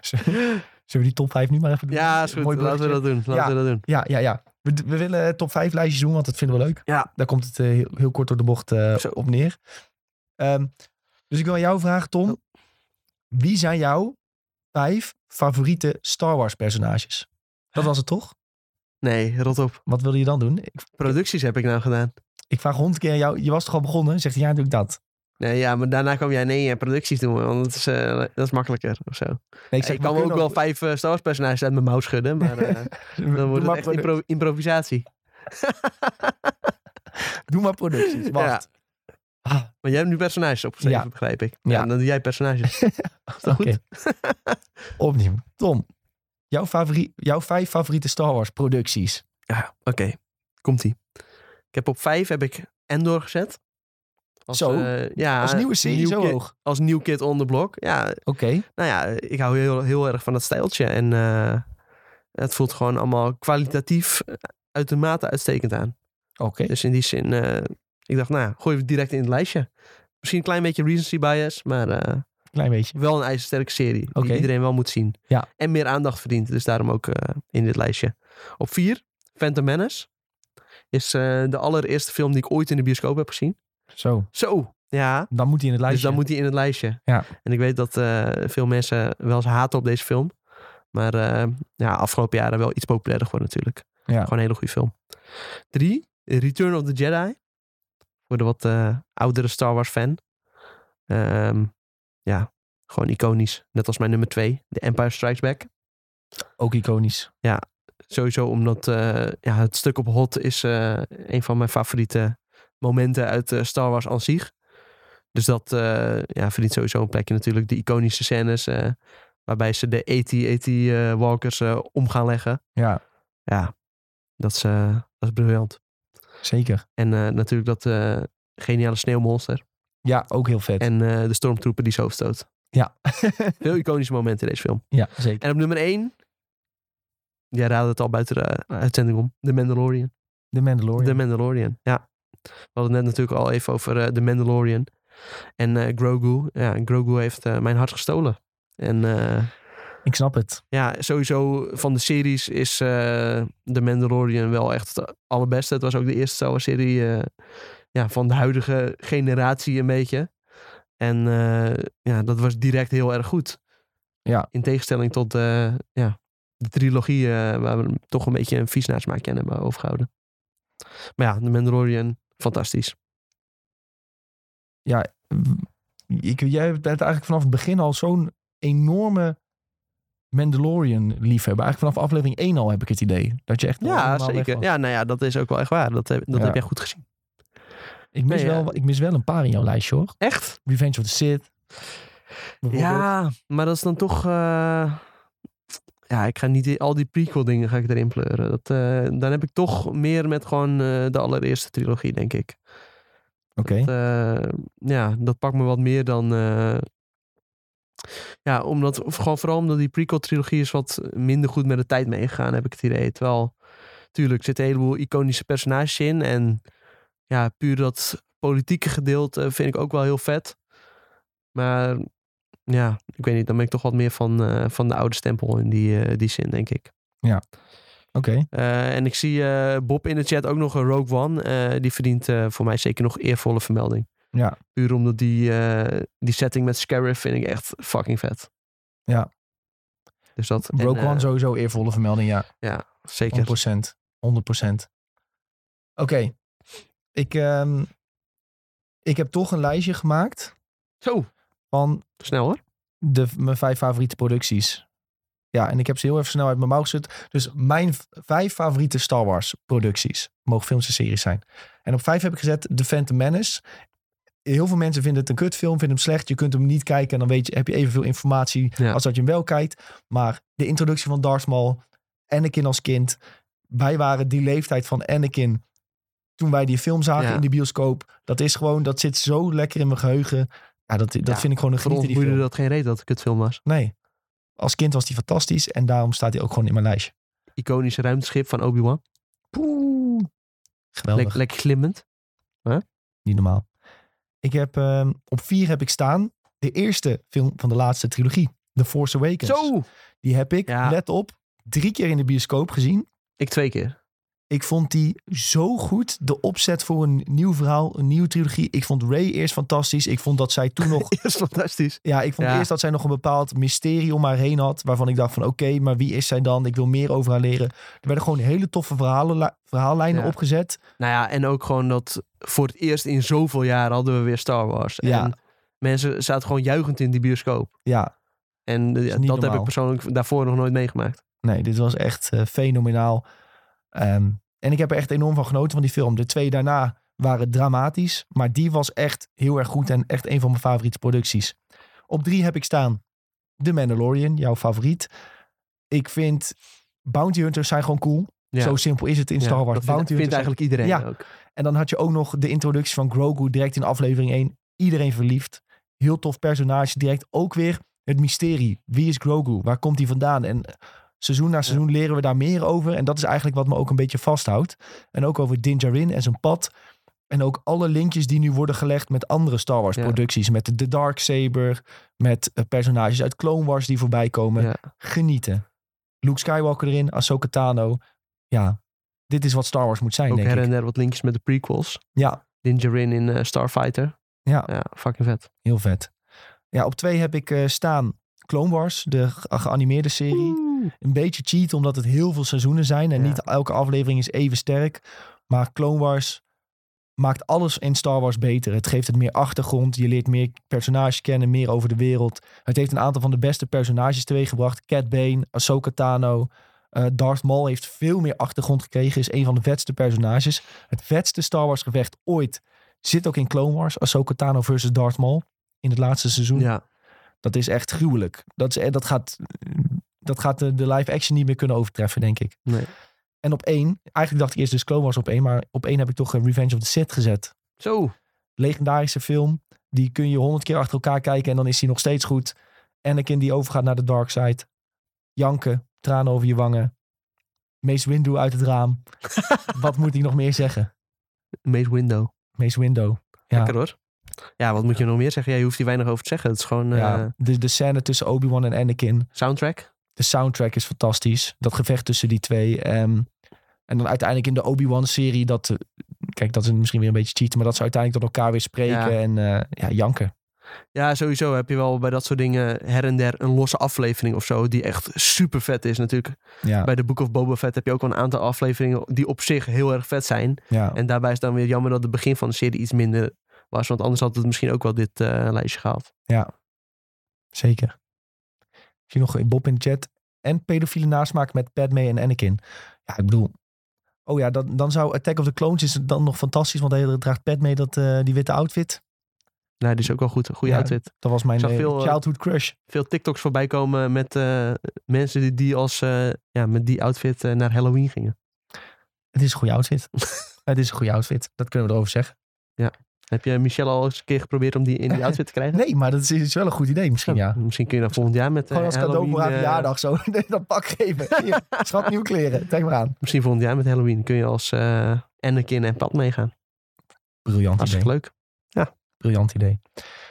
A: Zullen we die top 5 nu maar even doen?
B: Ja, is goed.
A: Mooi
B: Laten we
A: bruggetje.
B: dat doen. Laten
A: Ja.
B: we dat doen.
A: Ja, ja, ja. We, we willen top 5 lijstjes doen, want dat vinden we leuk.
B: Ja.
A: Daar komt het eh, heel, heel kort door de bocht eh,
B: Zo.
A: op neer. Ehm, dus ik wil aan jou vragen, Tom.
B: Oh.
A: Wie zijn jouw vijf favoriete Star Wars personages? Dat was het toch?
B: Nee, rot op.
A: Wat wilde je dan doen? Ik,
B: Producties heb ik nou gedaan.
A: ik vraag honderd keer aan jou. Je was toch al begonnen? Zegt hij, ja, doe ik dat.
B: Nee, ja, maar daarna kwam jij nee, eh, producties doen, want dat is, eh, dat is makkelijker of zo.
A: Nee,
B: Ik,
A: zeg,
B: kan
A: we
B: ook
A: kunnen
B: wel vijf eh, Star Wars personages uit mijn mouw schudden,
A: [laughs]
B: maar eh,
A: doe
B: dan wordt het
A: maar
B: echt
A: produ-
B: impro- improvisatie.
A: Doe maar
B: [laughs]
A: producties. Wacht. Ah,
B: Maar jij hebt nu personages opgeschreven,
A: Ja.
B: begrijp ik.
A: Ja.
B: Ja. dan doe jij
A: [laughs]
B: personages. Is dat
A: Oké.
B: goed? [laughs]
A: Opnieuw. Tom, jouw, favori- jouw vijf favoriete Star Wars producties.
B: Ja, oké. Komt-ie. Ik heb op vijf heb ik Endor gezet.
A: Zo?
B: eh, ja,
A: Als nieuwe serie
B: nieuw
A: zo
B: kid-
A: hoog.
B: Als nieuw kid on the block. Ja,
A: Oké.
B: nou ja, ik hou heel, heel erg van dat stijltje. En eh, het voelt gewoon allemaal kwalitatief eh, uitermate uitstekend aan.
A: Oké.
B: Dus in die zin, eh, ik dacht, nou ja, gooi het direct in het lijstje. Misschien een klein beetje recency bias, maar eh,
A: Klein beetje.
B: wel een ijzersterke serie.
A: Oké.
B: Die iedereen wel moet zien.
A: Ja.
B: En meer aandacht verdient. Dus daarom ook eh, in dit lijstje. Op vier, Phantom Menace. Is eh, de allereerste film die ik ooit in de bioscoop heb gezien.
A: Zo.
B: Zo, ja.
A: Dan moet hij in het
B: Dus
A: lijstje.
B: dan moet hij in het lijstje.
A: Ja.
B: En ik weet dat eh, veel mensen wel eens haten op deze film. Maar eh, ja, afgelopen jaren wel iets populairder geworden natuurlijk.
A: Ja.
B: Gewoon een hele goede film. Drie, Return of the Jedi. Voor de wat eh, oudere Star Wars fan. Ehm, ja, gewoon iconisch. Net als mijn nummer twee, The Empire Strikes Back.
A: Ook iconisch.
B: Sowieso omdat eh, ja, het stuk op Hot is eh, een van mijn favoriete momenten uit eh, Star Wars aan zich. Dus dat eh, ja, verdient sowieso een plekje natuurlijk. De iconische scènes eh, Waarbij ze de AT-AT-walkers eh, om gaan leggen.
A: Ja,
B: Ja, dat is, eh, dat is briljant.
A: zeker.
B: En eh, natuurlijk dat eh, geniale sneeuwmonster.
A: Ja, ook heel vet.
B: En eh, de stormtrooper die zo overstoot.
A: Ja.
B: [laughs] Veel iconische momenten in deze film.
A: ja, zeker.
B: En op nummer 1. Jij raadde het al buiten de eh, uitzending om. The Mandalorian.
A: De Mandalorian.
B: The Mandalorian, ja. We hadden het net natuurlijk al even over eh, The Mandalorian. En eh, Grogu. Ja, Grogu heeft eh, mijn hart gestolen. En eh,
A: Ik snap het.
B: ja, sowieso van de series is eh The Mandalorian wel echt het allerbeste. Het was ook de eerste Star Wars serie eh, ja, van de huidige generatie een beetje. En eh, ja, dat was direct heel erg goed.
A: Ja.
B: In tegenstelling tot eh, ja, de trilogie eh, waar we toch een beetje een vies nasmaak aan hebben overgehouden. Maar ja, The Mandalorian, fantastisch.
A: Ik, jij bent eigenlijk vanaf het begin al zo'n enorme Mandalorian-liefhebber. Eigenlijk vanaf aflevering 1 al heb ik het idee. Dat je echt al
B: ja,
A: helemaal weg
B: zeker.
A: was.
B: Ja, nou ja, dat is ook wel echt waar. Dat heb, dat
A: Ja.
B: heb jij goed gezien.
A: Ik, mis
B: Nee,
A: wel,
B: ja.
A: ik mis wel een paar in jouw lijstje, hoor.
B: Echt?
A: Revenge of the Sith. bijvoorbeeld.
B: Ja, maar dat is dan toch. eh, Ja, ik ga niet die- al die prequel dingen ga ik erin pleuren. Dat, eh, dan heb ik toch meer met gewoon eh, de allereerste trilogie, denk ik.
A: Oké.
B: Dat, eh, ja, dat pakt me wat meer dan. eh, Ja, omdat, of gewoon vooral omdat die prequel trilogie is wat minder goed met de tijd meegegaan, heb ik het idee. Terwijl, tuurlijk, er zitten een heleboel iconische personages in. En ja, puur dat politieke gedeelte vind ik ook wel heel vet. Maar ja, ik weet niet, dan ben ik toch wat meer van, eh, van de oude stempel in die, eh, die zin, denk ik.
A: Oké.
B: Eh, en ik zie eh, Bob in de chat ook nog een Rogue One. Eh, die verdient eh, voor mij zeker nog eervolle vermelding.
A: Ja.
B: Puur omdat die, eh, die setting met Scarif vind ik echt fucking vet.
A: Ja.
B: Dus dat. en,
A: Rogue
B: eh,
A: One sowieso eervolle vermelding, ja.
B: Zeker.
A: 100%. 100%. Oké. Ik, ehm, ik heb toch een lijstje gemaakt
B: Zo,
A: van
B: snel hoor.
A: de, mijn vijf favoriete producties. Ja, en ik heb ze heel even snel uit mijn mouw gezet. Dus mijn v- vijf favoriete Star Wars producties. Mogen films en series zijn. En op vijf heb ik gezet The Phantom Menace. Heel veel mensen vinden het een kutfilm, vinden hem slecht. Je kunt hem niet kijken en dan weet je, heb je evenveel informatie
B: Ja.
A: als dat je hem wel kijkt. Maar de introductie van Darth Maul, Anakin als kind. Wij waren die leeftijd van Anakin toen wij die film zagen
B: Ja.
A: in de bioscoop. Dat is gewoon, dat zit zo lekker in mijn geheugen. Ja, dat, dat
B: Ja,
A: vind ik gewoon een
B: Voor
A: genieten
B: ons
A: die film.
B: boeide dat geen reet dat ik het film was.
A: Nee. Als kind was die fantastisch en daarom staat hij ook gewoon in mijn lijstje.
B: Iconisch ruimteschip van Obi-Wan.
A: Poeh. Geweldig.
B: Lek- Lekker glimmend.
A: Niet normaal. Ik heb ehm, op vier heb ik staan de eerste film van de laatste trilogie. The Force Awakens.
B: Zo!
A: Die heb ik,
B: Ja.
A: let op, drie keer in de bioscoop gezien.
B: Ik
A: [laughs]
B: twee keer.
A: Ik vond die zo goed. De opzet voor een nieuw verhaal, een nieuwe trilogie. Ik vond Ray eerst fantastisch. Ik vond dat zij
B: [laughs]
A: toen nog
B: is fantastisch.
A: Ja, ik vond
B: Ja.
A: eerst dat zij nog een bepaald mysterie om haar heen had. Waarvan ik dacht van oké, maar wie is zij dan? Ik wil meer over haar leren. Er werden gewoon hele toffe verhalen, verhaallijnen
B: Ja.
A: opgezet.
B: Nou ja, en ook gewoon dat voor het eerst in zoveel jaren hadden we weer Star Wars.
A: Ja.
B: En mensen zaten gewoon juichend in die bioscoop.
A: Ja,
B: En eh, ja, dat
A: niet
B: heb
A: normaal.
B: ik persoonlijk daarvoor nog nooit meegemaakt.
A: nee, dit was echt eh, fenomenaal. Ehm, en ik heb er echt enorm van genoten van die film. De twee daarna waren dramatisch. Maar die was echt heel erg goed en echt een van mijn favoriete producties. Op drie heb ik staan The Mandalorian, jouw favoriet. Ik vind Bounty Hunters zijn gewoon cool.
B: Ja.
A: Zo simpel is het in
B: Ja,
A: Star Wars.
B: Dat vindt,
A: Bounty
B: vindt
A: Hunters zijn-
B: eigenlijk iedereen
A: Ja.
B: ook.
A: En dan had je ook nog de introductie van Grogu direct in aflevering 1. Iedereen verliefd. Heel tof personage. Direct ook weer het mysterie. Wie is Grogu? Waar komt hij vandaan? En eh, seizoen na seizoen leren we daar meer over. En dat is eigenlijk wat me ook een beetje vasthoudt. En ook over Din Djarin en zijn pad. En ook alle linkjes die nu worden gelegd met andere Star Wars
B: Ja.
A: producties. Met de- de Dark Saber. Met eh, personages uit Clone Wars die voorbij komen.
B: Ja.
A: Genieten. Luke Skywalker erin. Ahsoka Tano. Ja, dit is wat Star Wars moet zijn,
B: Ook
A: denk
B: her
A: ik.
B: en der wat linkjes met de prequels.
A: Ja,
B: Din Djarin in eh, Starfighter.
A: Ja.
B: ja. Fucking vet.
A: Heel vet. Ja, op twee heb ik eh, staan Clone Wars, de ge- geanimeerde serie. Een beetje cheat, omdat het heel veel seizoenen zijn. En
B: Ja.
A: niet elke aflevering is even sterk. Maar Clone Wars maakt alles in Star Wars beter. Het geeft het meer achtergrond. Je leert meer personages kennen, meer over de wereld. Het heeft een aantal van de beste personages teweeggebracht. Cat Bane, Ahsoka Tano. eh, Darth Maul heeft veel meer achtergrond gekregen. Is een van de vetste personages. Het vetste Star Wars gevecht ooit zit ook in Clone Wars. Ahsoka Tano versus Darth Maul. In het laatste seizoen.
B: Ja.
A: Dat is echt gruwelijk. Dat, is, eh, dat gaat, dat gaat de, de live action niet meer kunnen overtreffen, denk ik.
B: Nee.
A: En op één, eigenlijk dacht ik eerst dus Clone Wars op één, maar op één heb ik toch eh, Revenge of the Sith gezet.
B: Zo.
A: Legendarische film. Die kun je honderd keer achter elkaar kijken en dan is hij nog steeds goed. Anakin die overgaat naar de dark side. Janken, tranen over je wangen. Mace Windu uit het raam. Wat moet ik nog meer zeggen?
B: Maze Window.
A: Mace Windu. Ja.
B: Lekker hoor. Ja, wat moet je nog meer zeggen? Ja, je hoeft hier weinig over te zeggen. Het is gewoon eh,
A: Ja, de, de scène tussen Obi-Wan en Anakin.
B: soundtrack.
A: De soundtrack is fantastisch. Dat gevecht tussen die twee. ehm, en dan uiteindelijk in de Obi-Wan-serie dat... eh, Kijk, dat is misschien weer een beetje cheaten, maar dat ze uiteindelijk tot elkaar weer spreken
B: Ja.
A: en eh, ja, janken.
B: Ja, sowieso heb je wel bij dat soort dingen her en der een losse aflevering of zo. Die echt super vet is natuurlijk.
A: Ja,
B: Bij de Book of Boba Fett heb je ook wel een aantal afleveringen die op zich heel erg vet zijn.
A: ja.
B: En daarbij is dan weer jammer dat het begin van de serie iets minder was. Want anders had het misschien ook wel dit eh, lijstje gehaald.
A: zeker. Ik zie nog eh, Bob in de chat. En pedofiele nasmaak met Padme en Anakin. Ja, ik bedoel... Oh ja, dan, dan zou Attack of the Clones is dan nog fantastisch, want hij draagt Padme dat, eh, die witte outfit.
B: Nou, die is ook wel goed. Goede
A: Ja.
B: outfit.
A: Dat was mijn
B: Ik zag
A: eh,
B: veel, eh,
A: childhood crush.
B: Veel TikToks voorbij komen met eh, mensen die, die als, eh, ja, met die outfit eh, naar Halloween gingen.
A: Het is een goede
B: [laughs]
A: outfit. het is een goede outfit. Dat kunnen we erover zeggen.
B: Heb je Michelle al eens een keer geprobeerd om die in
A: [laughs]
B: die outfit te krijgen?
A: Nee, maar dat is, is wel een goed idee misschien, ja.
B: Misschien kun je dan volgend jaar met eh,
A: Gewoon als cadeau voor haar
B: Halloween, eh,
A: verjaardag zo. [laughs] Nee, dat pak geven. Hier, schat, nieuwe kleren. Trek maar aan.
B: Misschien volgend jaar met Halloween kun je als eh Anakin en Pat meegaan.
A: Briljant idee.
B: Hartstikke leuk.
A: Briljant idee.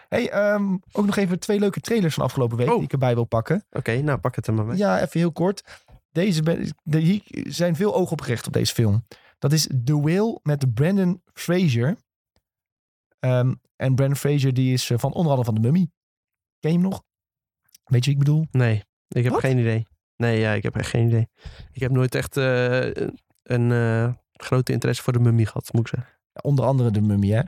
A: Hey, ehm, ook nog even twee leuke trailers van afgelopen week
B: Oh.
A: die ik erbij wil pakken.
B: Oké, nou pak het er maar mee.
A: Ja, even heel kort. Deze ben- de, hier zijn veel ogen op gericht op deze film. Dat is The Whale met Brandon Fraser. Ehm, en Brandon Fraser die is eh, van onder andere van de Mummy. Ken je hem nog? Weet je wie ik bedoel?
B: Nee, ik heb
A: Wat?
B: geen idee. Nee, ja, ik heb echt geen idee. Ik heb nooit echt eh, een eh, grote interesse voor de mummie gehad, moet ik zeggen.
A: Onder andere de Mummy, hè?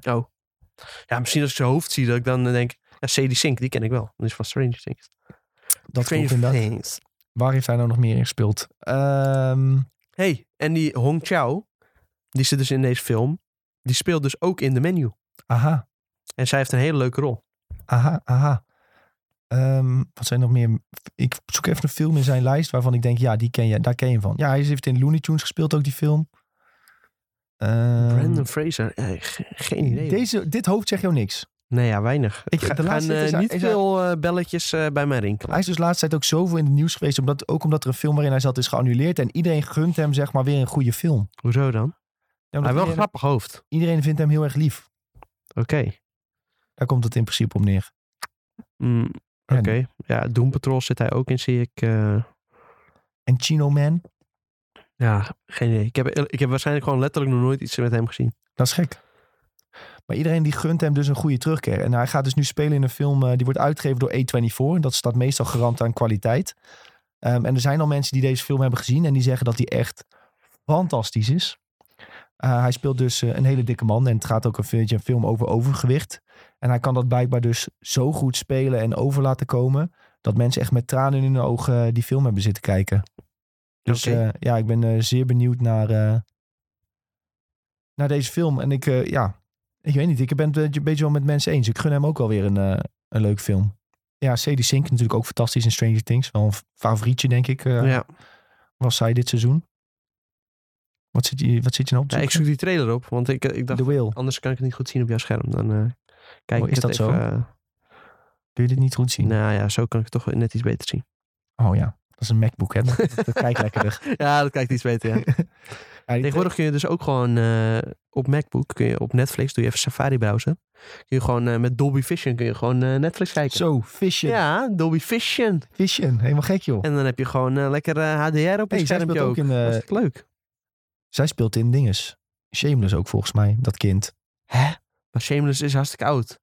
B: Ja, misschien als ik zijn hoofd zie, dat ik dan eh, denk... Ja, Sadie Sink, die ken ik wel. Dat is van Stranger Things.
A: Dat
B: Stranger
A: klopt inderdaad.
B: Things.
A: Waar heeft hij nou nog meer in gespeeld? Ehm,
B: hey, en die Hong Chao, die zit dus in deze film. Die speelt dus ook in de menu.
A: aha,
B: En zij heeft een hele leuke rol.
A: aha, aha. Ehm, wat zijn nog meer? Ik zoek even een film in zijn lijst waarvan ik denk, ja, die ken je, daar ken je hem van. Ja, hij heeft in Looney Tunes gespeeld ook, die film. Ehm,
B: Brandon Fraser, eh, ge- geen idee.
A: Deze, dit hoofd zegt jou niks.
B: Nee, ja, weinig.
A: Ik
B: Ik
A: ga-
B: ga,
A: de
B: gaan
A: laatste tijd is
B: eh,
A: hij-
B: niet
A: is hij-
B: veel eh, belletjes eh, bij mij rinkelen.
A: Hij is dus laatst tijd ook zoveel in het nieuws geweest, omdat, ook omdat er een film waarin hij zat is geannuleerd. En iedereen gunt hem, zeg maar, weer een goede film.
B: Hoezo dan?
A: Ja,
B: Hij
A: omdat
B: heeft wel een
A: iedereen,
B: grappig hoofd.
A: iedereen vindt hem heel erg lief.
B: Oké.
A: Daar komt het in principe op neer.
B: Mm,
A: Ja,
B: Oké. Ja, Doom Patrol zit hij ook in, zie ik. eh,
A: En Chino Man,
B: ja, geen idee. Ik heb, ik heb waarschijnlijk gewoon letterlijk nog nooit iets met hem gezien.
A: Dat is gek. Maar iedereen die gunt hem dus een goede terugkeer. En hij gaat dus nu spelen in een film eh, die wordt uitgegeven door A24. En dat staat meestal garant aan kwaliteit. Ehm, en er zijn al mensen die deze film hebben gezien en die zeggen dat hij echt fantastisch is. Eh, hij speelt dus eh, een hele dikke man en het gaat ook een, beetje een film over overgewicht. En hij kan dat blijkbaar dus zo goed spelen en over laten komen... dat mensen echt met tranen in hun ogen eh, die film hebben zitten kijken. Dus
B: Oké.
A: eh, ja, ik ben eh, zeer benieuwd naar, eh, naar deze film. En ik, eh, ja, ik weet niet. Ik ben het een beetje wel met mensen eens. Ik gun hem ook wel weer een, eh, een leuk film. Ja, Sadie Sink natuurlijk ook fantastisch in Stranger Things. Wel een f- favorietje, denk ik, eh,
B: Ja. Ja,
A: was zij dit seizoen. Wat zit je, wat zit je nou op te
B: ik Oh.
A: zoeken?
B: zoek die trailer op, want ik, ik dacht,
A: The Whale.
B: anders kan ik het niet goed zien op jouw scherm. Dan eh, kijk
A: Oh,
B: ik
A: is
B: het
A: dat zo?
B: even, eh,
A: Kun je dit niet goed zien?
B: nou ja, zo kan ik het toch net iets beter zien.
A: Oh ja, dat is een MacBook, hè? Dat, dat, dat kijkt lekkerder.
B: Ja, dat kijkt iets beter, [laughs] ja.
A: Ja, die-
B: [laughs] Tegenwoordig kun je dus ook gewoon eh, op MacBook, kun je op Netflix, doe je even Safari browser. Kun je gewoon eh, met Dolby Vision kun je gewoon eh, Netflix kijken.
A: Zo, Vision.
B: Ja, Dolby Vision.
A: Vision, helemaal gek, joh.
B: En dan heb je gewoon eh, lekker eh, HDR op je
A: Hey, zij speelt
B: schermpje ook.
A: ook in... eh,
B: Hartstikke leuk.
A: zij speelt in dinges. Shameless ook, volgens mij, dat kind.
B: Hè? Maar Shameless is hartstikke oud.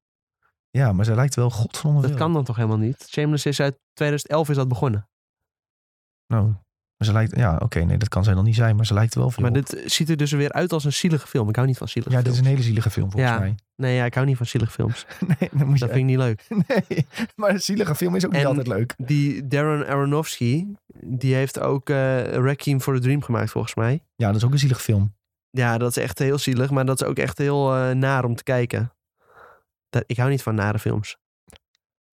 A: Ja, maar zij lijkt wel godverdomme
B: Dat
A: veel.
B: kan dan toch helemaal niet? Shameless is uit 2011 is dat begonnen.
A: Nou, maar ze lijkt... Ja, oké, nee, dat kan zij dan niet zijn, maar ze lijkt wel veel.
B: Maar
A: op.
B: dit ziet er dus weer uit als een zielige film. Ik hou niet van zielige
A: ja, dit
B: films.
A: is een hele zielige film, volgens
B: Ja.
A: mij. [laughs]
B: Nee, ja, ik hou niet van zielige films.
A: nee, dan moet
B: Dat vind ik niet leuk.
A: [laughs] Nee, maar een zielige film is ook niet
B: En-
A: altijd leuk.
B: Die Darren Aronofsky, die heeft ook eh Requiem for a Dream gemaakt volgens mij.
A: Ja, dat is ook een zielige film.
B: Ja, dat is echt heel zielig, maar dat is ook echt heel eh, naar om te kijken. Dat, ik hou niet van nare films.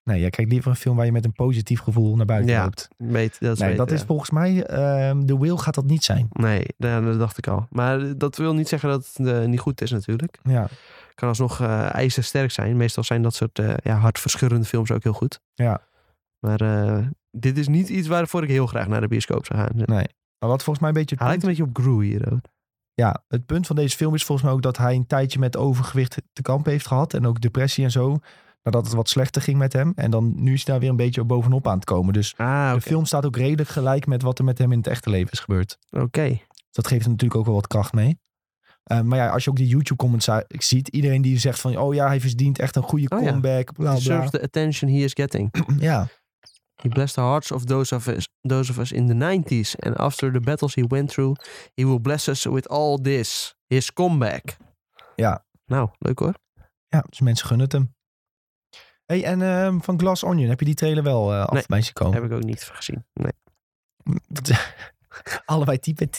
A: Nee, jij kijkt liever een film waar je met een positief gevoel naar buiten
B: Ja,
A: loopt.
B: Weet, dat is,
A: nee,
B: weten,
A: dat is
B: ja.
A: volgens mij, ehm de Will gaat dat niet zijn.
B: Nee, ja, dat dacht ik al. Maar dat wil niet zeggen dat het eh, niet goed is natuurlijk.
A: Ja,
B: Kan alsnog eh ijzersterk zijn. Meestal zijn dat soort eh, ja, hartverscheurende films ook heel goed.
A: Ja.
B: Maar eh, dit is niet iets waarvoor ik heel graag naar de bioscoop zou gaan.
A: nee. Maar wat volgens mij een beetje het
B: Hij
A: punt,
B: lijkt een beetje op Gru hier ook.
A: ja, het punt van deze film is volgens mij ook dat hij een tijdje met overgewicht te kampen heeft gehad. En ook depressie en zo. Nadat het wat slechter ging met hem. En dan nu is hij daar weer een beetje bovenop aan het komen. Dus
B: Ah, oké.
A: de film staat ook redelijk gelijk met wat er met hem in het echte leven is gebeurd.
B: Oké.
A: Dat geeft hem natuurlijk ook wel wat kracht mee. Eh, maar ja, als je ook die YouTube-comments za- ziet, iedereen die zegt van, oh ja, hij verdient echt een goede
B: Oh ja.
A: comeback, bla bla.
B: Deserves the attention he is getting.
A: [laughs] Ja,
B: He blessed the hearts of those of us, those of us in the 90s. And after the battles he went through, he will bless us with all this. His comeback.
A: Ja.
B: Nou, leuk hoor.
A: ja, dus mensen gunnen het hem. hey, en ehm, van Glass Onion, heb je die trailer wel eh af
B: Nee.
A: bij zien komen?
B: Heb ik ook niet gezien. Nee.
A: [laughs] Allebei typen.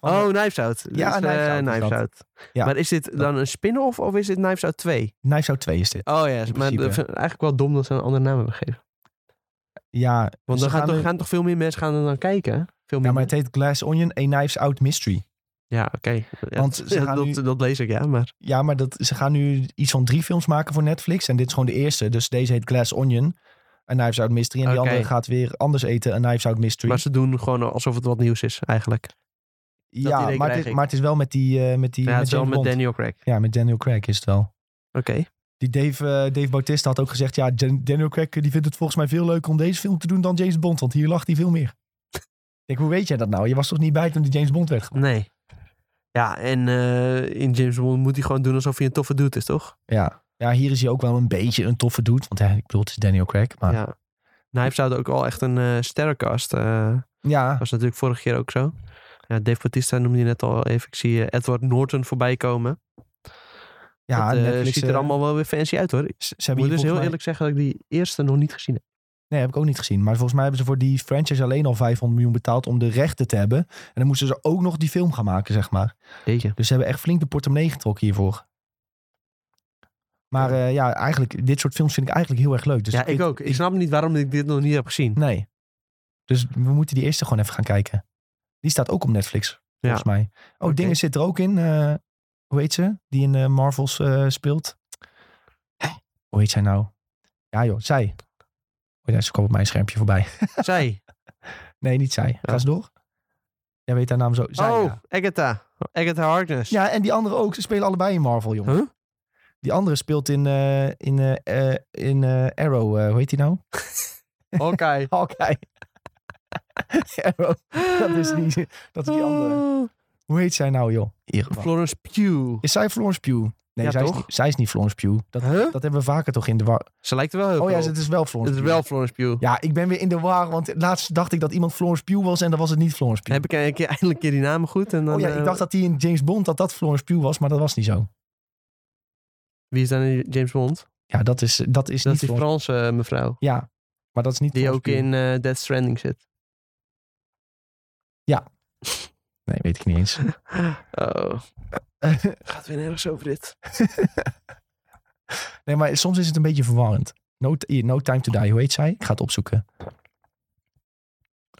B: Oh, Knives Out. Dit
A: Ja,
B: is,
A: Knives
B: eh,
A: Out is dat. Ja.
B: Maar is dit dan een spin-off of is dit Knives Out 2?
A: Knives Out 2 is dit.
B: Oh ja, maar
A: principe.
B: dat vind ik eigenlijk wel dom dat ze een andere naam hebben gegeven.
A: Ja,
B: Want
A: ze
B: dan gaan,
A: gaan
B: toch,
A: er-
B: gaan toch veel meer mensen gaan er dan kijken? hè? Veel
A: ja,
B: meer.
A: maar het heet Glass Onion, A Knives Out Mystery.
B: Ja, oké. Ja,
A: Want ze
B: ja,
A: gaan
B: [laughs] dat,
A: nu-
B: dat lees ik, ja. Maar
A: Ja, maar dat, ze gaan nu iets van drie films maken voor Netflix. En dit is gewoon de eerste. Dus deze heet Glass Onion, A Knives Out Mystery. En die
B: Oké.
A: andere gaat weer anders eten, A Knives Out Mystery.
B: Maar ze doen gewoon alsof het wat nieuws is, eigenlijk. idee
A: ja, maar
B: krijg
A: het, is-
B: ik.
A: maar het is wel met die... eh, met die
B: ja, het
A: met
B: is wel
A: James
B: met
A: Bond.
B: Daniel Craig. Oké.
A: Ja, met Daniel Craig is het wel. Die Dave, eh, Dave Bautista had ook gezegd... Ja, Jan- Daniel Craig eh, die vindt het volgens mij veel leuker om deze film te doen dan James Bond. Want hier lacht hij veel meer. [laughs] Ik denk, hoe weet jij dat nou? Je was toch niet bij toen die James Bond werd gemaakt?
B: Nee. Ja, en eh, in James Bond moet hij gewoon doen alsof hij een toffe dude is, toch?
A: Ja. ja, hier is hij ook wel een beetje een toffe dude. Want hè, ik bedoel, het is Daniel Craig. Maar ja,
B: Ja. Knives Out ook al echt een eh sterrenkast. eh,
A: ja,
B: was natuurlijk vorige keer ook zo. Ja, Dave Bautista noemde je net al even. Ik zie eh, Edward Norton voorbij komen. dat, eh,
A: Netflix,
B: ziet er
A: eh,
B: allemaal wel weer fancy uit, hoor. Ik
A: Ze ze hebben
B: moet
A: hier
B: dus
A: volgens
B: heel
A: mij-
B: eerlijk zeggen dat ik die eerste nog niet gezien heb.
A: Nee, heb ik ook niet gezien. Maar volgens mij hebben ze voor die franchise alleen al 500 miljoen betaald om de rechten te hebben. En dan moesten ze ook nog die film gaan maken, zeg maar.
B: Jeetje.
A: Dus ze hebben echt flink de portemonnee getrokken hiervoor. Maar eh, ja, eigenlijk, dit soort films vind ik eigenlijk heel erg leuk. Dus
B: ja, ik
A: dit-
B: ook. Ik snap niet waarom ik dit nog niet heb
A: [laughs]
B: gezien.
A: Nee. Dus we moeten die eerste gewoon even gaan kijken. Die staat ook op Netflix, volgens mij. Oh,
B: Oké.
A: Dingen zit er ook in. eh, hoe heet ze? Die in eh, Marvels eh, speelt. Hoe heet zij nou? Ja joh, zij. Oh ja, ze kwam op mijn schermpje voorbij. [laughs]
B: Zij.
A: Nee, niet zij. Ga
B: Ja.
A: eens door. Jij weet haar naam zo. Zij,
B: oh,
A: ja.
B: Agatha. Agatha Harkness.
A: Ja, en die andere ook. Ze spelen allebei in Marvel, jongen.
B: Huh?
A: Die andere speelt in, eh, in, eh, eh, in eh, Arrow. eh, hoe heet die nou?
B: [laughs] Hawkeye.
A: Hawkeye. Arrow. [laughs] Dat is, die, dat is die andere. Hoe heet zij nou, joh? Hier, wacht.
B: Oh. Florence Pugh.
A: Is zij Florence Pugh? Nee,
B: Ja,
A: zij, is
B: toch?
A: niet, zij is niet Florence Pugh. Dat,
B: Huh?
A: dat hebben we vaker toch in de war.
B: Ze lijkt er wel heel
A: Oh ja,
B: veel
A: ze-
B: op.
A: het is wel Florence
B: Het is
A: Pugh.
B: wel Florence Pugh.
A: Ja, ik ben weer in de war, want laatst dacht ik dat iemand Florence Pugh was en dan was het niet Florence Pugh.
B: Heb ik een keer, eindelijk een keer die namen goed? En dan,
A: oh ja,
B: eh,
A: ik dacht dat die in James Bond dat dat Florence Pugh was, maar dat was niet zo.
B: Wie is dan in James Bond?
A: Ja, dat is, dat is
B: Dat is
A: niet
B: die
A: Florence
B: Franse eh, mevrouw.
A: Ja, maar dat is niet
B: Die
A: Florence
B: ook
A: Pugh.
B: in eh Death Stranding zit.
A: Nee, weet ik niet eens.
B: [laughs] Oh, gaat weer nergens over dit.
A: nee, maar soms is het een beetje verwarrend. No, hier, no Time to Die, hoe heet zij? Ik ga het opzoeken.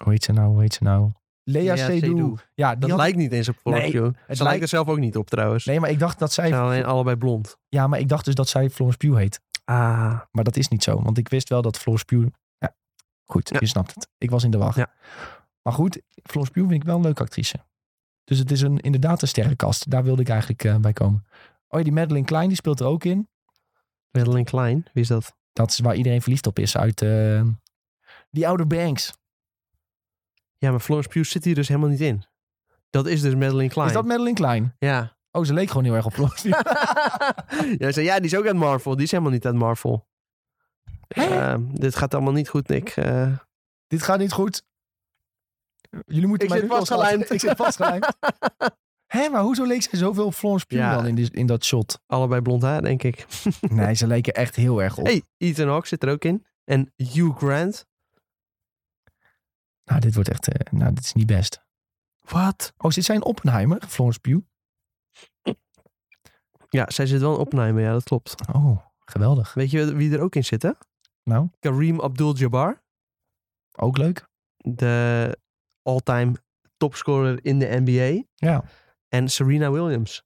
A: Hoe heet ze nou, hoe heet ze nou? Lea Seydoux. Ja, die
B: Dat
A: had-
B: lijkt niet eens op Florence
A: Nee,
B: Pugh. Ze lijkt...
A: lijkt-
B: er zelf ook niet op trouwens.
A: Nee, maar ik dacht dat
B: Ze
A: zij...
B: zijn alleen allebei blond.
A: Ja, maar ik dacht dus dat zij Florence Pugh heet.
B: Ah,
A: Maar dat is niet zo, want ik wist wel dat Florence Pugh... Ja, goed,
B: Ja.
A: je snapt het. Ik was in de wacht.
B: Ja.
A: Maar goed, Florence Pugh vind ik wel een leuke actrice. Dus het is een, inderdaad een sterrenkast. Daar wilde ik eigenlijk eh, bij komen. Oh ja, die Madeleine Klein, die speelt er ook in.
B: Madeline Klein. Wie is dat?
A: Dat is waar iedereen verliefd op is uit eh The Outer Banks.
B: Ja, maar Florence Pugh zit hier dus helemaal niet in. Dat is dus Madeline Klein.
A: Is dat Madeleine Klein? [laughs]
B: Ja.
A: Oh, ze leek gewoon heel erg op
B: [laughs]
A: Florence Pugh.
B: Jij zei, ja, die is ook uit Marvel. Die is helemaal niet uit Marvel. Eh, dit gaat allemaal niet goed, Nick. Eh,
A: Dit gaat niet goed. Jullie moeten
B: Ik
A: mij
B: zit
A: nu wel schatten.
B: vastgelijmd.
A: Ik zit
B: [laughs]
A: vastgelijmd. Hé, maar hoezo leek zij zoveel op Florence Pugh
B: Ja.
A: dan in, die- in dat shot?
B: [laughs] allebei blond haar, denk ik.
A: Nee, ze leken echt heel erg op.
B: Hey, Ethan Hawke zit er ook in. En Hugh Grant.
A: Nou, dit wordt echt... eh, nou, dit is niet best.
B: Wat?
A: Oh, zit zij in Oppenheimer? Florence Pugh?
B: Ja, zij zit wel in Oppenheimer. Ja, dat klopt.
A: Oh, Geweldig.
B: Weet je wie er ook in zitten?
A: Nou,
B: Kareem Abdul-Jabbar.
A: ook leuk.
B: De all-time topscorer in de NBA.
A: Ja.
B: En Serena Williams.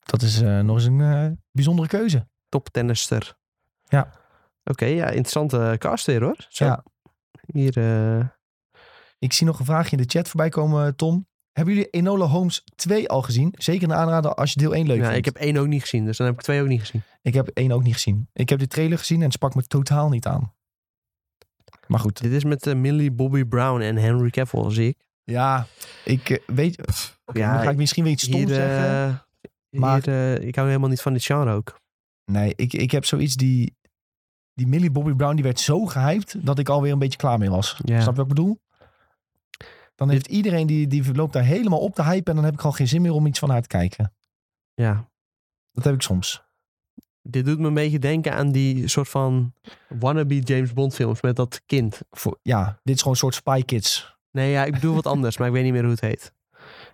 A: Dat is eh, nog eens een eh, bijzondere keuze.
B: Toptennister.
A: Ja.
B: Oké, ja, interessante cast weer hoor. Zo.
A: Ja.
B: Hier, eh,
A: Ik zie nog een vraagje in de chat voorbij komen, Tom. Hebben jullie Enola Holmes 2 al gezien? Zeker een aanrader als je deel 1 leuk
B: ja,
A: vindt.
B: ik heb één ook niet gezien, dus dan heb ik twee ook niet gezien.
A: Ik heb één ook niet gezien. Ik heb de trailer gezien en het sprak me totaal niet aan. Maar goed.
B: Dit is met eh, Millie Bobby Brown en Henry Cavill, zie ik.
A: Ja, ik eh, weet... Oké,
B: ja,
A: dan ga ik misschien weer iets stoms
B: Hier, eh,
A: zeggen. maar-
B: hier, eh, ik hou helemaal niet van dit genre ook.
A: Nee, ik, ik heb zoiets die... Die Millie Bobby Brown die werd zo gehyped dat ik alweer een beetje klaar mee was.
B: Ja.
A: Snap je wat ik bedoel? Dan heeft iedereen die, die loopt daar helemaal op te hypen en dan heb ik gewoon geen zin meer om iets van haar te kijken.
B: Ja.
A: Dat heb ik soms.
B: Dit doet me een beetje denken aan die soort van wannabe James Bond films met dat kind.
A: Voor, ja, dit is gewoon een soort Spy Kids.
B: Nee, ja, ik bedoel wat anders, maar ik weet niet meer hoe het heet.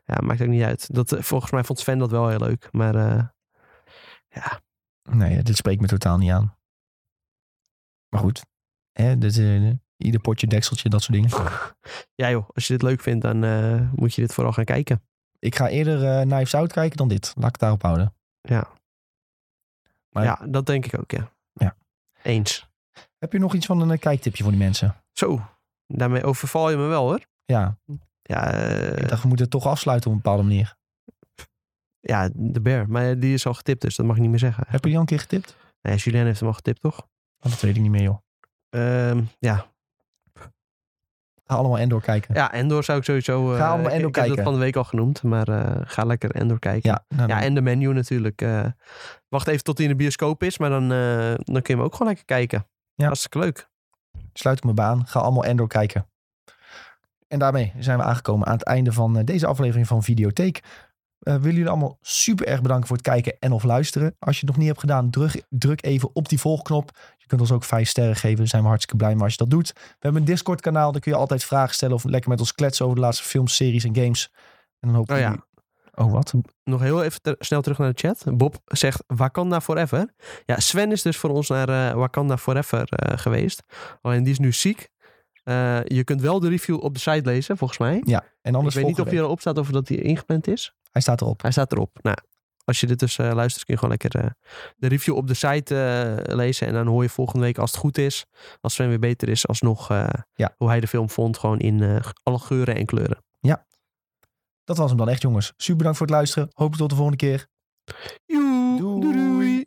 B: Ja, maakt ook niet uit. Dat, eh, volgens mij vond Sven dat wel heel leuk, maar eh,
A: Nee, dit spreekt me totaal niet aan. Maar goed. Hè, dit, eh, ieder potje, dekseltje, dat soort dingen.
B: ja joh, als je dit leuk vindt, dan eh, moet je dit vooral gaan kijken.
A: Ik ga eerder eh Knives Out kijken dan dit. Laat ik het daarop houden. Maar-
B: Ja, dat denk ik ook, ja.
A: Ja.
B: Eens.
A: Heb je nog iets van een eh, kijktipje voor die mensen?
B: Zo, daarmee overval je me wel hoor.
A: Ja,
B: Ja, eh,
A: ik dacht, we moeten het toch afsluiten op een bepaalde manier.
B: ja, de bear. Maar die is al getipt, dus dat mag ik niet meer zeggen.
A: Heb je die al een keer getipt?
B: Nee, Julien heeft hem al getipt, toch?
A: Oh, dat weet ik niet meer, joh.
B: Ehm, ja.
A: Ga allemaal Endor kijken.
B: ja, Endor zou ik sowieso... eh,
A: Ga allemaal Endor
B: ik, ik heb dat
A: kijken.
B: van de week al genoemd, maar eh, ga lekker Endor kijken.
A: Ja, nou,
B: Ja,
A: dan-
B: en de menu natuurlijk. eh. wacht even tot hij in de bioscoop is, maar dan, eh, dan kun je hem ook gewoon lekker kijken.
A: Ja.
B: Hartstikke leuk.
A: sluit ik me bij aan. Ga allemaal Endor kijken. En daarmee zijn we aangekomen aan het einde van eh, deze aflevering van Videotheek. Eh willen jullie allemaal super erg bedanken voor het kijken en of luisteren. Als je het nog niet hebt gedaan, druk, druk even op die volgknop. Je kunt ons ook vijf sterren geven. Daar zijn we hartstikke blij mee als je dat doet. We hebben een Discord kanaal. Daar kun je altijd vragen stellen of lekker met ons kletsen over de laatste films, series en games. En dan hoop ik.
B: Oh ja.
A: Oh wat?
B: Nog heel even ter- snel terug naar de chat. Bob zegt Wakanda Forever. Ja, Sven is dus voor ons naar eh, Wakanda Forever eh, geweest. Alleen die is nu ziek. Eh, je kunt wel de review op de site lezen, volgens mij.
A: En anders
B: ik weet niet
A: volgende
B: of hij
A: week.
B: erop staat of dat hij ingepland is.
A: Hij staat erop.
B: Hij staat erop. Nou, als je dit dus eh, luistert, kun je gewoon lekker eh, de review op de site eh, lezen. En dan hoor je volgende week, als het goed is, als Sven weer beter is, alsnog eh,
A: Ja.
B: hoe hij de film vond. Gewoon in eh, alle geuren en kleuren.
A: Dat was hem dan echt, jongens. Super bedankt voor het luisteren. Hopelijk tot de volgende keer. Doei.
B: Doei.